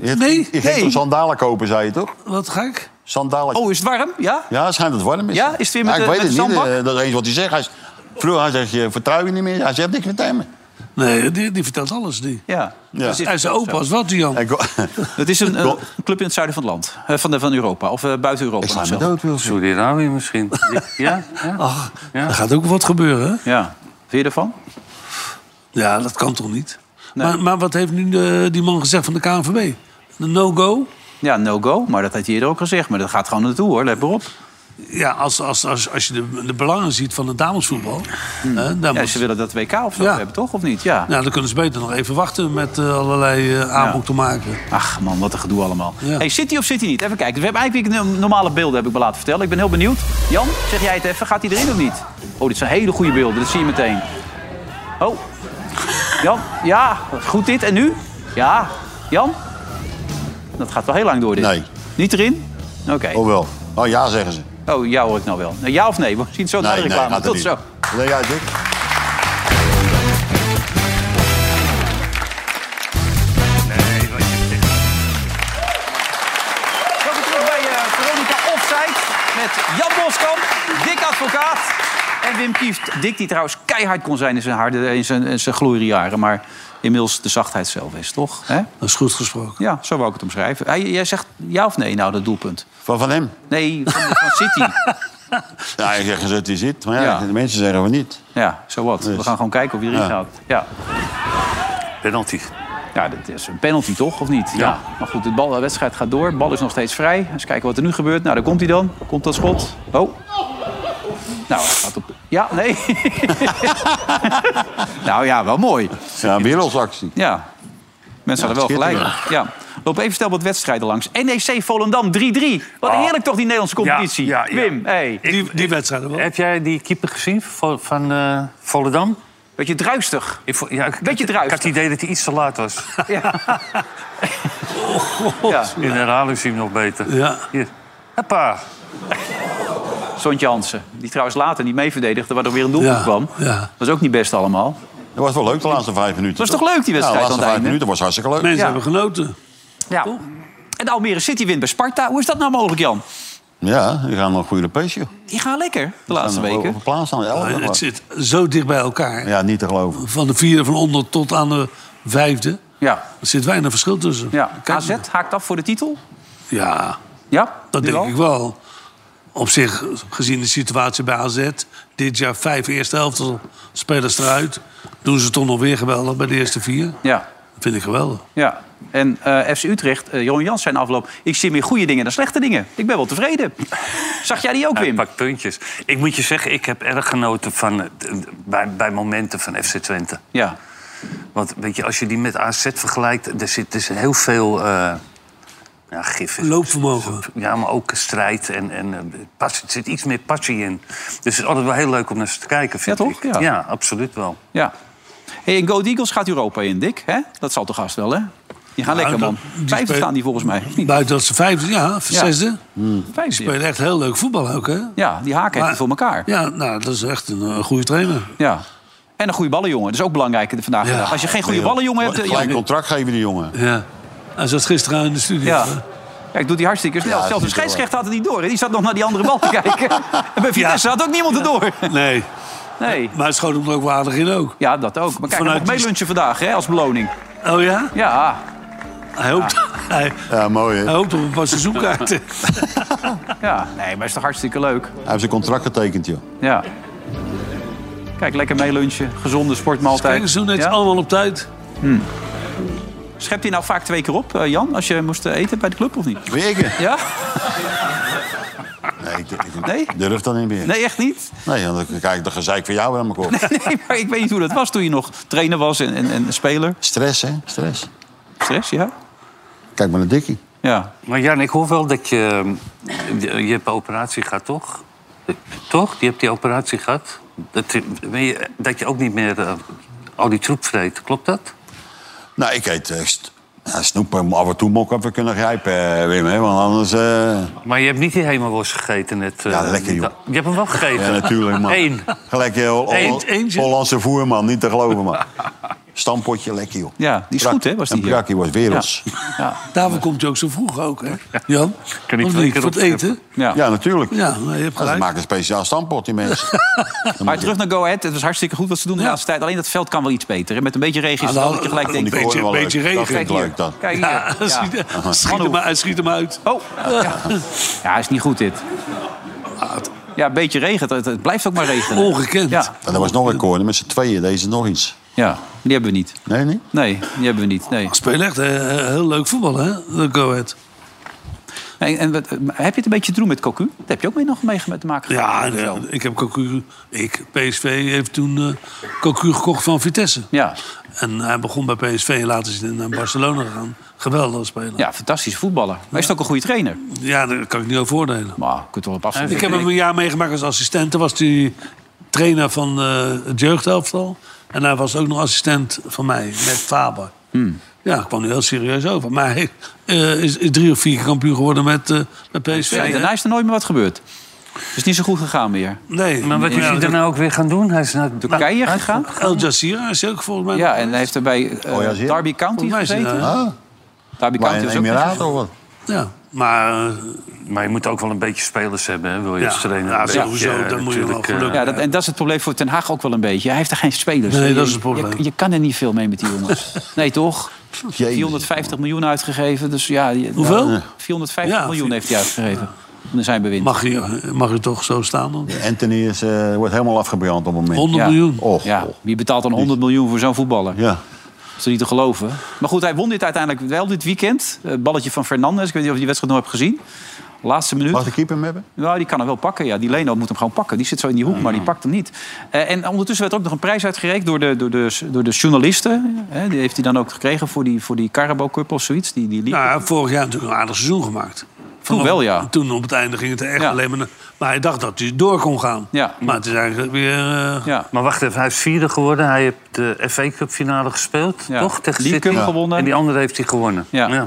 [SPEAKER 4] Je, hebt-
[SPEAKER 3] Nee,
[SPEAKER 4] je ging
[SPEAKER 2] nee.
[SPEAKER 4] toch sandalen kopen, zei je toch?
[SPEAKER 3] wat gek.
[SPEAKER 4] Sandalen.
[SPEAKER 2] Oh, is het warm? Ja?
[SPEAKER 4] Ja, schijnt het warm is.
[SPEAKER 2] Ja, is het weer met
[SPEAKER 4] ik
[SPEAKER 2] de-
[SPEAKER 4] weet
[SPEAKER 2] met
[SPEAKER 4] het
[SPEAKER 2] de
[SPEAKER 4] niet.
[SPEAKER 2] zandbak?
[SPEAKER 4] eh, dat is eens wat hij zegt. Hij, is- vroeger hij zegt, je vertrouw je niet meer. Hij zegt niks meer tegen me.
[SPEAKER 3] Nee, die, die vertelt alles, die.
[SPEAKER 2] Ja.
[SPEAKER 4] Ja.
[SPEAKER 2] Dat is-
[SPEAKER 3] En zijn opa was wat, die Jan.
[SPEAKER 4] En go-
[SPEAKER 2] Het is een, eh, een
[SPEAKER 4] Go-
[SPEAKER 2] club in het zuiden van het land. Eh, van, de, van Europa. Of eh, buiten Europa.
[SPEAKER 4] Sla
[SPEAKER 2] of
[SPEAKER 4] me
[SPEAKER 2] zo.
[SPEAKER 4] dood, Wilson.
[SPEAKER 5] Saudi-Arabië misschien. ja? ja?
[SPEAKER 3] Ach, er gaat ook wat gebeuren, hè?
[SPEAKER 2] Ja. Vind je ervan?
[SPEAKER 3] Ja, dat kan toch niet? Maar, maar wat heeft nu de- die man gezegd van de KNVB? De no-go?
[SPEAKER 2] Ja, no-go. Maar dat had hij eerder ook gezegd. Maar dat gaat gewoon naartoe, hoor. Let maar op.
[SPEAKER 3] Ja, als, als, als, als je de, de belangen ziet van het damesvoetbal... Hè, dan
[SPEAKER 2] Ja,
[SPEAKER 3] moet-
[SPEAKER 2] ze willen dat WK of zo
[SPEAKER 3] Ja.
[SPEAKER 2] hebben, toch? Of niet? Ja.
[SPEAKER 3] nou, dan kunnen ze beter nog even wachten met eh, allerlei eh, aanbod te maken.
[SPEAKER 2] Ach man, wat een gedoe allemaal.
[SPEAKER 3] Ja.
[SPEAKER 2] Hey, zit hij of zit hij niet? Even kijken. We hebben eigenlijk weer no- normale beelden, heb ik me laten vertellen. Ik ben heel benieuwd. Jan, zeg jij het even. Gaat hij erin of niet? Oh, dit zijn hele goede beelden. Dat zie je meteen. Oh. Jan, ja. Goed dit. En nu? Ja. Jan? Dat gaat wel heel lang door dit.
[SPEAKER 4] Nee.
[SPEAKER 2] Niet erin? Oké.
[SPEAKER 4] Oh wel. Oh ja, zeggen ze.
[SPEAKER 2] Oh, jou hoor ik nou wel. Nou, Ja of nee? We zien het zo naar de
[SPEAKER 4] Nee, nee,
[SPEAKER 2] reclame.
[SPEAKER 4] gaat er
[SPEAKER 2] Tot
[SPEAKER 4] niet.
[SPEAKER 2] zo.
[SPEAKER 4] Leg uit, Dick.
[SPEAKER 5] Nee, wat je zegt.
[SPEAKER 2] Welkom terug bij eh, Veronica Offside met Jan Boskamp, Dick Advocaat en Wim Kieft. Dick die trouwens keihard kon zijn in zijn, harde, in zijn, in zijn gloriejaren, maar inmiddels de zachtheid zelf is, toch?
[SPEAKER 3] Dat is goed gesproken.
[SPEAKER 2] Ja, zo wou ik het omschrijven. Hij- jij zegt ja of nee nou, dat doelpunt?
[SPEAKER 4] Van van hem?
[SPEAKER 2] Nee, van, van City.
[SPEAKER 4] Ja, ik zeg dat hij zit. Maar ja,
[SPEAKER 2] Ja.
[SPEAKER 4] de mensen zeggen we niet.
[SPEAKER 2] Ja, zo wat. We gaan gewoon kijken of iedereen
[SPEAKER 4] Ja.
[SPEAKER 2] ja. houdt. Ja.
[SPEAKER 5] Penalty.
[SPEAKER 2] Ja, dat is een penalty toch, of niet? Ja. Maar goed, de, bal, de wedstrijd gaat door. De bal is nog steeds vrij. Eens kijken wat er nu gebeurt. Nou, daar komt hij dan. Komt dat schot. Oh. Nou, hij gaat op... Ja, nee. nou ja, wel mooi.
[SPEAKER 4] Ja, een wereldactie.
[SPEAKER 2] Ja. Mensen
[SPEAKER 4] Ja,
[SPEAKER 2] hadden wel gelijk.
[SPEAKER 4] schitterend.
[SPEAKER 2] Ja. Loop even snel wat wedstrijden langs. NEC Volendam 3-3. Wat
[SPEAKER 5] Oh.
[SPEAKER 2] heerlijk toch, die Nederlandse competitie.
[SPEAKER 5] Ja, ja, ja.
[SPEAKER 2] Wim, hey.
[SPEAKER 5] die,
[SPEAKER 3] wedstrijd wel.
[SPEAKER 5] Heb jij die keeper gezien van, van eh, Volendam?
[SPEAKER 2] Beetje druistig.
[SPEAKER 5] Ik, vo- ja, ik-
[SPEAKER 2] Beetje
[SPEAKER 5] Ik had
[SPEAKER 2] druistig.
[SPEAKER 5] het idee dat hij iets te laat was.
[SPEAKER 2] Ja.
[SPEAKER 5] In de herhaling zie je hem nog beter.
[SPEAKER 3] Ja.
[SPEAKER 5] Hier. Hoppa.
[SPEAKER 2] Sontje Hansen, die trouwens later niet mee verdedigde... waardoor weer een doelpunt
[SPEAKER 4] Ja,
[SPEAKER 2] kwam.
[SPEAKER 3] ja.
[SPEAKER 2] was ook niet best allemaal.
[SPEAKER 4] Dat was wel leuk de laatste vijf minuten.
[SPEAKER 2] Was toch leuk, die wedstrijd
[SPEAKER 4] Ja, de
[SPEAKER 2] aan
[SPEAKER 4] laatste
[SPEAKER 2] het
[SPEAKER 4] vijf
[SPEAKER 2] einde?
[SPEAKER 4] minuten was hartstikke leuk.
[SPEAKER 2] Mensen
[SPEAKER 4] ja.
[SPEAKER 2] hebben
[SPEAKER 3] genoten.
[SPEAKER 2] Ja. En Almere City wint bij Sparta. Hoe is dat nou mogelijk, Jan?
[SPEAKER 4] Ja, die gaan wel een goede Europese.
[SPEAKER 2] Die gaan lekker de laatste weken.
[SPEAKER 4] Op plaats aan de elfde,
[SPEAKER 3] Maar het
[SPEAKER 4] geloof ik.
[SPEAKER 3] zit zo dicht bij elkaar.
[SPEAKER 4] Ja, niet te geloven.
[SPEAKER 3] Van de vierde van onder tot aan de vijfde.
[SPEAKER 2] Ja.
[SPEAKER 3] Er zit weinig verschil tussen.
[SPEAKER 2] Ja, AZ haakt af voor de titel.
[SPEAKER 3] Ja.
[SPEAKER 2] Ja?
[SPEAKER 3] Dat
[SPEAKER 2] nu
[SPEAKER 3] denk
[SPEAKER 2] al?
[SPEAKER 3] ik wel. Op zich, gezien de situatie bij AZ... dit jaar vijf eerste helft spelers eruit... doen ze toch nog weer geweldig bij de eerste vier.
[SPEAKER 2] Ja.
[SPEAKER 3] Dat vind ik geweldig.
[SPEAKER 2] Ja. En eh, FC Utrecht, eh Jeroen Jans zijn afloop. Ik zie meer goede dingen dan slechte dingen. Ik ben wel tevreden. Zag jij die ook,
[SPEAKER 5] Hij
[SPEAKER 2] Wim?
[SPEAKER 5] pakt puntjes. Ik moet je zeggen, ik heb erg genoten van, eh, d- bij, bij momenten van FC Twente.
[SPEAKER 2] Ja.
[SPEAKER 5] Want weet je, als je die met AZ vergelijkt, er zit dus heel veel eh ja, gif. in.
[SPEAKER 3] Loopvermogen.
[SPEAKER 5] Ja, maar ook strijd en, en eh, passie. Er zit iets meer passie in. Dus het is altijd wel heel leuk om naar ze te kijken, vind
[SPEAKER 2] Ja, toch?
[SPEAKER 5] ik.
[SPEAKER 2] Ja.
[SPEAKER 5] absoluut wel.
[SPEAKER 2] Ja. Hey, en Go Ahead Eagles gaat Europa in, Dick. Hè? Dat zal toch gast wel, hè? Die gaan
[SPEAKER 3] Nou,
[SPEAKER 2] lekker,
[SPEAKER 3] dat-
[SPEAKER 2] man.
[SPEAKER 3] die
[SPEAKER 2] Vijfde
[SPEAKER 3] speel-
[SPEAKER 2] staan die volgens mij. of niet?
[SPEAKER 3] Buiten dat ze vijfde, ja, zesde.
[SPEAKER 2] Vijfde,
[SPEAKER 3] Die spelen echt heel leuk voetbal ook, hè?
[SPEAKER 2] Ja, die haken heeft
[SPEAKER 3] Maar-
[SPEAKER 2] hij voor elkaar.
[SPEAKER 3] Ja, nou, dat is echt een eh, goede trainer.
[SPEAKER 2] Ja. En een goede ballenjongen. Dat is ook belangrijk vandaag. de dag. Als je geen goede ballenjongen hebt... eh,
[SPEAKER 4] Gelijk
[SPEAKER 2] ja,
[SPEAKER 4] contract geven die jongen.
[SPEAKER 3] Ja. Hij zat gisteren in de studio.
[SPEAKER 2] Ja. Ja, ik doe die hartstikke snel.
[SPEAKER 4] Ja, dat
[SPEAKER 2] Zelfs de
[SPEAKER 4] is niet te
[SPEAKER 2] scheidsrechter had het niet door. hè. Die zat nog naar die andere bal te kijken. En bij Vitesse had ook niemand erdoor.
[SPEAKER 3] Nee.
[SPEAKER 2] Nee.
[SPEAKER 3] Maar hij schoot hem er ook waardig in ook.
[SPEAKER 2] Ja, dat ook. Maar kijk, hij
[SPEAKER 3] Vanuit
[SPEAKER 2] mag
[SPEAKER 3] die-
[SPEAKER 2] meelunchen vandaag hè, als beloning.
[SPEAKER 3] Oh ja? Ah.
[SPEAKER 2] Ja.
[SPEAKER 3] Hij hoopt, hij,
[SPEAKER 4] Ja, mooi hè.
[SPEAKER 3] hij
[SPEAKER 4] Hij
[SPEAKER 3] hoopt op een paar seizoenkaarten.
[SPEAKER 2] Ja, nee, maar is toch hartstikke leuk.
[SPEAKER 4] heeft zijn contract getekend, joh.
[SPEAKER 2] Ja. Kijk, lekker meelunchen. Gezonde sportmaaltijd.
[SPEAKER 3] Kijk, zo net
[SPEAKER 2] Ja?
[SPEAKER 3] allemaal op tijd.
[SPEAKER 2] Schept hij nou vaak twee keer op, eh, Jan? Als je moest eh, eten bij de club of niet?
[SPEAKER 4] Weken?
[SPEAKER 2] Ja?
[SPEAKER 4] Nee, ik, ik
[SPEAKER 2] Nee?
[SPEAKER 4] durf dat niet meer.
[SPEAKER 2] Nee, echt niet?
[SPEAKER 4] Nee, want dan krijg ik de gezeik van jou aan mijn kop.
[SPEAKER 2] Nee, maar ik weet niet hoe dat was toen je nog trainer was en, en, en speler.
[SPEAKER 4] Stress, hè? Stress.
[SPEAKER 2] Stress, ja?
[SPEAKER 4] Kijk maar naar Dikkie.
[SPEAKER 2] Ja.
[SPEAKER 5] Maar Jan, ik hoor wel dat je... Je hebt een operatie gehad, toch? Toch? Je hebt die operatie gehad. Dat, je- dat je ook niet meer eh, al die troep vreet. Klopt dat?
[SPEAKER 4] Nou, ik eet eh, st- ja, snoep en af en toe mok even kunnen grijpen, eh, Wim. Hè? Want anders... eh,
[SPEAKER 5] Maar je hebt niet die hemelworst gegeten net. eh,
[SPEAKER 4] Ja, lekker, joh.
[SPEAKER 5] Je hebt hem wel gegeten.
[SPEAKER 4] Ja, natuurlijk, man.
[SPEAKER 5] Eén.
[SPEAKER 4] Gelijk je Hol- Hol-
[SPEAKER 5] Eend, eentje.
[SPEAKER 4] Hollandse voerman, niet te geloven, man. Stampotje, lekker, joh.
[SPEAKER 2] Ja, die is
[SPEAKER 4] Brak-
[SPEAKER 2] goed, hè? Was die eh,
[SPEAKER 4] en Brakkie was werelds.
[SPEAKER 2] Ja. Ja.
[SPEAKER 3] Daarvoor komt hij ook zo vroeg ook, hè? Jan?
[SPEAKER 5] Kan niet
[SPEAKER 3] Of
[SPEAKER 5] twee
[SPEAKER 3] niet?
[SPEAKER 5] keer
[SPEAKER 3] Voor het
[SPEAKER 5] opscheppen.
[SPEAKER 3] eten?
[SPEAKER 2] Ja.
[SPEAKER 4] Ja, natuurlijk.
[SPEAKER 3] Ja, nee, je hebt
[SPEAKER 4] Ja, ze
[SPEAKER 3] gelijk.
[SPEAKER 4] maken een speciaal stampot, die mensen.
[SPEAKER 2] Maar terug naar Go Ahead. Het was hartstikke goed wat ze doen de laatste tijd. Alleen dat veld kan wel iets beter. hè. Met een beetje regen is het
[SPEAKER 3] Ah,
[SPEAKER 2] wel
[SPEAKER 3] nou,
[SPEAKER 2] dat je gelijk
[SPEAKER 3] een
[SPEAKER 2] denkt...
[SPEAKER 4] Die
[SPEAKER 3] beetje,
[SPEAKER 4] koren wel
[SPEAKER 3] beetje
[SPEAKER 4] leuk.
[SPEAKER 3] regen.
[SPEAKER 4] Dat vind ik
[SPEAKER 2] hier.
[SPEAKER 4] leuk dan.
[SPEAKER 2] Kijk hier.
[SPEAKER 3] Ja,
[SPEAKER 2] Ja.
[SPEAKER 3] Schiet,
[SPEAKER 2] Aha.
[SPEAKER 3] schiet hem, uit- schiet hem uit.
[SPEAKER 2] Oh, ja. ja, is niet goed dit. Ja, een beetje regen. Het, het blijft ook maar regenen.
[SPEAKER 3] Ongekend.
[SPEAKER 2] Ja.
[SPEAKER 4] En er was nog een koorne met z'n tweeën. Deze is nog iets.
[SPEAKER 2] ja, die hebben we niet.
[SPEAKER 4] Nee, nee?
[SPEAKER 2] Nee, die hebben we niet. Nee.
[SPEAKER 3] Speel echt eh, heel leuk voetbal, hè? De Go Ahead.
[SPEAKER 2] Nee, en wat, heb je het een beetje te doen met Cocu? Daar heb je ook mee nog mee te maken
[SPEAKER 3] Ja,
[SPEAKER 2] gehad.
[SPEAKER 3] ja, ik heb Cocu... Ik, PSV heeft toen eh Cocu gekocht van Vitesse.
[SPEAKER 2] Ja.
[SPEAKER 3] En hij begon bij PSV en later is hij naar Barcelona gegaan. Geweldig spelen.
[SPEAKER 2] ja, fantastische voetballer. Maar hij is ook een goede trainer.
[SPEAKER 3] Ja, daar kan ik niet over oordelen.
[SPEAKER 2] Maar je kunt wel op afstand.
[SPEAKER 3] Ik heb hem een jaar meegemaakt als assistent. Toen was hij trainer van eh, het jeugdhelftal. En hij was ook nog assistent van mij, met Faber. Ja, ik kwam nu heel serieus over. Maar hij eh, is, is drie of vier keer kampioen geworden met, eh met PSV.
[SPEAKER 2] Ja,
[SPEAKER 3] hè?
[SPEAKER 2] daarna is er nooit meer wat gebeurd. is niet zo goed gegaan meer.
[SPEAKER 3] Nee.
[SPEAKER 5] Maar wat is hij dan nou ook weer gaan doen? Hij is naar
[SPEAKER 3] Nou,
[SPEAKER 2] Turkije gegaan?
[SPEAKER 3] El Jazeera is ook volgens mij...
[SPEAKER 2] Ja, en hij heeft er bij eh, Derby County
[SPEAKER 3] Volgens mij is hij
[SPEAKER 2] gezeten.
[SPEAKER 3] daar. Ah.
[SPEAKER 2] Derby
[SPEAKER 3] Maar
[SPEAKER 2] County
[SPEAKER 3] in
[SPEAKER 2] was ook
[SPEAKER 3] Emiraten
[SPEAKER 2] niet-
[SPEAKER 3] of wat? Ja, maar...
[SPEAKER 5] Ah,
[SPEAKER 3] eh,
[SPEAKER 5] Maar je moet ook wel een beetje spelers hebben, hè, wil je
[SPEAKER 2] Ja,
[SPEAKER 5] als trainer.
[SPEAKER 2] ja,
[SPEAKER 5] Een beetje,
[SPEAKER 2] sowieso,
[SPEAKER 5] eh,
[SPEAKER 3] dan moet je wel
[SPEAKER 5] natuurlijk, eh,
[SPEAKER 2] Ja, dat, en dat is het probleem voor Ten Haag ook wel een beetje. Hij heeft er geen spelers.
[SPEAKER 5] Nee,
[SPEAKER 2] Je-
[SPEAKER 5] dat is het probleem.
[SPEAKER 2] Je, je kan er niet veel mee met die jongens. Nee, toch? 450 miljoen uitgegeven. Dus ja, je-
[SPEAKER 3] Hoeveel?
[SPEAKER 2] Ja, 450 miljoen heeft hij uitgegeven. In zijn bewind.
[SPEAKER 3] Mag je, mag je toch zo staan dan?
[SPEAKER 4] Anthony is, eh, wordt helemaal afgebrand op het moment.
[SPEAKER 2] 100 Ja. miljoen.
[SPEAKER 4] Och,
[SPEAKER 2] Ja, wie betaalt dan 100 miljoen voor zo'n voetballer? Ja. Dat is toch niet te geloven. Maar goed, hij won dit uiteindelijk wel dit weekend. Het balletje van Fernandes. Ik weet niet of je die wedstrijd nog hebt gezien. Laatste minuut. Mag de
[SPEAKER 4] keeper hem hebben?
[SPEAKER 2] Nou, die kan hem wel pakken. Ja, die Leno moet hem gewoon pakken. Die zit zo in die hoek, maar die pakt hem niet. Eh, en ondertussen werd ook nog een prijs uitgereikt door de, door de, door de journalisten. Eh, die heeft hij dan ook gekregen voor die, voor die Carabao Cup of zoiets. Die, die liep.
[SPEAKER 3] Nou, hij heeft vorig jaar natuurlijk een aardig seizoen gemaakt.
[SPEAKER 2] Toen wel, ja.
[SPEAKER 3] Toen op het einde ging het er echt alleen maar... naar- Maar hij dacht dat hij door kon gaan.
[SPEAKER 2] Ja.
[SPEAKER 3] Maar het is eigenlijk weer... eh,
[SPEAKER 5] Maar wacht even, hij is vierde geworden. Hij heeft de FA Cup finale gespeeld, toch? Tegen
[SPEAKER 3] League
[SPEAKER 5] City.
[SPEAKER 3] Cup gewonnen.
[SPEAKER 5] En die andere heeft hij gewonnen.
[SPEAKER 2] Ja.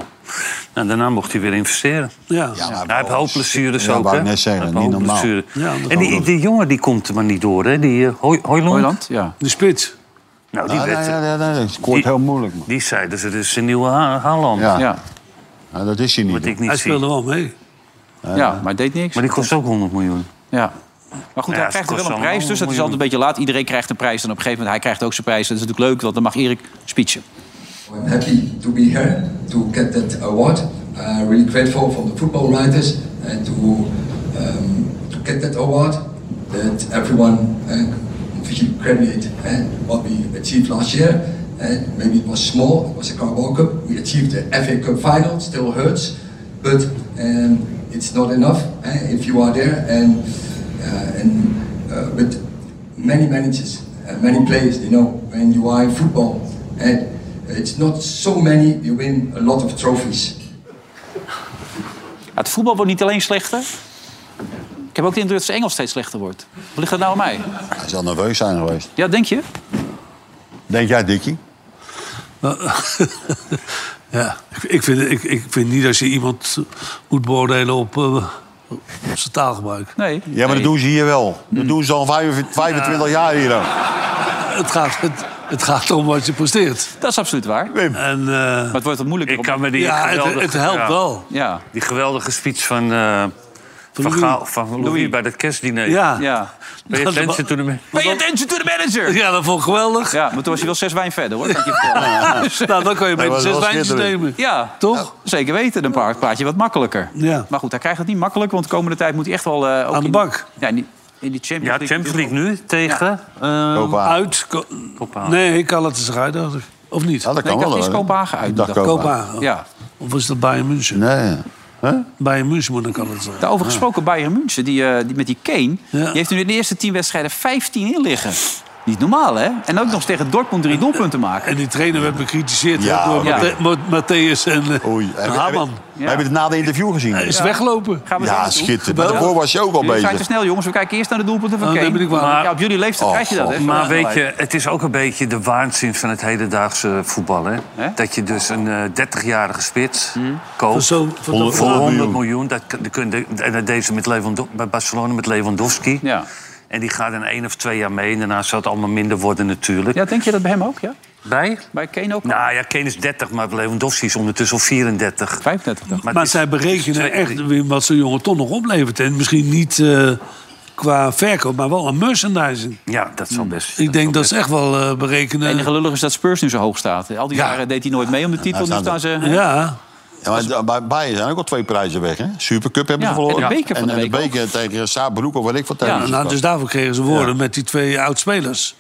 [SPEAKER 5] Nou, daarna mocht hij weer investeren.
[SPEAKER 3] Ja.
[SPEAKER 5] hij heeft hoofdblessures
[SPEAKER 4] Ja,
[SPEAKER 5] ook,
[SPEAKER 4] wou ik
[SPEAKER 5] hè?
[SPEAKER 4] net zeggen,
[SPEAKER 5] Hij heeft
[SPEAKER 4] niet normaal.
[SPEAKER 5] hoofdblessures.
[SPEAKER 4] Ja, dat kan
[SPEAKER 5] en die,
[SPEAKER 4] ook.
[SPEAKER 5] die jongen die komt er maar niet door, hè? Die eh, Hoy- Hoyland?
[SPEAKER 4] Hoyland, ja.
[SPEAKER 3] De spits.
[SPEAKER 5] Nou, die
[SPEAKER 4] Ah, Ja,
[SPEAKER 5] werd...
[SPEAKER 4] ja, ja, ja, ja, het scoort
[SPEAKER 5] die-
[SPEAKER 4] heel moeilijk.
[SPEAKER 5] Die zei, dus het is een nieuwe Ha- Haaland.
[SPEAKER 4] Ja. Ja. Nou, dat is hij niet.
[SPEAKER 5] Wat ik niet
[SPEAKER 3] Hij
[SPEAKER 5] zie.
[SPEAKER 3] speelde wel mee.
[SPEAKER 2] Ja, maar het deed niks.
[SPEAKER 5] Maar die kost ook 100 miljoen.
[SPEAKER 2] Ja. Maar goed,
[SPEAKER 5] Ja,
[SPEAKER 2] hij
[SPEAKER 5] het
[SPEAKER 2] krijgt er
[SPEAKER 5] kost
[SPEAKER 2] wel een
[SPEAKER 5] allemaal
[SPEAKER 2] prijs, dus dat is
[SPEAKER 5] miljoen.
[SPEAKER 2] altijd een beetje laat. Iedereen krijgt een prijs en op een gegeven moment hij krijgt ook zijn prijs. Dat is natuurlijk leuk, want dan mag Erik speechen.
[SPEAKER 17] I'm happy to be here to get that award. Uh, really grateful from the football writers and to, um, to get that award that everyone uh, should credit and what we achieved last year. And maybe it was small, it was a Carabao Cup. We achieved the FA Cup final, still hurts, but um, it's not enough eh, if you are there. And, uh, and uh, but many managers, uh, many players, they know when you are in football. And it's not so many, you win a lot of trophies.
[SPEAKER 2] Ja, het voetbal wordt niet alleen slechter. Ik heb ook de indruk dat zijn Engels steeds slechter wordt. Wat ligt dat nou aan mij?
[SPEAKER 4] Hij zal nerveus zijn geweest.
[SPEAKER 2] Ja, denk je?
[SPEAKER 4] Denk jij, Dikkie?
[SPEAKER 3] ja. Ik- Ik, vind, ik, ik vind niet dat je iemand moet beoordelen op, eh, op zijn taalgebruik.
[SPEAKER 2] Nee. Hmm.
[SPEAKER 4] Ja, maar dat doen ze hier wel. Dat doen ze al 25, 25 jaar hier ook.
[SPEAKER 3] Het gaat, het, het gaat om wat je presteert.
[SPEAKER 2] Dat is absoluut waar.
[SPEAKER 3] En, eh,
[SPEAKER 2] Maar het wordt wat moeilijker.
[SPEAKER 5] Ik kan me die
[SPEAKER 3] Ja, het-
[SPEAKER 5] geweldige,
[SPEAKER 3] het helpt wel.
[SPEAKER 2] Ja.
[SPEAKER 5] Die geweldige speech van, eh van,
[SPEAKER 3] Louis.
[SPEAKER 5] Gaal- van Louis,
[SPEAKER 3] Louis.
[SPEAKER 5] bij dat kerstdiner.
[SPEAKER 3] Ja.
[SPEAKER 2] Ja.
[SPEAKER 5] Pay
[SPEAKER 2] Dat-
[SPEAKER 5] attention to the man.
[SPEAKER 2] Pay attention to the manager!
[SPEAKER 3] Ja, dat vond ik geweldig.
[SPEAKER 2] Ja, maar toen was je wel zes wijn verder, hoor. Kan ik je vertellen. Dus-
[SPEAKER 3] nou, dan kan je
[SPEAKER 2] Dat
[SPEAKER 3] beter
[SPEAKER 2] was
[SPEAKER 3] zes
[SPEAKER 2] wel
[SPEAKER 3] wijntjes
[SPEAKER 2] schitterend.
[SPEAKER 3] nemen.
[SPEAKER 2] Ja,
[SPEAKER 3] toch?
[SPEAKER 2] Zeker weten, dan praat praat je wat makkelijker.
[SPEAKER 3] Ja.
[SPEAKER 2] Maar goed, hij krijgt het niet makkelijk, want de komende tijd moet hij echt wel... eh, ook Aan de bak. Ja, in die, in die Champions
[SPEAKER 5] Ja,
[SPEAKER 2] League.
[SPEAKER 5] Champions League nu tegen... eh,
[SPEAKER 4] Kopenhagen.
[SPEAKER 3] Ehm, Uit. Ko- Nee, Calatasaray zich uit, dacht ik. Of niet?
[SPEAKER 4] Ja,
[SPEAKER 2] Nee,
[SPEAKER 4] dat kan
[SPEAKER 2] ik
[SPEAKER 4] wel.
[SPEAKER 2] dacht,
[SPEAKER 4] hoor.
[SPEAKER 2] is Kopenhagen uit.
[SPEAKER 4] Ik dacht
[SPEAKER 3] Kopenhagen.
[SPEAKER 2] Ja.
[SPEAKER 3] Of is dat Bayern München?
[SPEAKER 4] Nee. Huh?
[SPEAKER 3] Bayern München moet dan Calatasaray.
[SPEAKER 2] Daarover gesproken, Bayern München, die, eh, die, met die Kane... die heeft nu in de eerste tien wedstrijden 15 in liggen. Niet normaal, hè? En ook nog eens tegen Dortmund drie doelpunten maken.
[SPEAKER 3] En die trainer werd bekritiseerd hè,
[SPEAKER 2] Ja,
[SPEAKER 3] door
[SPEAKER 2] oké.
[SPEAKER 3] Mathe- Ma- Matthäus en, eh, en Haman.
[SPEAKER 4] We hebben het na de interview gezien.
[SPEAKER 3] Hij is weglopen.
[SPEAKER 2] Gaan we zo
[SPEAKER 4] Ja,
[SPEAKER 2] naartoe.
[SPEAKER 4] schitterend. Maar
[SPEAKER 2] Geweldig.
[SPEAKER 4] daarvoor was je ook al
[SPEAKER 2] Jullie zijn
[SPEAKER 4] bezig.
[SPEAKER 2] te snel, jongens. We kijken eerst naar de doelpunten van
[SPEAKER 3] Oh,
[SPEAKER 2] Kane.
[SPEAKER 3] daar ben ik wel.
[SPEAKER 2] ja, op jullie leeftijd krijg je dat, hè?
[SPEAKER 5] Maar weet je, het is ook een beetje de waanzin van het hedendaagse voetbal. Hè? Dat je dus een eh, 30-jarige spits
[SPEAKER 3] Hm. Voor
[SPEAKER 5] koopt
[SPEAKER 3] zo- voor
[SPEAKER 5] voor,
[SPEAKER 3] dat bedrag.
[SPEAKER 5] 100 miljoen. Dat, dat kun je- en dat deed ze met Lewando- bij Barcelona met Lewandowski. En die gaat in één of twee jaar mee. En daarna zal het allemaal minder worden natuurlijk.
[SPEAKER 2] Ja, denk je dat bij hem ook, ja?
[SPEAKER 5] Bij?
[SPEAKER 2] Bij Kane ook?
[SPEAKER 5] Nou ja, Kane is 30, maar Lewandowski is ondertussen al 34.
[SPEAKER 2] 35 dan.
[SPEAKER 3] Maar, zij berekenen echt weer wat zo'n jongen toch nog oplevert. En misschien niet eh, qua verkoop, maar wel aan merchandising.
[SPEAKER 5] Ja, dat zal best.
[SPEAKER 3] Ik denk dat ze echt wel eh, berekenen...
[SPEAKER 2] Het enige lullig is dat Spurs nu zo hoog staat. Al die jaren deed hij nooit mee om de
[SPEAKER 3] Nou,
[SPEAKER 2] titel. nu staan ze...
[SPEAKER 3] Ja.
[SPEAKER 4] Ja, maar d- bij Bayern zijn ook al twee prijzen weg, hè? Supercup hebben
[SPEAKER 2] Ja,
[SPEAKER 4] ze verloren.
[SPEAKER 2] en de beker van
[SPEAKER 4] en,
[SPEAKER 2] de
[SPEAKER 4] en
[SPEAKER 2] week ook.
[SPEAKER 4] beker tegen Saarbrück of wat ik wat
[SPEAKER 3] Ja,
[SPEAKER 4] tegen.
[SPEAKER 3] nou, dus daarvoor kregen ze woorden met die twee oud-spelers.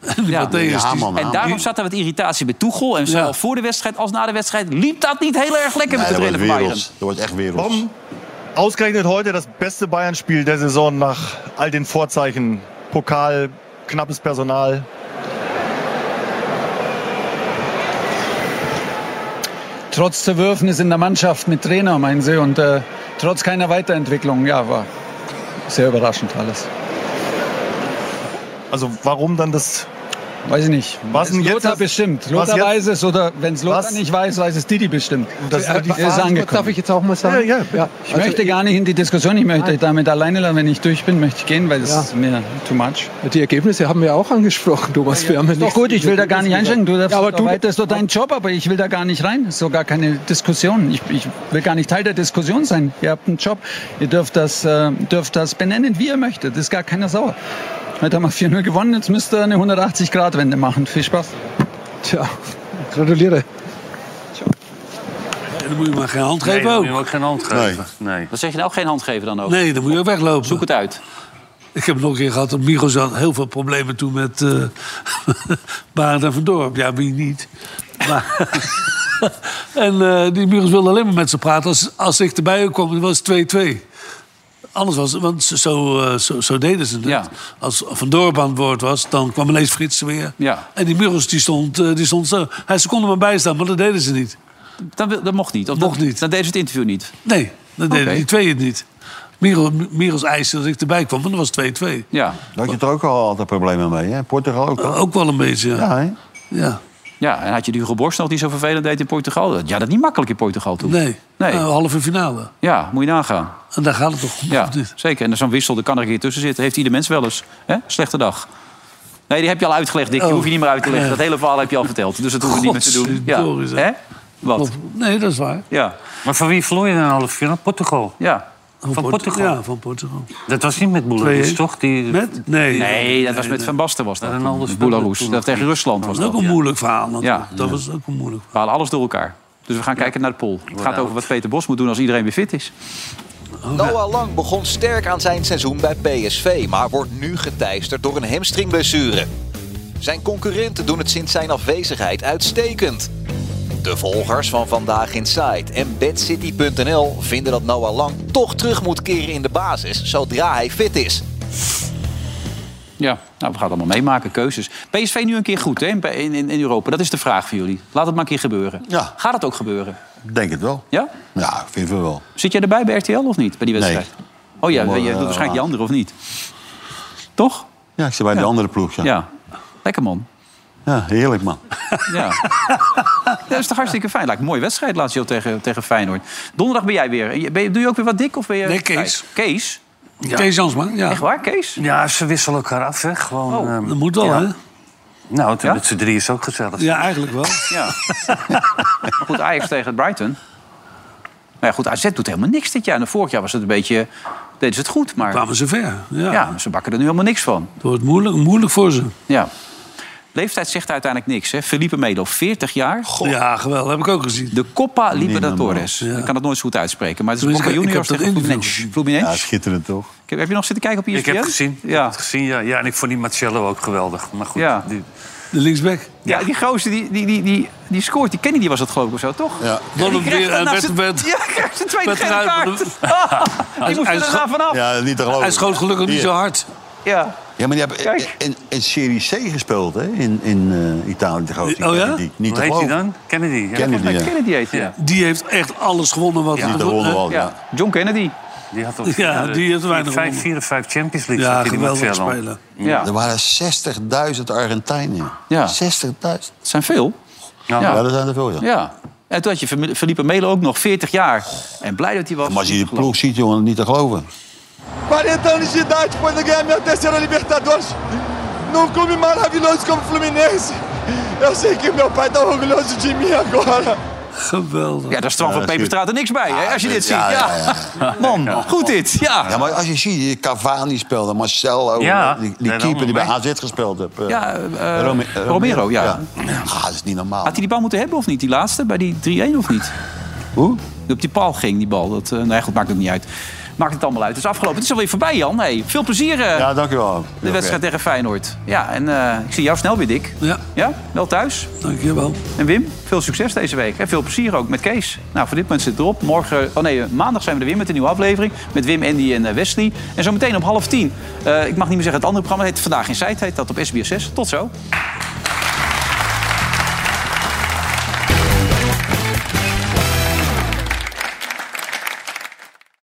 [SPEAKER 3] En die Matthäus... die-
[SPEAKER 2] en daarom zat er wat irritatie bij Tuchel. En zowel voor de wedstrijd als na de wedstrijd liep dat niet heel erg lekker met de
[SPEAKER 4] dat wordt
[SPEAKER 2] trainer van Bayern.
[SPEAKER 4] werelds. Dat wordt echt werelds.
[SPEAKER 18] Warum ausgerechnet heute das beste Bayern-Spiel der Saison nach all den Vorzeichen? Pokal, knappes Personal.
[SPEAKER 19] Trotz Zerwürfnis in der Mannschaft mit Trainer, meinen Sie, und äh, trotz keiner Weiterentwicklung, ja, war sehr überraschend alles.
[SPEAKER 18] Also warum dann das
[SPEAKER 19] Weiß ich nicht.
[SPEAKER 18] Was denn
[SPEAKER 19] Lothar
[SPEAKER 18] jetzt das-
[SPEAKER 19] bestimmt.
[SPEAKER 18] was
[SPEAKER 19] Lothar
[SPEAKER 18] jetzt-
[SPEAKER 19] weiß es oder wenn es Lothar
[SPEAKER 18] Was-
[SPEAKER 19] nicht weiß, weiß es Didi bestimmt.
[SPEAKER 18] Das ist
[SPEAKER 19] Er-
[SPEAKER 18] aber die
[SPEAKER 19] er
[SPEAKER 18] Frage.
[SPEAKER 19] angekommen.
[SPEAKER 18] Darf ich
[SPEAKER 19] jetzt auch mal
[SPEAKER 18] sagen? Ja, ja.
[SPEAKER 19] Ich
[SPEAKER 18] Also
[SPEAKER 19] möchte
[SPEAKER 18] ich-
[SPEAKER 19] gar nicht in die Diskussion. Ich möchte damit alleine lassen. Wenn ich durch bin, möchte ich gehen, weil es
[SPEAKER 20] Ja.
[SPEAKER 19] ist mir too much.
[SPEAKER 20] Die Ergebnisse haben wir auch angesprochen, Thomas. Wir haben ja
[SPEAKER 19] Ist doch
[SPEAKER 20] nichts-
[SPEAKER 19] gut, ich will da gar nicht einschränken. Du darfst
[SPEAKER 20] ja, aber
[SPEAKER 19] da
[SPEAKER 20] du,
[SPEAKER 19] weiter, ist doch dein Job, aber ich will da gar nicht rein. Ist doch gar keine Diskussion. Ich, ich will gar nicht Teil der Diskussion sein. Ihr habt einen Job. Ihr dürft das, äh, dürft das benennen, wie ihr möchtet. Ist gar keiner sauer. Heute haben wir 4-0 gewonnen, jetzt müsst ihr eine 180-Grad-Wende machen. Viel Spaß.
[SPEAKER 20] Tja, gratuliere.
[SPEAKER 3] Dan moet je maar geen hand
[SPEAKER 5] Nee,
[SPEAKER 3] geven
[SPEAKER 5] dan
[SPEAKER 3] ook.
[SPEAKER 5] moet je hem ook geen hand geven. Nee.
[SPEAKER 2] Wat zeg je nou? Geen hand geven dan ook?
[SPEAKER 3] Nee, dan moet je ook weglopen. Zoek
[SPEAKER 2] het uit.
[SPEAKER 3] Ik heb nog een keer gehad, dat Migos had heel veel problemen toen met eh Barend en Van Dorp. Ja, wie niet? Maar, en eh, die Migos wilde alleen maar met ze praten. Als, als ik erbij kwam, dan was het 2-2. Anders was het, want zo, zo, eh, zo, zo deden ze het. Als Van Dorp aan het woord was, dan kwam ineens Frits er weer.
[SPEAKER 2] Ja.
[SPEAKER 3] En die Migos die stond, eh, die stond zo. Hij, ze konden maar bijstaan, maar dat deden ze niet.
[SPEAKER 2] Dat, mocht niet?
[SPEAKER 3] mocht niet.
[SPEAKER 2] Dan deden ze het interview niet?
[SPEAKER 3] Nee, dan deden
[SPEAKER 2] Oké.
[SPEAKER 3] die twee het niet. Migos, Migos eiste dat ik erbij kwam, want dat was 2-2.
[SPEAKER 2] Ja.
[SPEAKER 4] Daar had je er ook al altijd problemen mee, hè? Portugal ook.
[SPEAKER 3] al. Eh, Ook wel een beetje, ja.
[SPEAKER 4] hè?
[SPEAKER 3] Ja.
[SPEAKER 2] Ja, en had je die Hugo Borst nog die zo vervelend deed in Portugal? Dat- Ja, dat niet makkelijk in Portugal toen.
[SPEAKER 3] Nee,
[SPEAKER 2] Nee.
[SPEAKER 3] Eh, halve finale.
[SPEAKER 2] Ja, moet je nagaan.
[SPEAKER 3] En daar gaat het toch om?
[SPEAKER 2] Ja, zeker. En dan zo'n wissel, daar kan er een keer tussen zitten. Heeft ieder mens wel eens. Hè? Slechte dag. Nee, die heb je al uitgelegd, Dick. Die
[SPEAKER 3] Oh.
[SPEAKER 2] hoef je niet meer uit te leggen.
[SPEAKER 3] Ja.
[SPEAKER 2] Dat hele verhaal heb je al verteld. Dus dat hoef je niet meer te doen.
[SPEAKER 3] Godverdorie, zeg.
[SPEAKER 2] Hè? Wat?
[SPEAKER 3] Nee, dat is waar.
[SPEAKER 2] Ja.
[SPEAKER 5] Maar van wie verloor je dan een halve finale? Portugal?
[SPEAKER 2] Ja.
[SPEAKER 5] Van,
[SPEAKER 3] Port-
[SPEAKER 5] Portugal?
[SPEAKER 3] Ja, van Portugal.
[SPEAKER 5] Dat was niet met Boularoes,
[SPEAKER 3] Twee-één.
[SPEAKER 5] toch? Die...
[SPEAKER 3] Met? Nee.
[SPEAKER 2] Nee, dat was met Van Basten was dat. toen. Boularoes. Dat tegen Rusland was
[SPEAKER 3] Dat is
[SPEAKER 2] dat.
[SPEAKER 3] ook een
[SPEAKER 2] ja.
[SPEAKER 3] moeilijk verhaal. natuurlijk.
[SPEAKER 2] Ja.
[SPEAKER 3] Dat
[SPEAKER 2] Ja.
[SPEAKER 3] was ook een moeilijk
[SPEAKER 2] We halen alles door elkaar. Dus we gaan kijken naar de poll. Het gaat over wat Peter Bos moet doen als iedereen weer fit is.
[SPEAKER 21] Noah Lang begon sterk aan zijn seizoen bij PSV, maar wordt nu geteisterd door een hamstringblessure. Zijn concurrenten doen het sinds zijn afwezigheid uitstekend. De volgers van Vandaag Inside en BadCity.nl vinden dat Noah Lang toch terug moet keren in de basis zodra hij fit is.
[SPEAKER 2] Ja, nou, we gaan het allemaal meemaken, keuzes. PSV nu een keer goed hè, in, in, in Europa. Dat is de vraag voor jullie. Laat het maar een keer gebeuren. Gaat het ook gebeuren?
[SPEAKER 4] Denk het wel.
[SPEAKER 2] Ja?
[SPEAKER 4] Ja, vind we wel.
[SPEAKER 2] Zit jij erbij bij RTL of niet, bij die wedstrijd? Oh ja,
[SPEAKER 4] Maar,
[SPEAKER 2] je doet
[SPEAKER 4] eh,
[SPEAKER 2] waarschijnlijk die andere of niet? Toch?
[SPEAKER 4] Ja, ik zit bij de andere ploeg. Ja.
[SPEAKER 2] Ja. Lekker man.
[SPEAKER 4] Ja, heerlijk man.
[SPEAKER 2] Ja. dat is toch hartstikke fijn. Lijkt me een mooie wedstrijd laatst joh, tegen, tegen Feyenoord. Donderdag ben jij weer. Je- Ben je, doe je ook weer wat dik? Of ben je...
[SPEAKER 3] Nee, Kees.
[SPEAKER 2] Kees?
[SPEAKER 3] Ja. Kees Jansma, ja.
[SPEAKER 2] Echt waar, Kees?
[SPEAKER 5] Ja, ze wisselen elkaar af, hè. Gewoon,
[SPEAKER 2] Oh,
[SPEAKER 5] ehm,
[SPEAKER 3] dat moet wel, hè?
[SPEAKER 5] Nou, het
[SPEAKER 2] Ja?
[SPEAKER 5] met z'n drie is ook gezellig.
[SPEAKER 3] Ja, eigenlijk wel.
[SPEAKER 2] Ja. maar goed, Ajax tegen Brighton. Nou ja, goed, AZ doet helemaal niks dit jaar. En vorig jaar was het een beetje... Deden ze het goed, maar...
[SPEAKER 3] Kwamen ze ver, ja.
[SPEAKER 2] ze bakken er nu helemaal niks van.
[SPEAKER 3] Het wordt moeilijk, moeilijk voor ze.
[SPEAKER 2] Ja. Leeftijd zegt uiteindelijk niks, hè. Felipe Melo, 40 jaar.
[SPEAKER 3] Ja, geweldig. Heb ik ook gezien.
[SPEAKER 2] De Copa Libertadores. Ik kan het nooit zo goed uitspreken. Maar het is
[SPEAKER 3] Tenminste,
[SPEAKER 2] Boca
[SPEAKER 3] ik- ik
[SPEAKER 2] Juniors
[SPEAKER 3] heb dat
[SPEAKER 2] tegen
[SPEAKER 3] interview
[SPEAKER 2] Fluminense. Fluminense.
[SPEAKER 4] schitterend toch?
[SPEAKER 2] Ik heb- Heb je nog zitten kijken op E ESPN?
[SPEAKER 5] Ik heb het gezien. Ja. Ik heb het gezien ja. ja, en ik vond die Marcello ook geweldig. Maar goed,
[SPEAKER 2] Ja.
[SPEAKER 5] die-
[SPEAKER 3] De linksback.
[SPEAKER 2] Ja, die gozer die, die, die, die, die scoort. Die Kenny die was dat geloof ik of zo, toch? Ja.
[SPEAKER 3] Dan
[SPEAKER 2] die
[SPEAKER 3] hem
[SPEAKER 2] krijgt
[SPEAKER 3] weer,
[SPEAKER 2] daarna
[SPEAKER 3] eh, werd-
[SPEAKER 2] zijn-
[SPEAKER 3] werd-
[SPEAKER 2] Ja, krijgt zijn tweede
[SPEAKER 3] werd
[SPEAKER 2] gele
[SPEAKER 3] eruit,
[SPEAKER 2] kaart. Oh, Die moest er daarna vanaf.
[SPEAKER 4] Ja, niet te geloven.
[SPEAKER 3] Hij schoot gelukkig niet
[SPEAKER 4] Hier.
[SPEAKER 3] zo hard.
[SPEAKER 2] Ja.
[SPEAKER 4] Ja, maar die hebben in, in Serie C gespeeld, hè? In, in eh, Italië. Die gozer, die
[SPEAKER 3] Oh ja?
[SPEAKER 4] Kennedy. Niet te
[SPEAKER 5] Hoe heet
[SPEAKER 4] geloven.
[SPEAKER 5] die dan? Kennedy. Ja.
[SPEAKER 4] Kennedy, ja. Kennedy
[SPEAKER 2] heet
[SPEAKER 5] ja.
[SPEAKER 3] Die heeft echt alles gewonnen wat
[SPEAKER 5] Ja.
[SPEAKER 3] er-
[SPEAKER 5] Die de
[SPEAKER 3] eh,
[SPEAKER 4] wel,
[SPEAKER 2] ja. John Kennedy.
[SPEAKER 5] Die had
[SPEAKER 3] Ja, die heeft weinig
[SPEAKER 5] vijf,
[SPEAKER 3] gewonnen.
[SPEAKER 5] vier of vijf Champions League.
[SPEAKER 3] Ja,
[SPEAKER 5] zat hij in
[SPEAKER 3] geweldig
[SPEAKER 5] Marcello.
[SPEAKER 3] speler.
[SPEAKER 2] Ja.
[SPEAKER 4] Er waren 60.000 Argentijnen.
[SPEAKER 2] Ja.
[SPEAKER 4] 60.000. Dat
[SPEAKER 2] zijn veel. Ja.
[SPEAKER 4] dat zijn er veel, ja.
[SPEAKER 2] Ja. En toen had je Femi- Felipe Melo ook nog 40 jaar. En blij dat hij was.
[SPEAKER 4] Maar als je die ploeg ziet, jongen, niet te geloven.
[SPEAKER 22] 40 anos de idade, depois de ganhar minha terceira Libertadores num clube maravilhoso como o Fluminense. Eu sei que meu pai tá orgulhoso de mim agora.
[SPEAKER 3] Geweldig.
[SPEAKER 2] Ja, daar straf
[SPEAKER 4] Ja,
[SPEAKER 2] van
[SPEAKER 4] dat is
[SPEAKER 2] Peperstraat er niks bij, hè, als je dit ziet. Ja,
[SPEAKER 4] ja.
[SPEAKER 2] Man, goed dit. Ja.
[SPEAKER 4] Ja, maar als je ziet, die Cavani speelde, Marcelo,
[SPEAKER 2] Ja,
[SPEAKER 4] die, die
[SPEAKER 2] nee,
[SPEAKER 4] keeper die bij
[SPEAKER 2] Romero.
[SPEAKER 4] AZ gespeeld heeft. eh,
[SPEAKER 2] Ja, eh, eh,
[SPEAKER 4] Rome-
[SPEAKER 2] Romero, ja.
[SPEAKER 4] Ah, dat is niet normaal.
[SPEAKER 2] Had hij die bal moeten hebben of niet? Die laatste, bij die 3-1 of niet?
[SPEAKER 4] Hoe?
[SPEAKER 2] Die op die paal ging, die bal. Dat, eh, nee, goed, maakt het niet uit. Maakt het allemaal uit. Het is afgelopen. Het is alweer voorbij, Jan. Hey, veel plezier. eh,
[SPEAKER 4] Ja, dankjewel.
[SPEAKER 2] De wedstrijd tegen Feyenoord. Ja, en eh, ik zie jou snel weer, Dick.
[SPEAKER 3] Ja.
[SPEAKER 2] Ja, wel thuis.
[SPEAKER 3] Dankjewel.
[SPEAKER 2] En Wim, veel succes deze week. En veel plezier ook met Kees. Nou, voor dit moment zit het erop. Morgen, oh nee, eh, maandag zijn we er weer met een nieuwe aflevering. Met Wim, Andy en eh, Wesley. En zo meteen om half tien. eh, ik mag niet meer zeggen, het andere programma heet Vandaag in Zijd. Heet dat op SBS 6. Tot zo.